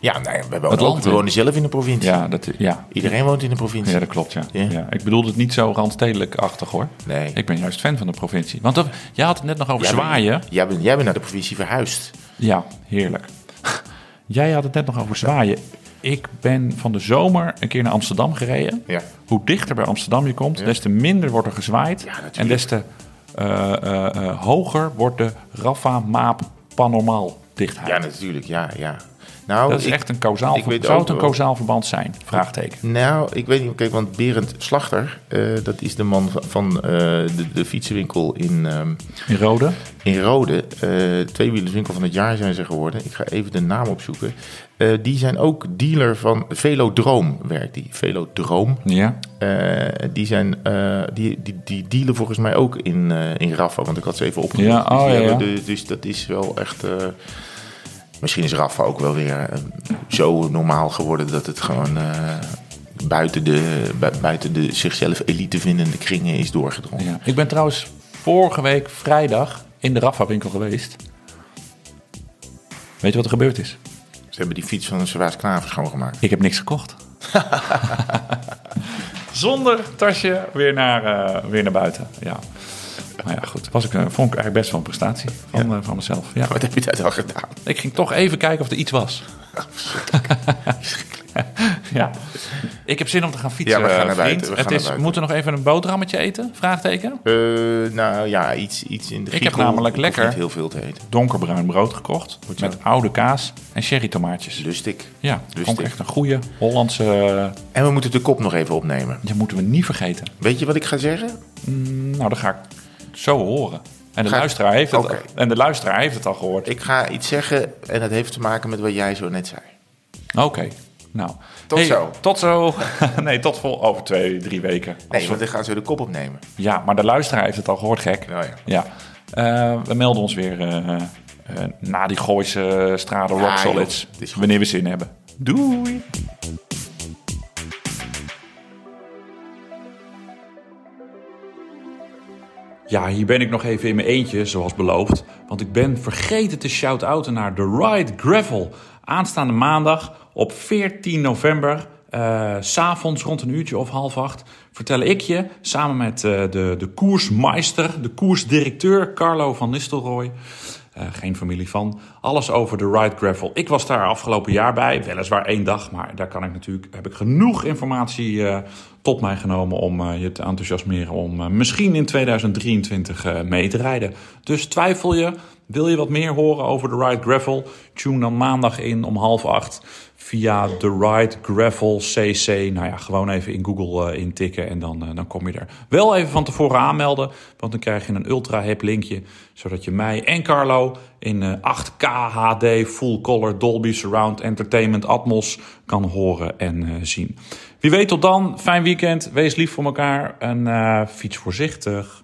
Speaker 2: Ja, nee, we, wonen
Speaker 4: Het land,
Speaker 2: ook- we
Speaker 4: hè?
Speaker 2: wonen zelf in de provincie.
Speaker 4: Ja, dat, ja.
Speaker 2: Iedereen woont in de provincie.
Speaker 4: ja dat klopt, ja.
Speaker 2: Ja.
Speaker 4: ja. Ik bedoel het niet zo randstedelijk-achtig, hoor.
Speaker 2: Nee.
Speaker 4: Ik ben juist fan van de provincie. Want dat, jij had het net nog over
Speaker 2: Jij bent-
Speaker 4: zwaaien.
Speaker 2: jij, bent, jij bent naar de provincie verhuisd.
Speaker 4: Ja, heerlijk. Jij had het net nog over zwaaien. Ik ben van de zomer een keer naar Amsterdam gereden.
Speaker 2: Ja.
Speaker 4: Hoe dichter bij Amsterdam je komt, des te minder wordt er gezwaaid.
Speaker 2: natuurlijk.
Speaker 4: en des te eh, eh, eh, hoger wordt de Raffa Maap Panormaal dichtheid.
Speaker 2: Ja, natuurlijk. Ja, ja. Nou,
Speaker 4: dat is
Speaker 2: ik-
Speaker 4: echt een kausaal
Speaker 2: ik weet
Speaker 4: verband. Zou
Speaker 2: ook
Speaker 4: het een
Speaker 2: wel.
Speaker 4: kausaal verband zijn? Vraagteken.
Speaker 2: Nou, ik weet niet. Kijk, want Berend Slachter, eh, dat is de man van, van, eh, de, de fietsenwinkel in, ehm
Speaker 4: In rode?
Speaker 2: in Rode. eh tweewielerswinkel van het jaar zijn ze geworden. Ik ga even de naam opzoeken. Eh, die zijn ook dealer van Velodroom, werkt die. Velodroom.
Speaker 4: Ja.
Speaker 2: Eh, die, zijn, eh, die, die, die dealen volgens mij ook in, eh in Rafa, want ik had ze even opgezocht.
Speaker 4: Ja,
Speaker 2: dus,
Speaker 4: oh,
Speaker 2: die
Speaker 4: ja,
Speaker 2: hebben
Speaker 4: ja.
Speaker 2: de- dus dat is wel echt. eh, misschien is Rafa ook wel weer eh, zo normaal geworden dat het gewoon eh, buiten, de, bu- buiten de zichzelf elite vindende kringen is doorgedrongen.
Speaker 4: ja. Ik ben trouwens vorige week vrijdag in de Raffa winkel geweest. Weet je wat er gebeurd is?
Speaker 2: Ze hebben die fiets van Servaas Knaver schoongemaakt.
Speaker 4: Ik heb niks gekocht. Dat is zonder tasje weer naar, eh, weer naar buiten. Ja. Maar ja, goed. Was ik, eh, vond ik eigenlijk best wel een prestatie van, eh, van mezelf. Ja.
Speaker 2: Wat heb je daar dan gedaan?
Speaker 4: Ik ging toch even kijken of er iets was. ja. Ik heb zin om te gaan fietsen,
Speaker 2: Ja, we gaan naar
Speaker 4: eh,
Speaker 2: buiten,
Speaker 4: vriend.
Speaker 2: we
Speaker 4: het
Speaker 2: gaan naar
Speaker 4: is, we
Speaker 2: buiten.
Speaker 4: moeten nog even een boterhammetje eten? Vraagteken.
Speaker 2: Eh, nou ja, iets, iets in de
Speaker 4: heb
Speaker 2: giegel.
Speaker 4: namelijk
Speaker 2: Hoeft
Speaker 4: lekker-
Speaker 2: niet heel veel te eten.
Speaker 4: Donkerbruin brood gekocht. Met oude kaas en cherrytomaatjes.
Speaker 2: Lustig.
Speaker 4: Ja,
Speaker 2: Dus
Speaker 4: vond ik
Speaker 2: dit-
Speaker 4: echt een goede Hollandse. eh,
Speaker 2: En we moeten de kop nog even opnemen.
Speaker 4: Die moeten we niet vergeten.
Speaker 2: Weet je wat ik ga zeggen?
Speaker 4: Nou, dat ga ik zo horen. En de,
Speaker 2: Ga-
Speaker 4: luisteraar heeft het,
Speaker 2: Oké.
Speaker 4: en de luisteraar heeft het al gehoord.
Speaker 2: Ik ga iets zeggen en dat heeft te maken met wat jij zo net zei.
Speaker 4: Oké, nou.
Speaker 2: Tot zo.
Speaker 4: Tot zo. nee, tot vol over twee, drie weken. Als
Speaker 2: Nee,
Speaker 4: we-
Speaker 2: want ik ga zo de kop opnemen.
Speaker 4: Ja, maar de luisteraar heeft het al gehoord, gek.
Speaker 2: Nou ja.
Speaker 4: Eh, we melden ons weer eh, eh, na die Gooise straden Rock
Speaker 2: Ah, joh,
Speaker 4: Solids.
Speaker 2: het is goed.
Speaker 4: Wanneer we zin hebben. Doei! Ja, hier ben ik nog even in mijn eentje, zoals beloofd. Want ik ben vergeten te shout-outen naar The Ride Gravel. Aanstaande maandag op 14 november, eh, s s'avonds rond een uurtje of half acht... vertel ik je, samen met eh, de, de koersmeister, de koersdirecteur Carlo van Nistelrooy... eh, geen familie van. Alles over de Ride Gravel. Ik was daar afgelopen jaar bij. Weliswaar één dag, maar daar kan ik natuurlijk, heb ik genoeg informatie eh, tot mij genomen om eh, je te enthousiasmeren om eh, misschien in 2023 eh, mee te rijden. Dus twijfel je, wil je wat meer horen over de Ride Gravel? Tune dan maandag in om half acht via de Ride Gravel CC. Nou ja, gewoon even in Google eh, intikken en dan, eh, dan kom je er. Wel even van tevoren aanmelden, want dan krijg je een ultra-hip linkje, zodat je mij en Carlo in eh, 8K HD full color Dolby Surround Entertainment Atmos kan horen en eh, zien. Wie weet tot dan, fijn weekend, wees lief voor elkaar en eh, fiets voorzichtig.